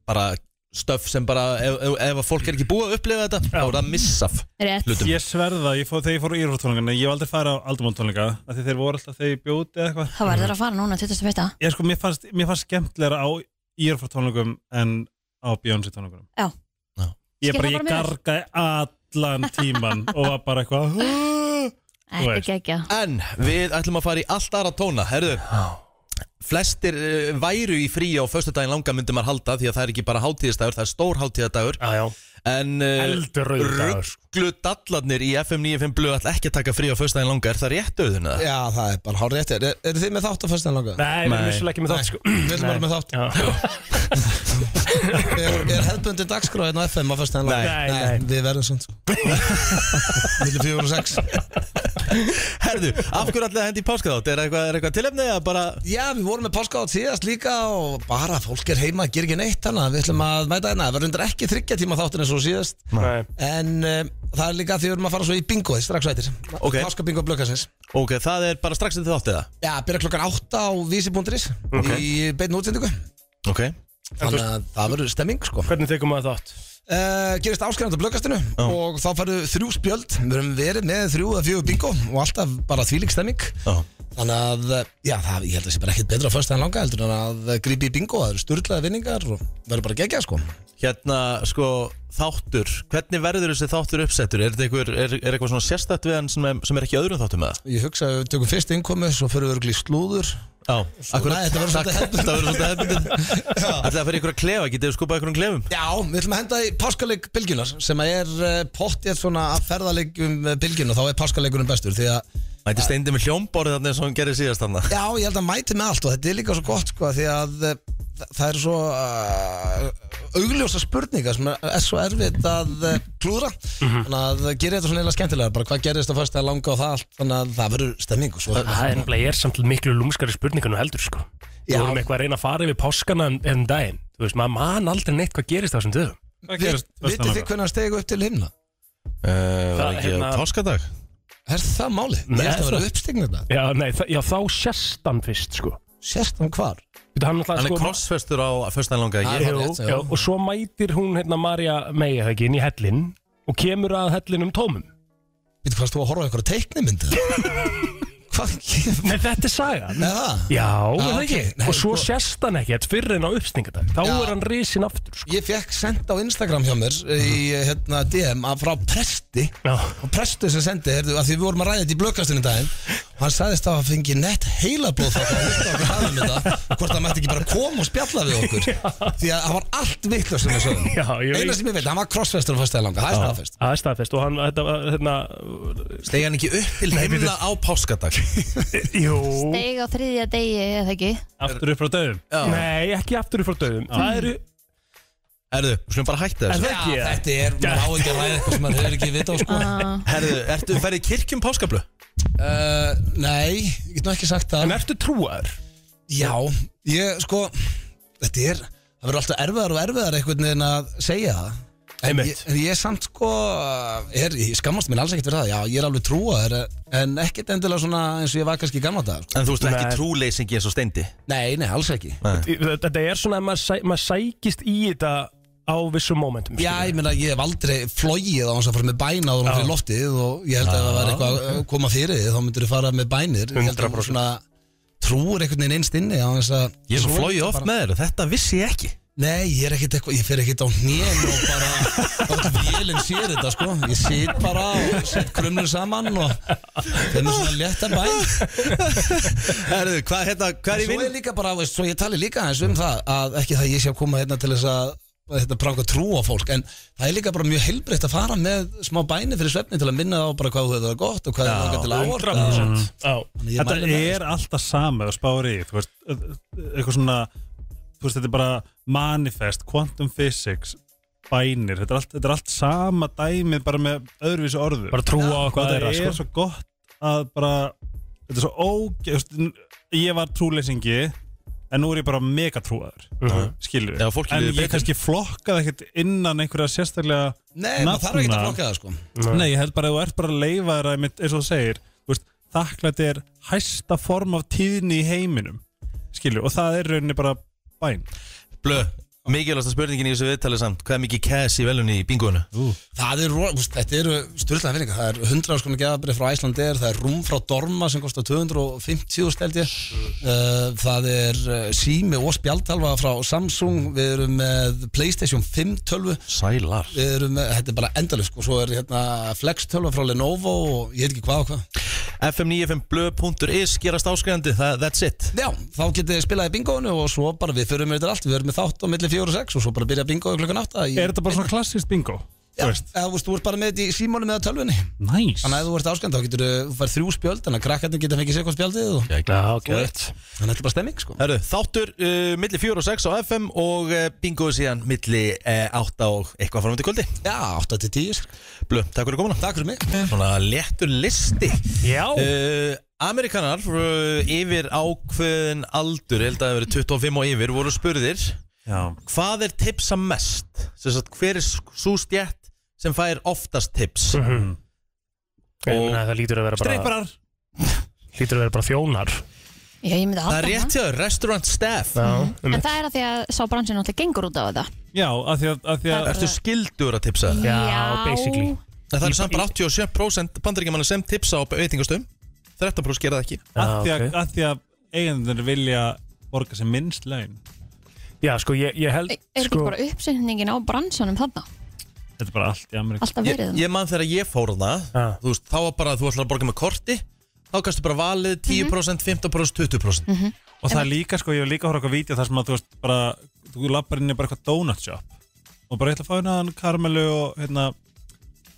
bara stöf sem bara ef, ef, ef að fólk er ekki búið að upplifa þetta þá er það missaf
Rétt
hlutum
Ég sverða, ég fó, þegar ég fór á Írfórtónleikana Ég hef aldrei farið á aldamóntónleika Þegar þeir voru alltaf þegar ég bjóti eða eitthvað Mhm.
Það var það að fara núna 21.
ég sko, mér fannst, mér fannst skemmtilega á Írfra tónleikum en á Beyoncé tónleikum
Já.
Já.
Ég
Skil það bara
bara, ég
mjög vel.
gargaði allan tíman og var bara eitthvað
Þetta er
veist.
geggja
En við ætlum að fara í allt aðra tóna Herðu, flestir eh, væru í frí á föstudaginn langa myndi maður halda því að það er ekki bara hátíðistæður, það er stór hátíðadagur
Jájá,
En
eldur rauðdagur
rugglu dallarnir í FM 95 blöð ætla ekki að taka frí á föstudaginn langa, er það rétt auðvitað?
Já, það er bara hár rétt Er, er þið með þátt á fyrsta langa?
Nei, við erum vissulega ekki með þátt sko
Við erum bara með þátt
Já,
Er, er hefðbundin dagskráðin á FM á fyrsta langa?
Nei, nei.
Við verðum svona sko Millir fjögur og sex
Herðu, af hverju ætlaði að hendi í páskaðátt? Er eitthvað, er eitthvað tilefni eða bara
Já, við vorum með páska síðast líka og bara fólk er heima, ger ekki neitt hana Við ætlum að mæta hérna, það verður undir ekki þryggja tíma þáttin eins og síðast
nei
En um, það er líka því við erum að fara svo í bingoði strax veitir
Ok.
Páska bingo blökkarsins
Ok, það er bara strax eftir þáttið það
Já, byrja klokkan 8 á vísi.is í beinu útsendingu
Ok
Þannig að það verður stemming sko
Hvernig tekum maður þátt?
uh, gerist áskrifandi á blöggastinu og þá farið þrjú spjöld við höfum verið með þrjú eða fjögur bingo og alltaf bara þvílík stemming
Já.
þannig að, eh, já, það, ég held að það sé bara ekkert betra að fösta en langa heldur en að grípi í bingo það eru sturlaði vinningar og verður bara geggjað sko
Hérna, sko, þáttur Hvernig verður þessi þáttur uppsettur? Er, þetta einhver, er, er eitthvað svona sérstætt við hann sem er, sem er ekki í öðrum þáttum með það?
ég hugsa að við tökum fyrst innkomu svo fyrir við örgli slúður
Já,
Nei, þetta verður svolítið hefðbundið.
Þetta verður svolítið hefðbundið Ætlaði að fyrir ykkur að klefa, getið þið skupað ykkur um klefum?
já, við ætlum að henda í páskaleik bylgjunar sem að er uh, pottið svona að ferðaleikjum bylgjun og þá er páskaleikunum bestur því að
Mæti steindi með hljómborðið þannig eins og hann gerir síðast hann
Já, ég held að hann mæti með allt og þetta er líka svo gott sko því að eh, þa- það er svo uh, augljósa spurninga sem er er svo erfitt að eh, klúðra
Mhm.
þannig að gera þetta svona eila skemmtilega bara hvað gerist að fyrst að langa og það allt þannig að það verður stemming og svo
Það er nefnilega, ég er samt miklu lúmskari spurningar nú heldur sko Við vorum eitthvað að reyna að fara yfir páskana en, en daginn Þú veist, maður man aldrei neitt hvað gerist á þessum dögum
Vit- Vitið þið hvernig hann stegu upp til himna?
var ekki á hérna-
páskadag
Er það málið? Ég held að vera uppstigna þetta
Já, nei, þa- já, þá sést hann fyrst sko
Sérst hann hvar?
Hann, sko-
sko-
Hann er krossfestur á föstan langa
Jú, já, og svo mætir hún hérna Marja May eða ekki inn í hellin og kemur að hellinum tómum
Vitið hvað þú að horfa eitthvað teiknimyndu? Hvað? Nei,
þetta er sagan
Eða?
Já,
Já,
ah,
ok.
ekki
Nei,
Og svo
sko-
sést hann ekkert fyrir en á uppstingadag Þá er hann risin aftur sko. Mhm.
Ég fekk sendt á Instagram hjá mér í hérna, DM að frá presti
Já.
og presti sem sendi heyrðu, að því við vorum að ræða þetta í blökkastinu daginn og hann sagðist að hann fengi nett heilablóð þá hann hlusta okkur hafði með það hvort hann mætti ekki bara koma og spjalla við okkur því að hann var allt vittlust sem við
Já,
sögum
ég veit.
eina sem ég veit, hann var crossfestur á fyrsta langa, það er staðfest
Það er staðfest og hann, þetta var, hérna
Stegi hann ekki upp til
himna á páskadag
Jú
Steig á þriðja degi eða ekki
Aftur upp frá döðum Nei, ekki aftur upp frá döðum Það eru
Herðu, skulum bara hætta
En
þessu
það ekki
Já, þetta er, maður á ekki að ræða eitthvað sem maður hefur ekki vita á sko
Herðu, ertu ferðið kirkjum páskablu?
Uh, nei, ég get nú ekki sagt það
En ertu trúar?
Já, ég sko Þetta er, það verður alltaf erfiðar og erfiðar einhvern veginn að segja það En ég,
Einmitt.
en ég samt sko er, Ég skammast minn alls ekkert fyrir það Já, ég er alveg trúaður En ekkert endilega svona eins og ég var kannski í gamla dag sko.
En þú veist
Nei.
ekki trúleysingi eins og steindi
Nei, nei, alls ekki
Þetta er svona að maður, sæ, maður sækist í þetta á vissum momentum
Já,
skilur.
ég meina, ég hef aldrei flogið á hans að fara með bæna og fyrir loftið og ég held að ef það var eitthvað að koma fyrir þig, þá myndir þú fara með bænir Ég held að
100%.
þú svona trúur einhvern veginn einst inni á hans að
Ég hef flóið oft með þér og þetta vissi ég ekki
Nei, ég er ekkert eitthvað, ég fer ekkert á hnén og bara öll vélinn sér þetta sko Ég sit bara og set krumnur saman og þeim er svona létta bæn
Herðu, hvað hérna, hvað er í
Svo
vinn?
ég líka bara, veist, svo ég tali líka eins um það að ekki það ég sé að koma hérna til þess að þetta pranga trú á fólk en það er líka bara mjög heilbreytt að fara með smá bæni fyrir svefni til að minna á bara hvað þú hefur það gott og hvað þú hefur til að áorka
100% Já,
Þannig ég
Mm. Þetta
mæli með
er alltaf sama og spári í, þú veist, eitthvað svona þú veist, þetta er bara manifest, quantum physics bænir, þetta er allt, þetta er allt sama dæmið bara með öðruvísi orðu
bara trúa á
hvað
hvað er
þetta
að
er,
sko.
svo gott að bara þetta er svo óge, þú veist, ég var trúleysingi en nú er ég bara megatrúaður
Mhm.
skilur
Já, fólki
en
líður
ég
betur.
kannski flokkaði ekkert innan einhverja sérstaklega
Nei, maður þarf ekki að
nafna.
flokka það sko
Nei, ég held bara að þú ert bara að leifa þér að mitt, eins og þú segir, þú veist, þakklæti er hæsta form af tíðni í heiminum, skilur, og það er rauninni bara bæn.
Blö, mikilvægsta spurningin í þessu viðtalið samt Hvað er mikið cash í velunni í bingoinu?
Það er, ro- þú veist, þetta eru styrlaðan finningar Það er 100 skona geðabrið frá Æslandir Það er rúm frá Dorma sem kostar 250 stelt ég uh, Það er uh, sími og spjaldtalva frá Samsung Við erum með Playstation 5 tölvu
Sælar
Við erum með, þetta er bara endalust Og svo er hérna Flex tölva frá Lenovo Og ég veit ekki hvað og hvað
fm95blö.is gerast áskrifandi, það- that's it
Já, þá getið þið spilað í bingoinu Og svo bara við förum með þetta allt Við erum með þátt á milli 4 og 6 Og svo bara byrja bingoið klukkan 8 í,
Er þetta bara svona klassist bingo? Þú
Já,
veist,
eða, þú veist, þú ert bara með þetta í símónum eða tölvunni
næs.
Þannig að ef þú ert áskend þá getur þú færð þrjú spjöld Þannig að krakkarnir geta fengið sér hvað spjaldið og...
Já, gett
Þannig að þetta er bara stemming sko
Herru, þáttur uh, milli 4 og 6 á FM og uh, bingoðu síðan milli uh, 8 og eitthvað framöndi kvöldi
Já, 8 til 10
Blö, takk fyrir komuna
Takk fyrir mig
Svona léttur listi
Já.
uh, Amerikanar uh, yfir ákveðin aldur, ég held að það hafi verið 25 og yfir, voru spurðir
Já.
Hvað er tipsa mest? Sem sagt, hver er svo stjætt sem fær oftast tips?
Mhm. Ég meina, Það lítur að vera bara
Streiparar.
Lítur að vera bara þjónar
Já, ég myndi að
Það er
halda
rétt hjá, þér, restaurant staff
Já, um
En það er að því að sá bransin alltaf gengur út á þetta
Já, af því að, að því að,
Ertu skildur að tipsa?
Já, basically.
En það er samt bara 87% bandaríkjamanna sem tipsa á veitingastöðum 13% gera það ekki
að, því að,
ok.
að, því að eigendunir vilja borga sem minnst laun.
Já, sko, ég, ég held
Er þetta
sko,
ekki bara uppsetningin á bransanum þarna?
Þetta er bara allt í Ameríku.
Alltaf
Ég,
verið þarna?
ég man þegar ég fór það
Já.
Þú veist, þá var bara að þú ætlar að borga með korti Þá kannstu bara valið
Mhm.
10%, 15%, 20%
Og það er líka, sko, ég hef líka horfði okkur vídeo þar sem að, þú veist, bara, þú lappar inn í bara eitthvað donut shop og bara ég ætla að fá hérna
Mhm.
hann karmelu og hérna,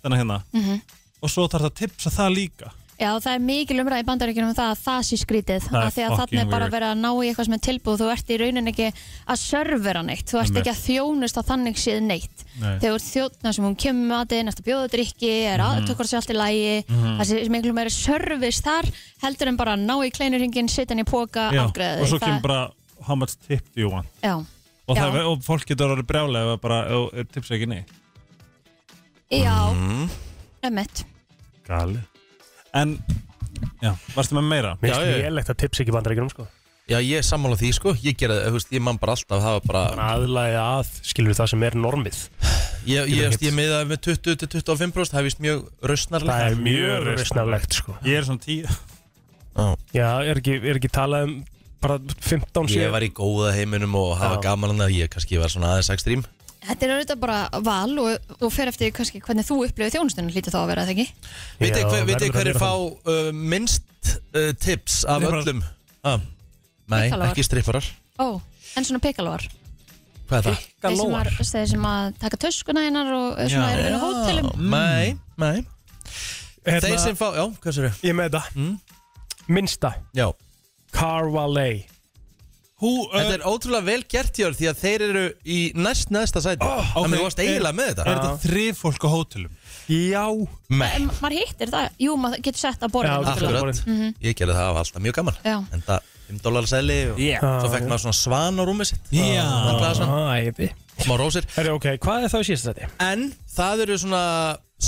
þennan hérna. Og svo þarf það að tipsa það líka.
Já, það er mikil umræði í bandaríkjunum um það að það sé skrítið
Það er
af því að þannig
fucking
er bara
weird.
verið að ná í eitthvað sem er tilbúð þú ert í raunin ekki að servera neitt þú ert
Einmitt.
ekki að þjónusta þannig séð neitt
Nei.
þegar þú ert þjóna sem hún kemur með matinn eftir að bjóða drikki, er
Mhm.
mm. aðtökur sér allt í lægi
Mhm.
það sé miklu meiri service þar heldur en bara að ná í kleinurringin sitja hann í póka,
Já,
afgreða
og svo kemur bara how much tip do you want
Já,
og,
Já.
það, og fólk getur orðið brjálega ef að bara, ef- ef tips er ekki nei
já,
mm.
ömmett
gali en, já, varstu með meira?
Mér finnst lélegt að tips ekki bandaríkjunum sko
Já, ég er sammála því sko Ég gera það, þú veist, ég man bara alltaf Það var bara
aðlæði að, skilur það sem er normið hérna-
Ég, ég, ég, ég miðaði með 20-25% Það er vist mjög rausnarlegt
Það er mjög rausnarlegt sko
Ég er svona 10
Já, er ekki, er ekki talað um bara 15
Ég var í góða heiminum og það var gaman hann að ég kannski var svona aðeins ekstrím
Þetta er auðvitað bara val og, og fer eftir kannski, hvernig þú upplifið þjónustunum lítið þá að vera það ekki
Vitið
Já,
hver- vitið
verður að
hverjir
vera
fá uh, minnst uh, tips af
Stripparar.
öllum? Ah, nei,
Pikkalarar.
ekki stripparar
Ó, en svona pikalóar
Hvað er það?
þeir sem, að, þeir sem að taka töskuna hennar og eh, svona
Já.
eru við á hótelum
Nei, nei Þeir sem fá, já, hvað sér
Hérna-
Mm.
Ég er með það Minnsta
Já
Carvalet
Hú, Þetta er ótrúlega vel gert hjá þér því að þeir eru í næst næsta sæti oh, okay. Þannig að þú varst eiginlega með þetta
Er þetta þrif fólk á hótelum?
Já
Nei,
En maður hittir það, Mhm. jú maður getur sett að borða
akkurat
Mhm.
Ég gerði það af alltaf mjög gaman
Já.
En það 5 dólar sæli og
Yeah.
svo fekk maður svona svan á rúmið sitt
Já. Ah,
Svona glasan.
Æði
Smá rósir
Herri, ok, hvað er það í síðasta þetta?
En það eru svona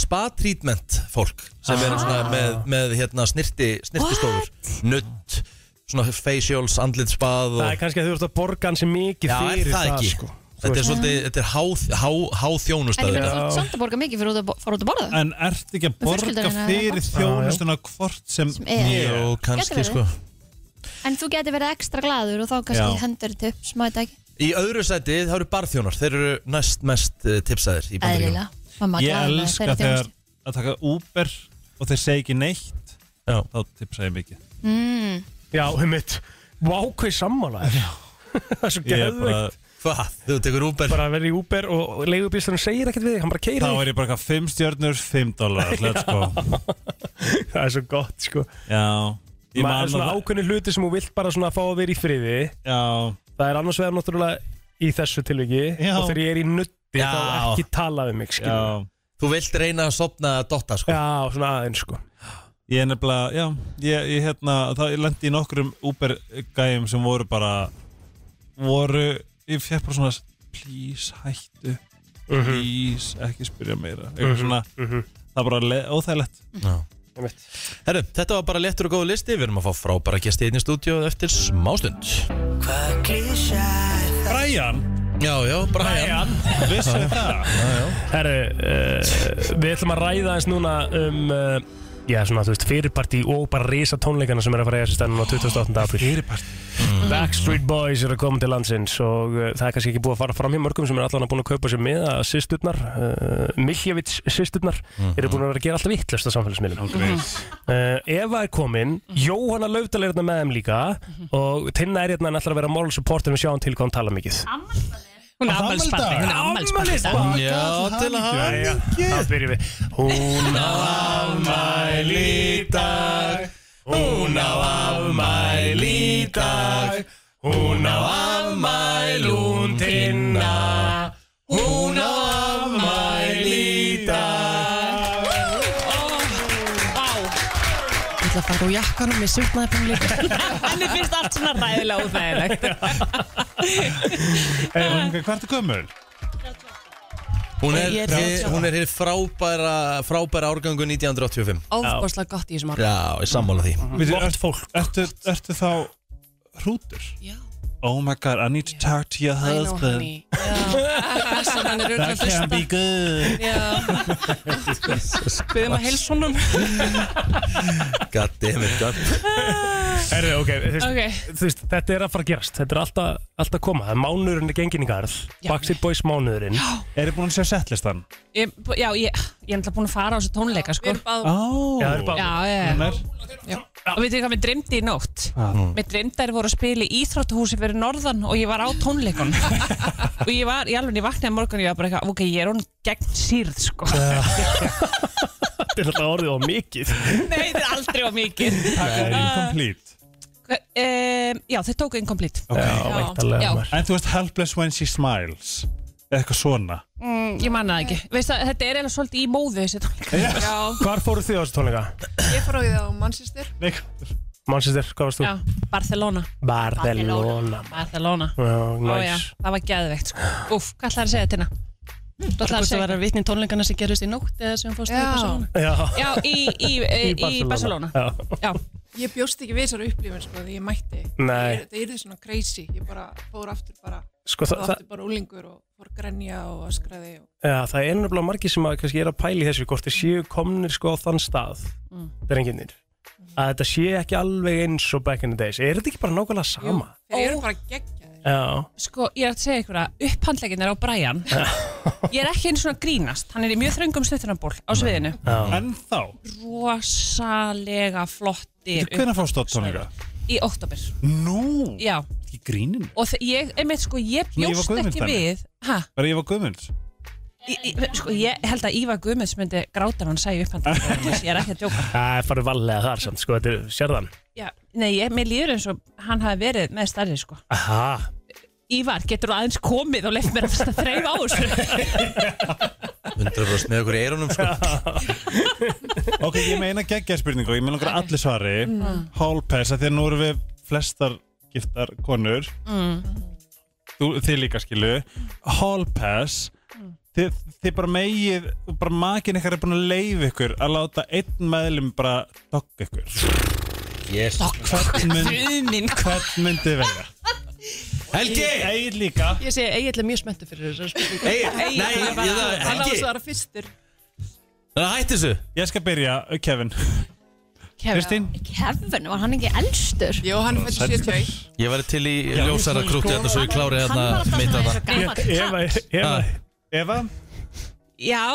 spa treatment fólk sem eru svona
Ah.
með, með hérna snirti, snirtistofur Nutt, svona facials, andlitsbað og...
Það er kannski að þú ert að borga hansi mikið
Já, er
fyrir
það ekki?
sko.
Þetta er
veist.
svolítið, þetta er há, há, há
En ég
þjónustæður
meina þú ert samt að borga mikið fyrir út að bo- fara út að borða
En ert ekki að
Með
borga
fjölskylduna eða
fyrir
eitthvað?
þjónustuna hvort sem,
Sem er.
Jó, kannski,
Gæti verið.
sko.
En þú getur verið ekstra gladur og þá kannski
Já.
hendur þetta upp smæta ekki
Í öðru sæti það eru barþjónar Þeir eru næst mest eh, tipsaðir í bandaríkjum
Eðlilega. Mamma
Ég
glaður með
elska
þeirra
þegar
þjónustu.
að taka Uber og þeir segja ekki neitt
Já.
þá tipsa ég mikið
mm.
Já, heimitt Vá, hvað er sammála er Það er svo
Ég er bara-
geðveikt
Hvað? Þú tekur Uber?
Bara verið í Uber og og leigubílstjórinn segir ekkert við þig, hann bara keyrir
Þá
þig
er ég bara eitthvað 5 stjörnur, 5 dólar Let's go
Það er svo gott sko
Já Ég
Það
man
er svona
að-
ákveðni hluti sem þú vilt bara svona fá að vera í friði
Já
Það er annars vegar náttúrulega í þessu tilviki
Já.
Og þegar ég er í nutti
Já.
þá ekki tala við mig skilur.
Þú vilt reyna að sopna að dotta sko
Já, svona aðeins sko
Ég er nefnilega, já, ég, ég hérna, það ég lendi í nokkrum Uber-gæjum sem voru bara, voru, ég fekk bara svona, please hættu, please, ekki spyrja meira, eitthvað
Mhm,
svona, það er bara le- óþægilegt.
Já. Herru, þetta var bara léttur og góð listi Við erum að fá frábæra gesti einn í stúdíu eftir smástund
Brian
Já, já, Brian,
Brian. Vissu það
Herru, uh, við ætlum að ræða eins núna um uh, Já, svona, þú veist, fyrirparti og bara risa tónleikana sem er að fara að eiga sér stannum á 28. apríl Mm.
Fyrirparti
Backstreet Boys eru að koma til landsins og uh, það er kannski ekki búið að fara fram hjá mörgum sem er allan að búin að kaupa sér miða að sýsturnar, uh, Miljavits sýsturnar
Mhm.
eru búin að vera að gera alltaf vittlust á samfélagsmiðlum
okay.
uh, Eva er komin,
Mhm.
Jóhanna Laufdal er hérna með þeim líka og Tinna er hérna en ætlar að vera moral supporter við sjáum til hvað hún tala mikið
Hún er afmælsbarni Hún er afmælsbarni
Afmælisbarn.
Já, til að
Jæja, þá byrjum við Hún á afmæli í dag Hún á afmæli í dag Hún á afmæli hún tinna Hún á afmæli í dag
Ég ætla að fara úr jakkanum, ég surnaði bara líka Henni finnst allt svona ræðilega óþægilegt
Hey, hvað ertu gömul?
Hún er,
Ég er
hér-
38.
hún er hér frábæra, frábæra árgangu 1985
Óforslega gott í þessum ára
Já, ég sammála því
Vott fólk. Ertu, ertu þá hrútur? Já. Oh my god, I need to talk to your
I know
husband.
honey Þess að hann er auðvitað
That
að
can be
hlusta
good.
Já Byrðum að helsa honum
God damn it, God
Erðu, ok, þú veist,
Ok.
þú veist, þetta er að fara að gerast Þetta er alltaf, alltaf að koma, það er mánurinn er gengin í garð
Já.
Backstreet Boys mánuðurinn
Eru búin að sjá settlistan?
Ég- Já, ég ég er náttúrulega búin að fara á þessu tónleika sko.
Ó.
Já, það er bara
Já, já, já.
Hvenær?
Og veitum hvað mér dreymdi í nótt?
Hvað?
Mér dreymdi að þær voru að spila í Íþróttahúsi fyrir norðan og ég var á tónleikun Og ég var, í alveg, ég vaknaði morgun og ég var bara eitthvað, ok, ég er hún gegn sírð, sko
Þetta er alltaf orðið á mikið
Nei, þetta er aldrei á mikið
Incomplete
Hva- em, Já, þeir tóku incomplete Já.
En þú veist Helpless When She Smiles Eitthvað svona
Mm, ég manna það ekki Veist það, þetta er eiginlega svolítið í móðu þessi tónleika Já,
Hvar fóruð þið á þessu tónleika?
Ég fór á því á Manchester
Manchester, hvað varst þú?
já, Barcelona
Barcelona
Barcelona
Já,
Ó, já,
nice
það var geðveikt sko. Úf, hvað ætlaði að segja þetta hérna?
Bara hvort þú verður vitni tónleikana sem gerist í nótt eða sem fórstu í Barcelona.
Já,
Já, í, í, í,
Í
í Barcelona
Barcelona.
Já.
Ég bjóst ekki við þessar upplifun sko þegar ég mætti
Nei.
Það yrði svona crazy Ég bara fór aftur bara
Sko,
fór
það-
aftur
það-
bara úlingur og fór grenja og öskraði og
Já, það er nefnilega margir sem að kannski er að pæli þessu hvort þið séu komnir sko á þann stað
Mm.
drenginir að þetta sé ekki alveg eins og back in the days er þetta ekki bara nákvæmlega sama?
Þeir eru bara gegn
Já,
Sko, ég er að segja ykkur að upphandlegin er á Brian Ég er ekki einu svona að grínast Hann er í mjög þröngum sluttunaból á sviðinu
Já. En þá
Rosalega flottir
Hvernig fórst þú á tónleika?
upp- Í oktober
Nú
Já,
Í gríninu
og þe- ég, einmitt sko, ég
Svona Ívar
bjóst
Guðmunds
ekki
dæmi?
við Hæ?
Bara ég var Guðmunds
Í- í- Sko, ég held að Ívar Guðmunds myndi gráta ef hann sæði upphandlegin Ég er ekki að djóka
það er farið vallega þar samt sko, þetta er sérðan
Já, Nei, ég, mér líður eins og hann hafi verið með starri sko
Aha,
Ívar, getur þú aðeins komið og leift mér að þreif á þessu
100% með okkur eyrunum sko Ok, ég meina geggja spurningu og ég meina okkur allir svari mm.
Mm.
Hálpess, af því að nú erum við flestar giftar konur
mm.
þú, Þið líka skilu Hálpess
Mm.
þið, þið bara megið, bara makin ykkar er búin að leiða ykkur að láta einn meðlum bara dogga ykkur yes. Hvern mynd, hvern myndið velja? Helgi! Egil líka
Ég segi eiginlega mjög spenntu fyrir þessar spurningar.
Egil, nei,
hann er bara-
ég- það-
hann á
Helgi.
að svara fyrstur.
Það hætti þessu Ég skal byrja, Kevin Kristín?
Kevin, var hann ekki elstur?
Jó, hann er fæddur 71.
Ég væri til í
Já,
ljósara
sko,
krúti hérna svo ég klári
hann var
hérna
alltaf
meita
svona
það
eins og gamall
Eva,
Ah.
Eva,
Eva
Já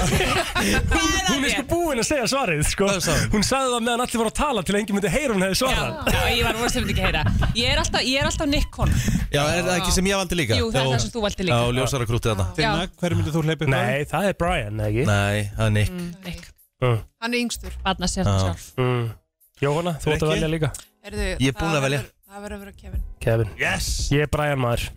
hún, hún er sko búin að segja svarið sko. hún sagði það meðan allir voru að tala til að enginn myndi heyra hún hefði svarað
Já, ég var vorst að þetta ekki heyra Ég er alltaf, ég er alltaf Nikon
Já, er það ekki sem ég valdi líka?
Jú, það er
Já.
það sem þú valdi líka.
Já, ljósara krúti hérna
Tinna, Já.
hverju myndið þú hleypið
frá?
Nei, það er Brian, ekki?
Nei, það er Nick
Nick
Mm.
Hann er yngstur
Barna sér
Já.
Hérna sjálf
mm. Jóhanna, þú ætti að
Rikki?
velja líka
Erðu,
Ég er búinn að velja.
Það verður að vera Kevin
Kevin yes. Ég er Brian maður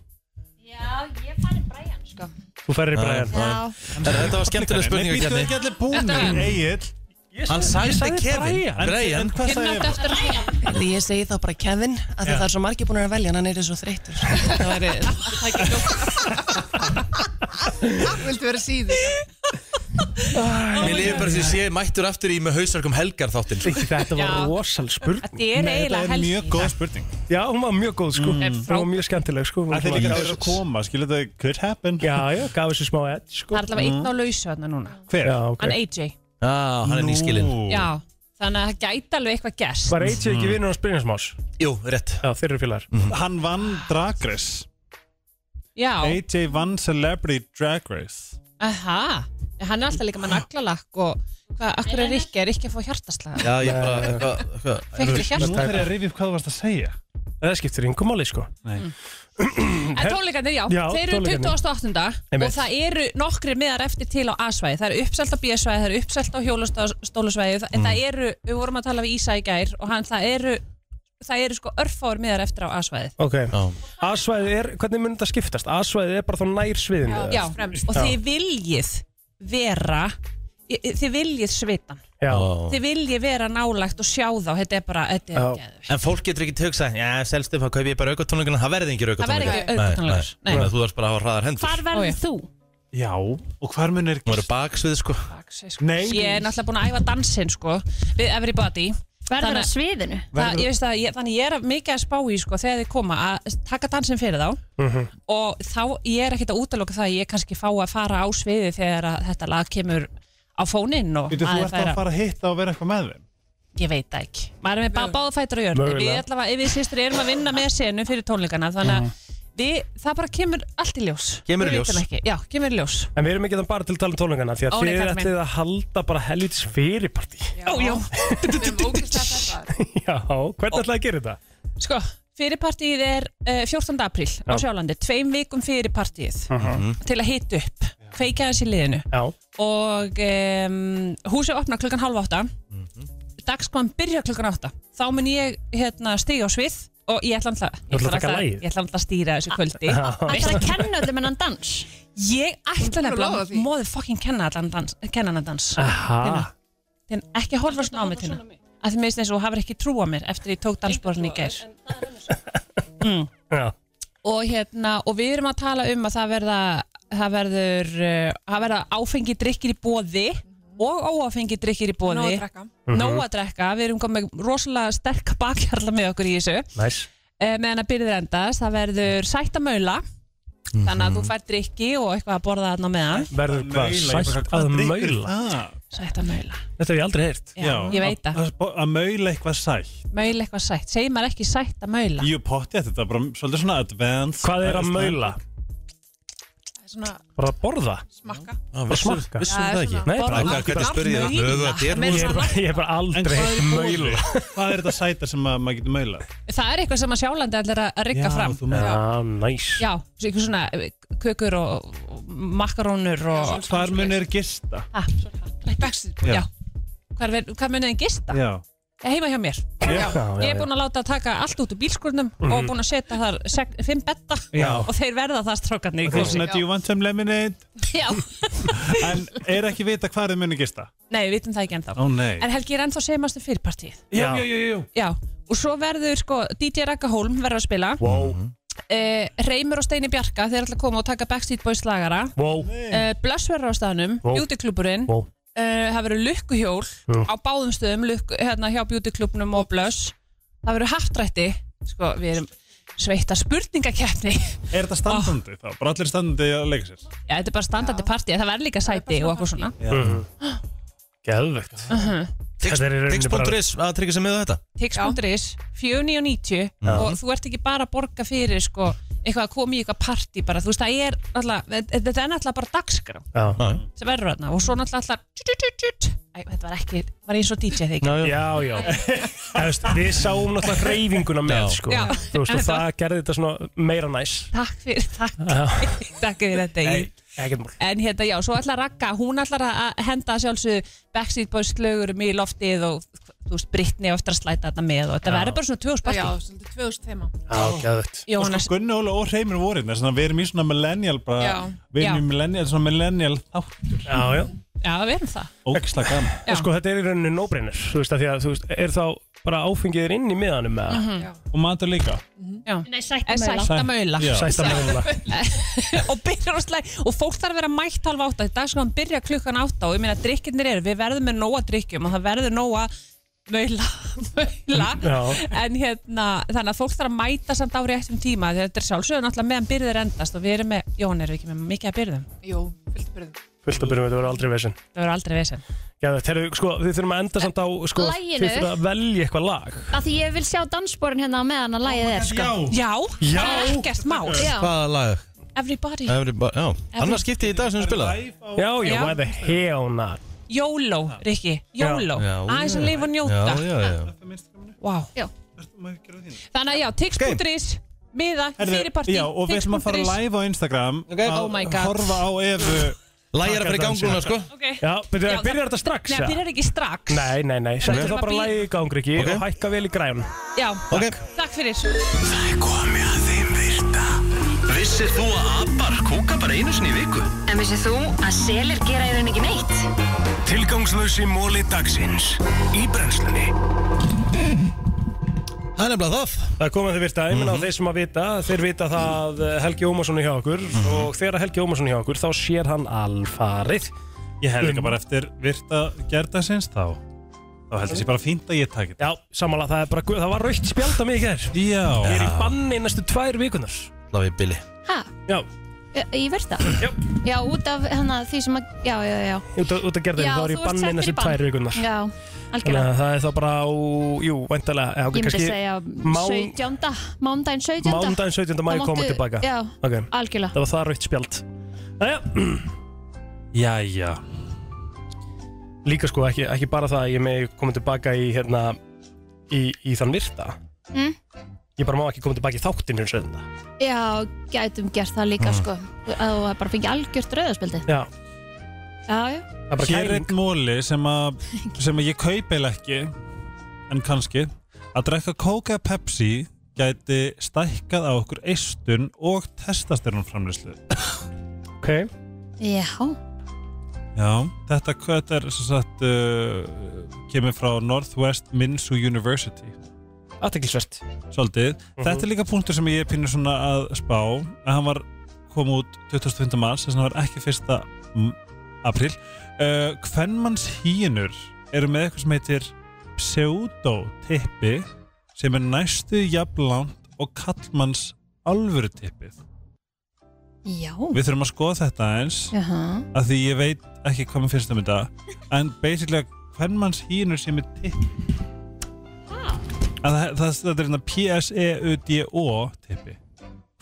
Já, ég fari Brian sko
Þú ferðir í Brian
Já.
Herra, þetta var skemmtileg spurning,
Nei, býttu
Bjarni.
ekki allir búin
Þetta-
Egil
Hann sagði Kevin.
En-
Brian.
en Hvað sagði Eva?
Því Ég segi þá bara Kevin, af því
Já.
það er svo margir búin að velja, hann er svo þreyttur. Það væri, það er ekki
Vildu vera síður
Mér lifir bara sem sé mættur aftur í með hausverkum sko. helgar þáttinn
Þetta
var Já.
rosal spurning
Þetta er eiginlega helst Mm.
mjög góð spurning
Já, hún var mjög góð sko Hún var mjög skemmtileg sko
Það er líka að vera að koma, skilu þetta could happen Mm.
Já, já, gaf þessu smá edge sko
Það er allavega einn á lausu hérna núna
Hver? Ah,
Já, ok
Hann AJ
Já, hann er nýskilinn
Já, þannig að það gæti alveg eitthvað gerst
Var AJ
Mm.
ekki
Mm.
vinnur hans Brynjarsmás?
Jú, rétt
Já, þeir eru félagar
Hann vann Drag Race
Já,
AJ vann Celebrity Drag Race
aha Hann er alltaf líka með naglalakk og hvað, akkur er Rikki, er Rikki að fá hjartaslag
Já, ég bara, eitthvað, eitthvað
Fekk þér hjarta?
Nú þarf ég að rifja upp hvað þú varst að segja
Það skiptir yngum máli sko
Nei
En Eh, tónleikarnir, já,
Já,
þeir eru
tónleikarnir.
28.
Einmitt.
og það eru nokkri miðar eftir til á A-svæði. Það eru uppselt á B-svæði, það eru uppselt á hjólastólusvæði, mm. en það eru, við vorum að tala við Ísa í gær og hann, það eru, það eru sko örfáir miðar eftir á A-svæði.
Ok A-svæðið er, hvernig mun þetta skiptast? A-svæðið er bara þá nær sviðinu
Já, og þið viljið vera, í- í- þið viljið svitan.
Já
Þið viljið vera nálagt og sjá þá, þetta er bara, þetta er ekki.
En fólk getur ekki töksa Já, selst upp, þá kaup ég bara aukatónleikana Það verði ekki
Það verða
aukatónleikar
ekki aukatónleikar, nei.
Þannig að þú þarfst bara að hafa hraðar hendur
Hvar verður þú?
Já, og hvar mun er
Þú verður baksvið, sko
Nei
Ég er náttúrulega búin að æfa dansinn sko við Everybody
Verður á
Þannig-
sviðinu?
Það, ég veist að ég, þannig ég er að- mikið að spá í sko, þegar þið koma að taka dansinn fyrir þá
Mhm.
og þá ég er ekkert að útaloka það að ég kannski fá að fara á sviði þegar að þetta lag kemur á fóninn og
Þú
aðeins
ert að
færa-
fara að hitta og vera eitthvað með þeim
ég veit það ekki maður er með bara báða fætur á jörn
Mögulega.
við allavega, við sýstur erum að vinna með senu fyrir tónleikana þannig að við, það bara kemur allt í ljós
Kemur í
Við
ljós.
vitum ekki. Já, kemur í ljós
En við erum ekki þannig bara til að tala um tónleikana Því að
Ó, nei,
þið
Karl minn.
ætlið að halda bara helvítis fyrirparti
Já, já
Já, hvernig ætlaði að gera þetta?
Sko, fyrirpartíð er uh, 14. apríl á
Já.
Sjálandi, tveim vikum fyrirpartíð
Mhm.
til að hita upp, kveika þessi liðinu
Já.
og um, húsið opna klukkan halv átta
Mhm.
dagskvæm byrja klukkan átta þá mun ég hérna stíga á svið og ég ætla alltaf
Þú ætlar að taka lagið?
ég ætla alltaf að stýra þessu kvöldi
Já. Ætlarðu
Ah. að kenna öllum ennan dans ég ætla nefnilega móðu fokkin kenna allan dans kenna hann dans
Aha.
Hérna. Þinn, ekki horfa svona á mig tína að þið minnst eins og þú hafur ekki trú á mér eftir ég tók dansborðin í gær mm.
Já.
og hérna og við erum að tala um að það verða það verður uh, það verða áfengi drikkir í bóði og óáfengi drikkir í bóði
Nóg að drekka.
Mhm.
Nóg að drekka, við erum komið með rosalega sterk bakhjarla með okkur í þessu
Næs
Eh, meðan að byrðir endast, það verður sættamöla
Mhm.
þannig að þú fær drikki og eitthvað að borða þarna á meðan
Verður hvað,
Maula, ég bara,
sætt
hvað
að
drykkur er
maula?
það?
Sættamöla,
Þetta hef ég aldrei heyrt
Já, Já. ég veit það.
Að, að- að maula eitthvað sætt
möla eitthvað sætt segir maður ekki sættamöla
Jú potti þetta er bara svolítið svona advanced
Hvað er að maula?
Svona
Bara að borða?
smakka
Bara smakka?
vissum Já, það ekki? svona
Nei, bara
borða. Hvernig spurði ég það? Maula. Öfugt, ég er Meira svona-
Ég er bara
En
aldrei
hvað
heyrt
er
maula
maula? Hvað er þetta sæta sem að maður getur maula?
það er eitthvað sem að sjálandi allir að rigga fram
þú meinar.
Já, næs
já, svo eitthvað svona eh, kökur og, og makarónur og
Hvar munir gista?
Ah, Backstreet
Boys.
sko, já. Hvar, ver- hvar munið þið gista?
Já
heima hjá mér
Já,
ég
já,
er
já.
búin að láta að taka allt út úr bílskurnum
Mhm.
og búin að setja þar sek- fimm betta
Já.
og þeir verða það strákarnir í
Þeir
kósi.
svona, do you want some lemonade?
Já.
en er ekki vita hvað þið munir gista?
nei, við vitum það ekki ennþá
Ó, nei.
en Helgi er ennþá semastu fyrirpartíð
Já, já, já, já.
já, og svo verður sko DJ Raka Holm verður að spila
wow.
Mhm.
uh, Reymur og Steini Bjarka þeir ætla að koma og taka Backstreet Boys lagara
wow.
uh, Blöss verður á staðnum,
Vó.
Beauty Clubburinn
Vó.
Eh, það verður lukkuhjól
Jú.
á báðum stöðum lukku, hérna hjá Beauty Clubnum og Blöss það verður hattrætti sko, við erum sveittar spurningakeppni já,
Er þetta standandi þá? Bara allir standandi að leika sér?
þetta er bara standandi partí en það verður líka sæti og eitthvað svona
Mhm. Geðvegt
Mhm.
Þetta er í rauninni bara-
Tix.is að tryggja sem miða þetta
tix.is 4990
Já.
og þú ert ekki bara að borga fyrir sko, eitthvað að koma í eitthvað partí bara, þú veist það er alltaf, þetta er náttúrulega bara dagskrá
Já.
sem verður þarna og svo náttúrulega allar tjut, tjut, tjut, tjut. Æ, þetta var ekki, var eins og DJ
Mm.
þegar
Já, já Þú veist, Við sáum náttúrulega reyfinguna með sko.
Já.
Þú veist, og það gerði þetta svona meira næs
takk fyrir, takk, takk fyrir þetta
Nei,
ég
Ekkert mál
En hérna, já, svo ætlar Ragga, hún ætlar að henda sjálfsög Backstreet Boys lögurum í loftið og þú veist, Brittany á eftir að slæta þetta með og þetta
Já.
verður bara svona tvöðsparti.
Já, svolítið 2000 þema
Já, gæðvögt
Jónas sko, Gunni Óla og Hreimur vorin Þannig að við erum í svona millennial bara,
Já.
Við erum
Já.
í millennial, svona millennial þáttur
Já, já
Já, við erum það.
Ógislega gaman
En sko, þetta er í rauninni nóbreynir Þú veist, að því að þú veist, er þá bara áfengið þér inn í miðanum með
Mhm. Já.
Og matur líka
Já. Nei,
Sæ-
sættamöla.
já. Sættamöla.
og byrjar á slæg, og fólk þarf að vera mætt halv átta, þetta er sko hann byrja klukkan átta og ég meina, drikkirnir eru, við verðum með nóga drikkjum og það verður nóga möla, möla.
Já.
en hérna, þannig að fólk þarf að mæta samt á réttum tíma, því að þetta er sjálfsögur náttúrulega meðan byrðir endast og við erum með, Jón, erum við ekki með mikið að byrðum?
Jú, fullt byrðum
Fullt að byrjum, þetta verður aldrei vesinn
Það verður aldrei vesen
Gæðvögt, herru, sko, við þurfum að enda samt á sko,
Laginu.
Þið þurfum að velja eitthvað lag
Af því ég vil sjá dansborin hérna á meðan að lægið er sko.
Já,
Já.
það er ekkert mál
Já.
Hvaða lag?
Everybody,
Everybody, já, annars skipti í dag sem við spilaði
Já, já,
Já.
why the hell not
YOLO, Rikki, YOLO
Já.
Aðeins að lifa og
Já,
njóta
já,
Vá.
já
Þannig að já, tix.is miða, fyrirparti
Já, og við ætlum að fara live á Instagram
Ok.
að
Oh my God.
Horfa á Evu
Lægir að fara í gang núna, sko.
Ok.
Já, byrju,
Já,
byrjar þetta strax?
Nei,
eða?
byrjar ekki strax
Nei, nei, nei, settu
þurfum
það
að
bara
bíða.
lagi í gangur ekki og hækka vel í græn
Já,
Ok.
takk fyrir
Það er komið að þeim virta Vissir þú að abar kúka bara einu sinni í viku?
En vissið þú að selir gera í raun ekki neitt?
Tilgangslösi móli dagsins Í brennslunni
Það er nefnilega það Mhm.
Það er komið að þið virta, ég meina mm þeir sem að vita Þeir vita það eh, Helgi Ómarsson er hjá okkur
Mhm.
Og þegar Helgi Ómarsson er hjá okkur þá sér hann alfarið Um-
Ég hef líka bara eftir virta gerða sinns þá Þá heldur þessi bara fínt að ég taki þetta
Já, samanlega það er bara, guð, það var raukt spjald á mig í gær
Já
Ég er í banni næstu tvær vikunar
Lafið Billy
Ha?
Já
í verða? Já. Já, út af hana, því sem að, já, já, já.
Út af- út af gerðinu,
Já,
þá er ég
þú ert
bann
settur
minna
í
sem
bann.
tvær vikunar
Já,
Þannig
algjörlega.
að það er þá bara á, jú, væntalega
Ég myndi segja 17. Mándaginn 17.
Mándaginn 17. maí
Þá
koma
máttu-
tilbaka.
Já,
Ok.
algjörlega.
Það var það raukt spjald Jæja Jæja Líka sko, ekki, ekki bara það að ég megi koma tilbaka í, hérna, í, í þann virta
Mm?
Ég bara má ekki koma tilbaka í þáttinn hins veitna
Já, gætum gert það líka,
Mm.
sko. Að þú bara fengið algjört rauðarspildið.
Já,
Já, já.
Hér er einn móli sem, að- sem að ég kaupi ekki en kannski að drekka kóka eða Pepsi gæti stækkað á okkur eistun og testasterun framlýslu
Ok
Já.
Já, þetta hvað er sem sagt uh, kemur frá Northwest Minsu University
Aðteklisvert
Svolítið, þetta er líka punktur sem ég pínur svona að spá að hann var kom út 25. mars þess að hann var ekki 1. m- apríl uh, Hvernmanns hýjunur eru með eitthvað sem heitir pseudotippi sem er næstu jafnlangt og kallmanns alvöru tippið
Já.
Við þurfum að skoða þetta eins
Jaha.
að því ég veit ekki hvað mér finnst um þetta en basically að hvern manns hínur sem er tipp að það, það, það er hérna P-S-E-U-D-O tippi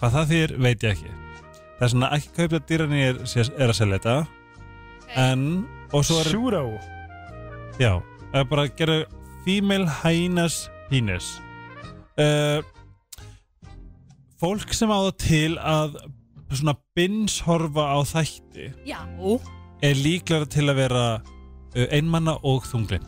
hvað það þýr veit ég ekki það er svona ekki kaupa dýran ég er, er að selja þetta en og svo er
Sjúró
já, það er bara að gera female hyenas penis uh, fólk sem á það til að svona binshorfa á þætti
Já.
er líklega til að vera uh, einmanna og þunglind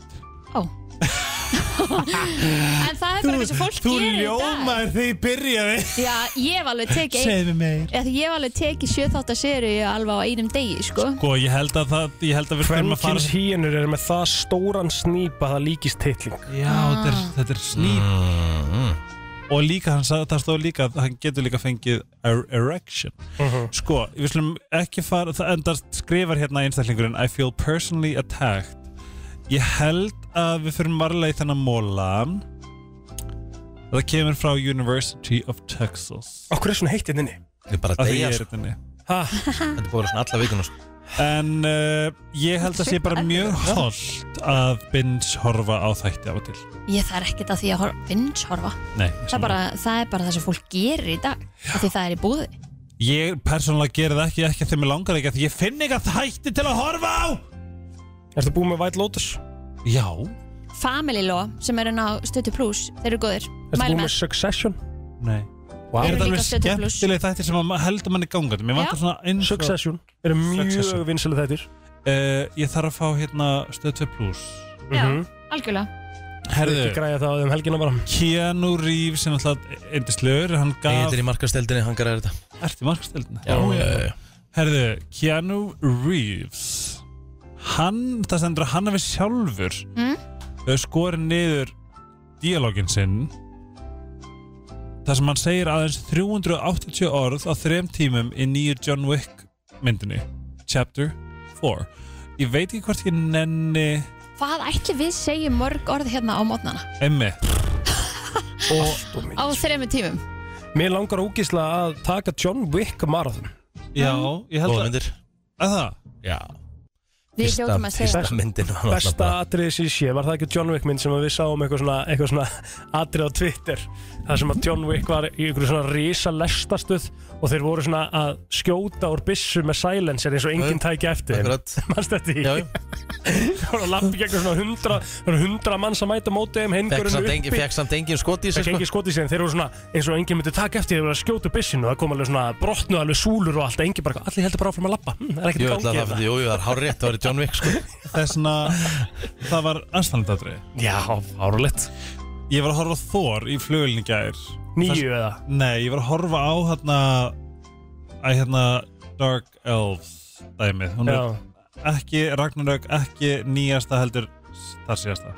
en það er bara eitthvað sem fólk
Þú
gerir í dag.
ljómaður því byrjaði
Já, ég hef alveg tekið
Segðu meir.
Eða Ég hef alveg tekið sjöþáttaseri alveg á einum degi, sko.
Sko, ég held að það, ég held að við þurfum að fara
Kvenkins hýjenur eru með það stóran snýpa að það líkist titling
Já, þetta er, þetta er snýp Mhm. Og líka, hann sagði það stóð líka að hann getur líka fengið er- erection
Mhm.
Sko, við slum ekki fara það endast skrifar hérna einstaklingurinn I feel personally attacked Ég held að við fyrir marlega í þennan móla Það kemur frá University of Texas
Okkur er svona heitt hérna inni?
Ég
bara að
að
deyja,
deyja
sko.
sko.
Ha?
Þetta er búin svona alla vikuna sko. En uh, ég held að sé bara mjög holdt að binds horfa á þætti af og til
Ég þarf ekkert að því að hor- vindshorfa.
Nei,
Það, er bara, það er bara það sem fólk gerir í dag. af Því það er í búði.
Ég persónulega gerir það ekki, ekki að þeim mig langar ekki að ég finn ekki að þætti til að horfa á
Ertu búin með White Lotus?
Já
Family Law sem er inn á Stötu Plus þeir eru góðir,
Ertu búin með Succession?
Nei
Vá. Eru
Er
líka
þetta alveg
Stötu Plus.
skemmtileg þætti sem að ma- heldur manni gangandi Mér vantar
Já.
svona eins og-
Succession eru mjög
Succession.
vinsælu þættir
Eh, Ég þarf að fá hérna stöð 2 plus
Mhm.
Mhm.
algjörlega.
Herðu
Ekki græja það um helgina bara
Keanu Reeves er náttúrulega eindislegur Hann gaf
Egill er í markasteldinni, hann græðir þetta
Ertu í markasteldinni?
Já, já, já, já.
Herðu, Keanu Reeves Hann, það stendur að hann hafi sjálfur
Mm?
skorið niður díalógin sinn þar sem hann segir aðeins 380 orð á þrem tímum í nýju John Wick myndinni Chapter 4 Ég veit ekki hvort ég nenni
Hvað ætli við segjum mörg orð hérna á mótnana?
emmi
og
Á þrejum tímum.
Mér langar ógíslega að taka John Wick marathon
Já, ég held
Góða myndir
Að það?
Já
Við hljótum að segja
Fyrsta myndin var náttúrulega
Besta atriðið sér sé, var það ekki John Wick mynd sem að við sáum eitthvað svona, eitthvað svona atrið á Twitter Það sem að John Wick var í einhverju svona risa lestastuð og þeir voru svona að skjóta úr byssu með silencer eins og enginn tæki eftir
Akkurat.
Manst þetta í? Já, Það voru að lappi gegn svona hundra, hundra manns að mæta mótið þeim
Fekk
hengurinn
samt engin- fékk samt engin skot í sig,
Fekk
sko.
engin skot í sig en þeir voru svona eins og enginn myndi taka eftir þeir voru að skjóta úr byssinu og það kom alveg svona brotnu alveg súlur og allt enginn bara allir heldur bara áfram að lappa hm, það er
Jú,
ekkert
ætla að
gangið
það, jú, jú, það er hár rétt, það var í John Wick sko.
Þessna, það var anstæðandatri
Já, árulegt
Ég var að horfa á Thor í flugulni gær
Nýju eða?
Nei, ég var að horfa á hérna, æ, hérna Dark Elves dæmið Hún
Já.
er ekki Ragnarök, ekki nýjasta heldur þar síðasta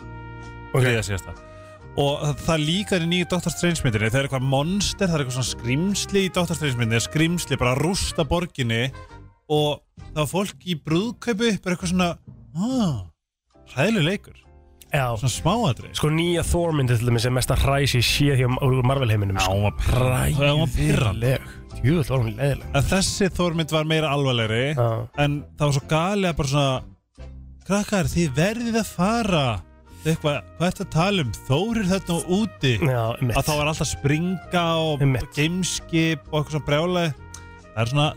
Ok.
Þriðja síðasta Og það, það líkar í nýju Dr. Strange myndinni Það er eitthvað monster, það er eitthvað svona skrimsli í Dr. Strange myndinni Skrimsli bara að rústa borginni Og það var fólk í brúðkaupi bara eitthvað svona ah, Hræðileg leikur
Já.
Svona smáadri
Sko nýja Thormyndi til dæmis er mesta hræs ég sé hjá úr Marvel heiminum Já, hún var
Já, hún var pirrandi.
Jú, það var hún leðileg
En þessi þórmynd var meira alvarlegri En það var svo galið að bara svona Krakkar, þið verðið að fara Eitthvað, hvað ertu að tala um? Þórir þetta úti
Já,
Að þá var alltaf springa og gameskip og eitthvað svona brjála Það er svona,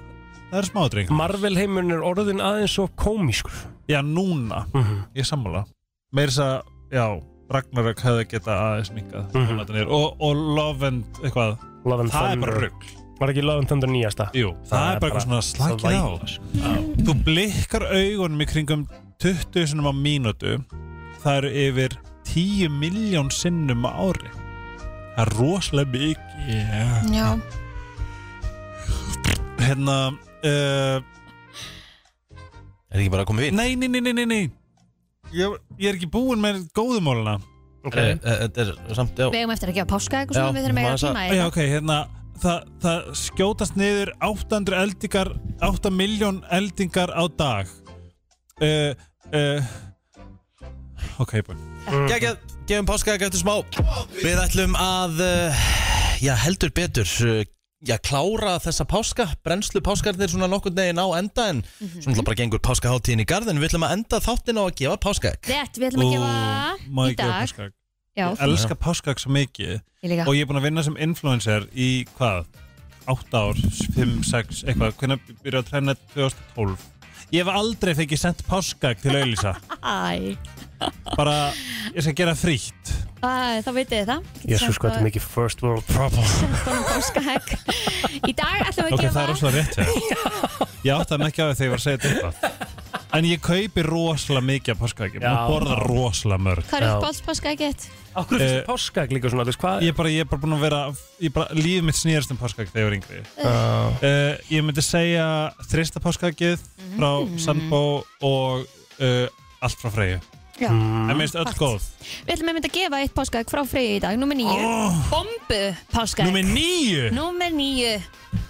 það er smádreng
Marvel heimurinn er orðin aðeins Mhm. svo komískur
Já, núna, ég sammála Meir þess að, já, Ragnarök hefði geta aðeins minkað og, og Love and eitthvað
Mhm. Love and
Það er
Thunder.
bara rugg
Var ekki Love and Thunder nýjasta?
Jú, það, er bara eitthvað svona slakið á
sko.
Þú blikkar augunum í kringum 20 sinnum á mínútu Það eru yfir 10 miljón sinnum á ári Það er rosalega mikið yeah.
Já,
Hérna uh,
Er ekki bara að koma við?
Nei, nei, nei, nei, nei, nei. Ég, ég er ekki búinn með góðumóluna
Okay. Eh, Þetta er samt, já
við eigum eftir að gefa páska eitthvað svona, við þurfum eiga tíma í
Já,
þetta.
ok, hérna Það, það skjótast niður 800 eldingar 8 miljón eldingar á dag uh, uh, Ok, búin
Gægjað, Mm. gefum páskaegg eftir smá Við ætlum að, uh, já heldur betur uh, Já, klára þessa páska Brennslu páskarnir svona nokkurn veginn á enda En
Mhm.
svona bara gengur páskaháttíðin í garðin Við ætlum að enda þáttin á að gefa páskaegg
Rétt, við ætlum að
Oh
gefa í dag Já,
Ég elska páskag svo mikið
Ég líka.
Og ég er búinn að vinna sem influencer í hvað? 8 ár, 5, 6, eitthvað Hvernig byrjaði að trefna 2012 Ég hef aldrei fengið sendt páskag til auðlýsa
Æ,
Bara, ég skal gera frítt
Æ, þá veitir þið það
Jésus, hvað þetta er mikið first world problem
Góðan páskahegg Í dag ætlum við að
Ok, það
gefa
er rosalega rétt hjá þér. Ég áttaði mig ekki á því þegar ég var að segja þetta eitthvað. En ég kaupi rosalega mikið af páskaeggjum
Já.
og borða rosalega mörg
Hvað er uppáhalds páskaeggið?
Akkur
Eh.
finnst páskaegg líka svona, þú veist hvað
Ég er bara, ég er bara búin að vera ég bara, Lífið mitt snýðast um páskaegg þegar ég var yngri
Eh.
Já.
uh, Ég myndi segja Þrista páskaeggið
Mhm.
frá Sandbó og uh, allt frá Freyju
Já.
Mm.
En minnst öll
Allt.
góð
Við ætlum einmitt að gefa eitt páskaegg frá Freyju í dag, nummer níu Bombu páskaegg
Oh. Númer níu?
Númer níu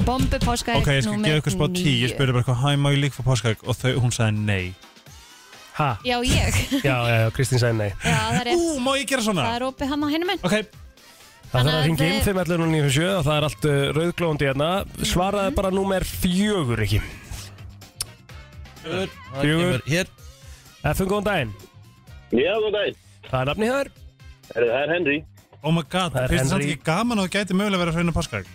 Bombu páskaegg
Ok, ég skal gefa ykkur spá tí Ég spurði bara eitthvað, hæ, má ég líka fá páskaegg Og þau, hún sagði nei
Ha?
Já, ég
Já, já, já, Kristín sagði nei
Já, það er rétt
Ú, má ég gera svona?
Það er opið hann á henni minn
Ok
Það þarf
Þannig að
að ringa inn
þið-
511957 og það er allt uh, rauðglóðandi hérna Svaraði bara númer fjögur ekki Fjögur
Hér
Efum góðan daginn
Já, góðan daginn
Það er nafni hér
Það er Henry
Oh my god,
Það er
finnst það
Henry.
ekki gaman að þú gæti mögulega verið að hrauna páskaegg?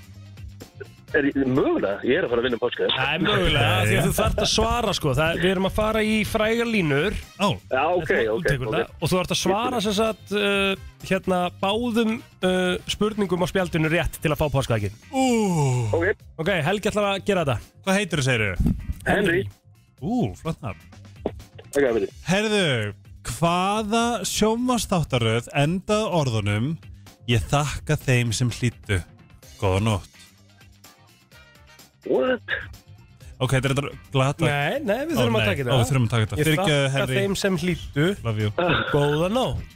er, Mögulega, ég er að fara að vinna um páska
Það er mögulega, af því að þú þarft að svara sko það, Við erum að fara í frægar línur
oh.
Já, ok, ok,
tekur
ok
það og þú ert að svara sem sagt uh, hérna báðum uh, spurningum á spjaldinu rétt til að fá páskaðakinn
Ú.
Ok
Ok, Helgi ætlar að gera þetta
Hvað heitir þú, segir þú?
Henry
Ú, flott nafn
Ok, að verði
Herðu, hvaða sjómasþáttaröð endað orðunum Ég þakka þeim sem hlýttu Góða nótt
What?
Ok, þetta er þetta glata
Nei, nei, við þurfum
Ó,
að
nei.
taka
Ó,
þetta
við þurfum að taka þetta
Ég
Fyrirgefðu,
þakka
Henry.
þeim sem hlýttu
Love you
Góða nótt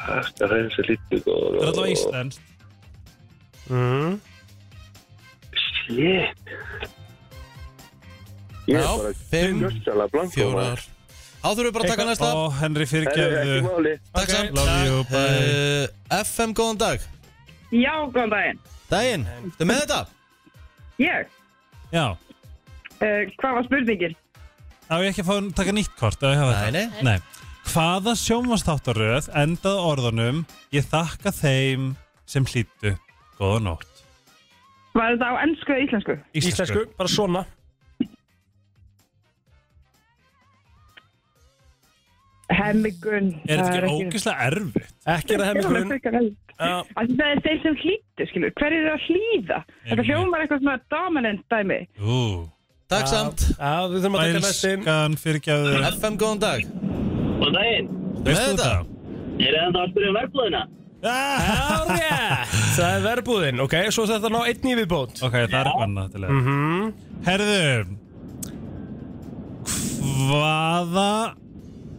Það er þessi lítið og
Þetta er allavega íslenskt
mm.
Shit Ég er bara Gjössalega blanko
fjórar. Þá þurfum við bara að taka næsta
Ó, Henry,
Ekki
fyrirgefðu
máli
Takk samt
Love you, bye
uh, FM, góðan dag
Já, góðan daginn.
Daginn, ertu með þetta?
Ég?
Já
Uh, hvað var spurningin?
Á ég ekki að fá að taka nýtt kort? Nei, nei. nei. Hvaða sjónvastáttaröð endað orðunum Ég þakka þeim sem hlýttu Góða nótt
Var þetta á ennsku eða íslensku?
Íslensku, bara svona
Hemmigun.
Er þetta ekki ógislega erfitt?
Ekki
er það hemmigun.
Já.
Það er þeir sem hlýttu, skilur. Hver er það að hlýða? Þetta hljómar eitthvað svona dominant dæmi.
Ú
Takk samt
Já, við þurfum að taka næst inn
Ælskan fyrirgefðu
FM, góðan dag
Góðan daginn
Veist þú það?
Er það að spyrja um verðblóðina?
Mm-hmm.
Já, rétt Það er verbúðin, ok, svo þetta ná einn í viðbót
Ok, það er annað til
mm -hmm.
Mhm. Herðu Hvaða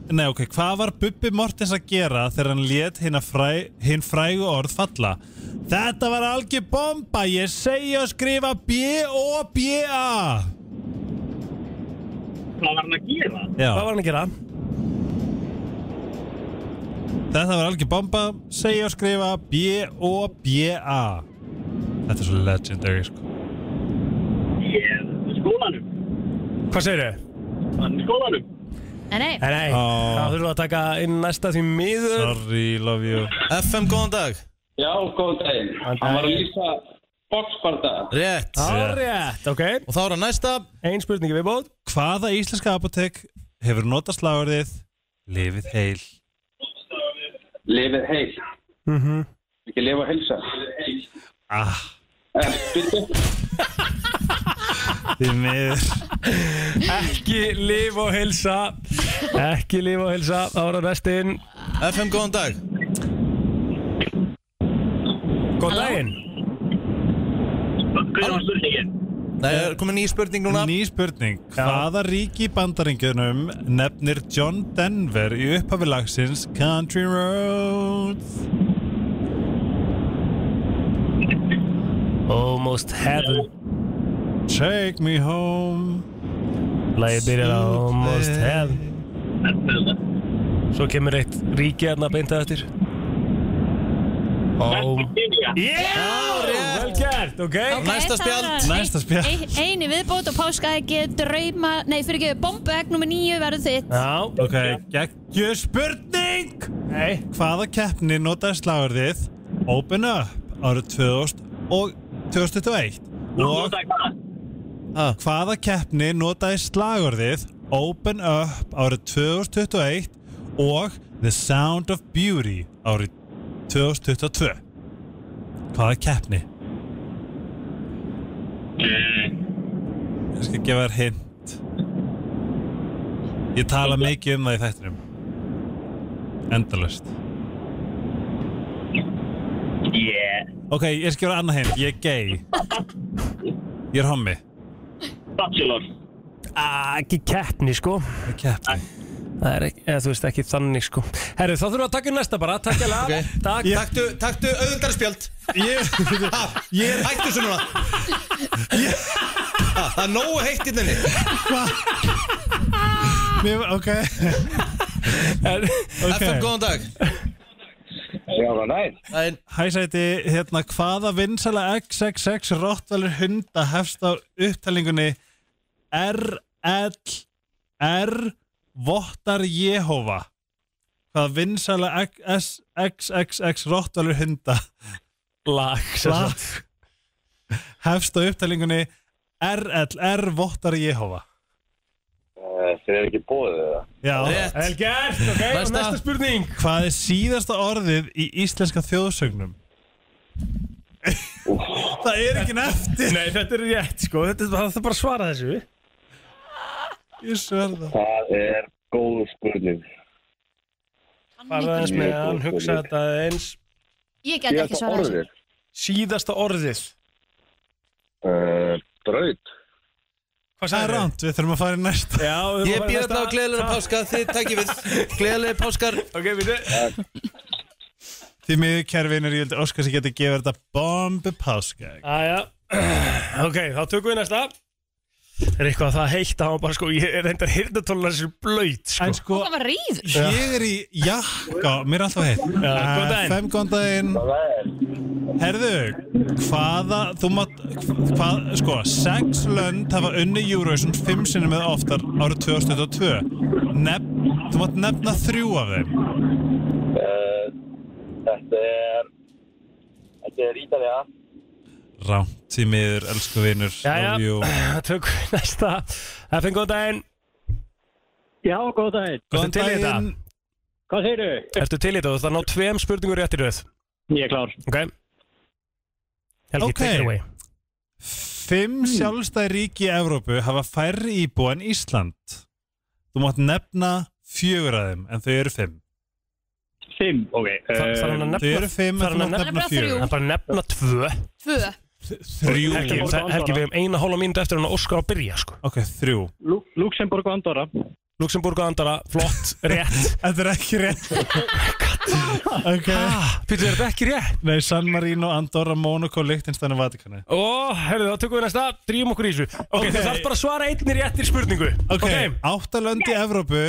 Nei, ok, hvað var Bubbi Mortens að gera þegar hann lét hinn fræ, hin frægu orð falla? Þetta var algjör bomba, ég segi að skrifa B-O-B-A
Hvað var hann að gera?
Já.
Hvað var hann að gera?
Þetta var algjör bomba, segja og skrifa B-O-B-A Þetta er svo legendary sko
Ég, skólanum
Mm. Hvað segir þið?
Hann er skólanum
Nei, nei,
Nei, þá þurfum við að taka inn næsta því miður
Sorry, love you
FM, góðan dag
Já, góðan daginn Hann var að lýsa boxbarda
Rétt
Árétt, ok
Og þá er það næsta
Einn spurningi við bóð
Hvaða íslenska apotek hefur notað slagurðið Lifið heil?
Lifið heil
mm
Mhm.
-hmm.
Ekki lifa að heilsa
Ah,
Eh, bíddu.
því miður
Ekki lif og hilsa Ekki lif og hilsa Þá er það næsti inn
FM, góðan dag
Góðan daginn
Hver var spurningin?
Nei, það er komin ný spurning núna
Ný spurning Hvaða ríki í bandaringjunum nefnir John Denver í upphafi lagsins Country Roads?
Almost heaven
Take me home
Lægi byrjar á Almost heaven Svo kemur eitt ríki hérna beint að eftir Ó Já, vel gert, ok
það var
Næsta spjald
ein- Einu viðbót og páskaeggi drauma, nei fyrir ekki, bombuegg nummer nýju verður þitt
Já
Ok, geggjur spurning
Nei
Hvaða keppni notaði slagurðið Open Up árið 2000 og 2021 og hvaða keppni notaði slagurðið Open Up árið 2021 og The Sound of Beauty árið 2022 Hvaða keppni? Eh, Ég skal gefa þér hint Ég tala mikið um það í þættinum Endalust
Yeah
Ok, ég skal gefa þér annað hint Ég er gay Ég er hommi
Bachelor
Ah, Ekki keppni sko
Keppni
Það er ekki, eða þú veist ekki þannig sko Herru, þá þurfum við að taka inn næsta bara Takk alveg okay. Takk
Ég-
Taktu, taktu auðvitaðspjöld
Ég, ég,
Hættu svo núna Ah, Það er nógu heitt í þenni
mér, ok
FM, góðan dag
Já, hvað næð?
Nein.
Hæ sæti, hérna, hvaða vinsala XXX Rottvalur hunda hefst á upptælingunni RL R Vottar Jehova Hvaða vinsala X- XXX Rottvalur hunda
Lag, sem
Lag.
sagt.
hefst á upptælingunni RL R Vottar Jehova
Þeir eru ekki bóðið það
Já,
Vel gert, ok, og
Næsta.
næsta spurning
hvað er síðasta orðið í íslenska þjóðsögnum? Það er ekki nefnt
Nei, þetta er rétt sko, þetta er bara, það er bara að svara þessu
Ég sverða
Það er góð spurning
Fara aðeins með hann, hugsa þetta eins
Ég get ekki svarað þessu
Síðasta orðið
orðið Braut
Hvað
Það er
sagðirðu?
ránt, við þurfum að fara í næsta
Já, við
Ég
erum að
býð
fara í
þetta á
næsta.
gleðilega
Takk.
páska Þið takkir við Gleðilega páskar
Ok, býttu
Því miður kerfinir, ég vildi óskast ég geti að gefa þetta bombi páskæk
Æja, ok, þá tökum við næsta Er eitthvað það heitt að hafa bara sko Ég er reyndar hirdatólunar sem blöyt sko.
En sko,
Það var ríður
ég er í jakka, mér er alltaf heitt Eh,
góðan daginn.
Fem góðan daginn Herðu, hvaða, þú mátt, hvað, sko, sex lönd hafa unni Eurovision fimm sinni með oftar árið 2022 Nef, Þú mátt nefna þrjú af þeim
Þetta er Þetta er Ítalja
Ránt, því miður, elsku vinur
Jæja,
love you.
þá tökum við næsta FN, góðan daginn
Já, góð daginn
Ertu til í þetta?
Hvað segir þau?
Ertu til í þetta? Þú þarf að ná tveim spurningur rétt í röð
Ég er klár
Ok Helgi,
Ok.
take it away
Fimm
Hmm.
sjálfstæð ríki í Evrópu hafa færri íbúa en Ísland. Þú mátt nefna fjögur af þeim, en þau eru fimm.
Fimm, ok eh,
Þar- Þarf hann að
Eh, Þau eru
nefna
fimm,
þarf
en þú
hann að nefna-
mátt nefna
Nefna
fjögur.
þrjú.
Hann bara nefna tvö
Tvö
Þrjú.
Helgi, það- Helgi, við hefum eina hóla mínúti eftir hann að Óskar að byrja sko
Ok, þrjú.
Luxemburg og Andorra
Luxemburg og Andara, flott, rétt
Þetta er ekki rétt. ok.
Pítur, er þetta ekki rétt?
Nei, San Marino, Andorra, Monaco, Lichtenstein og Vatikani.
Ó, herðu, þá tökum við næsta, drýjum okkur í þessu Ok,
Ok.
þú þarf bara að svara einni réttir spurningu
Ok, okay. áttalönd í Evrópu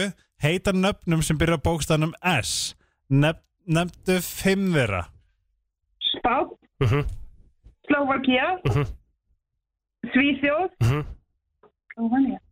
heita nöfnum sem byrja á bókstafnum S. Nef nefndu fimm vera
Spán,
Mhm,
Slóvakía, Svíþjóð
Mhm.
Slóvanía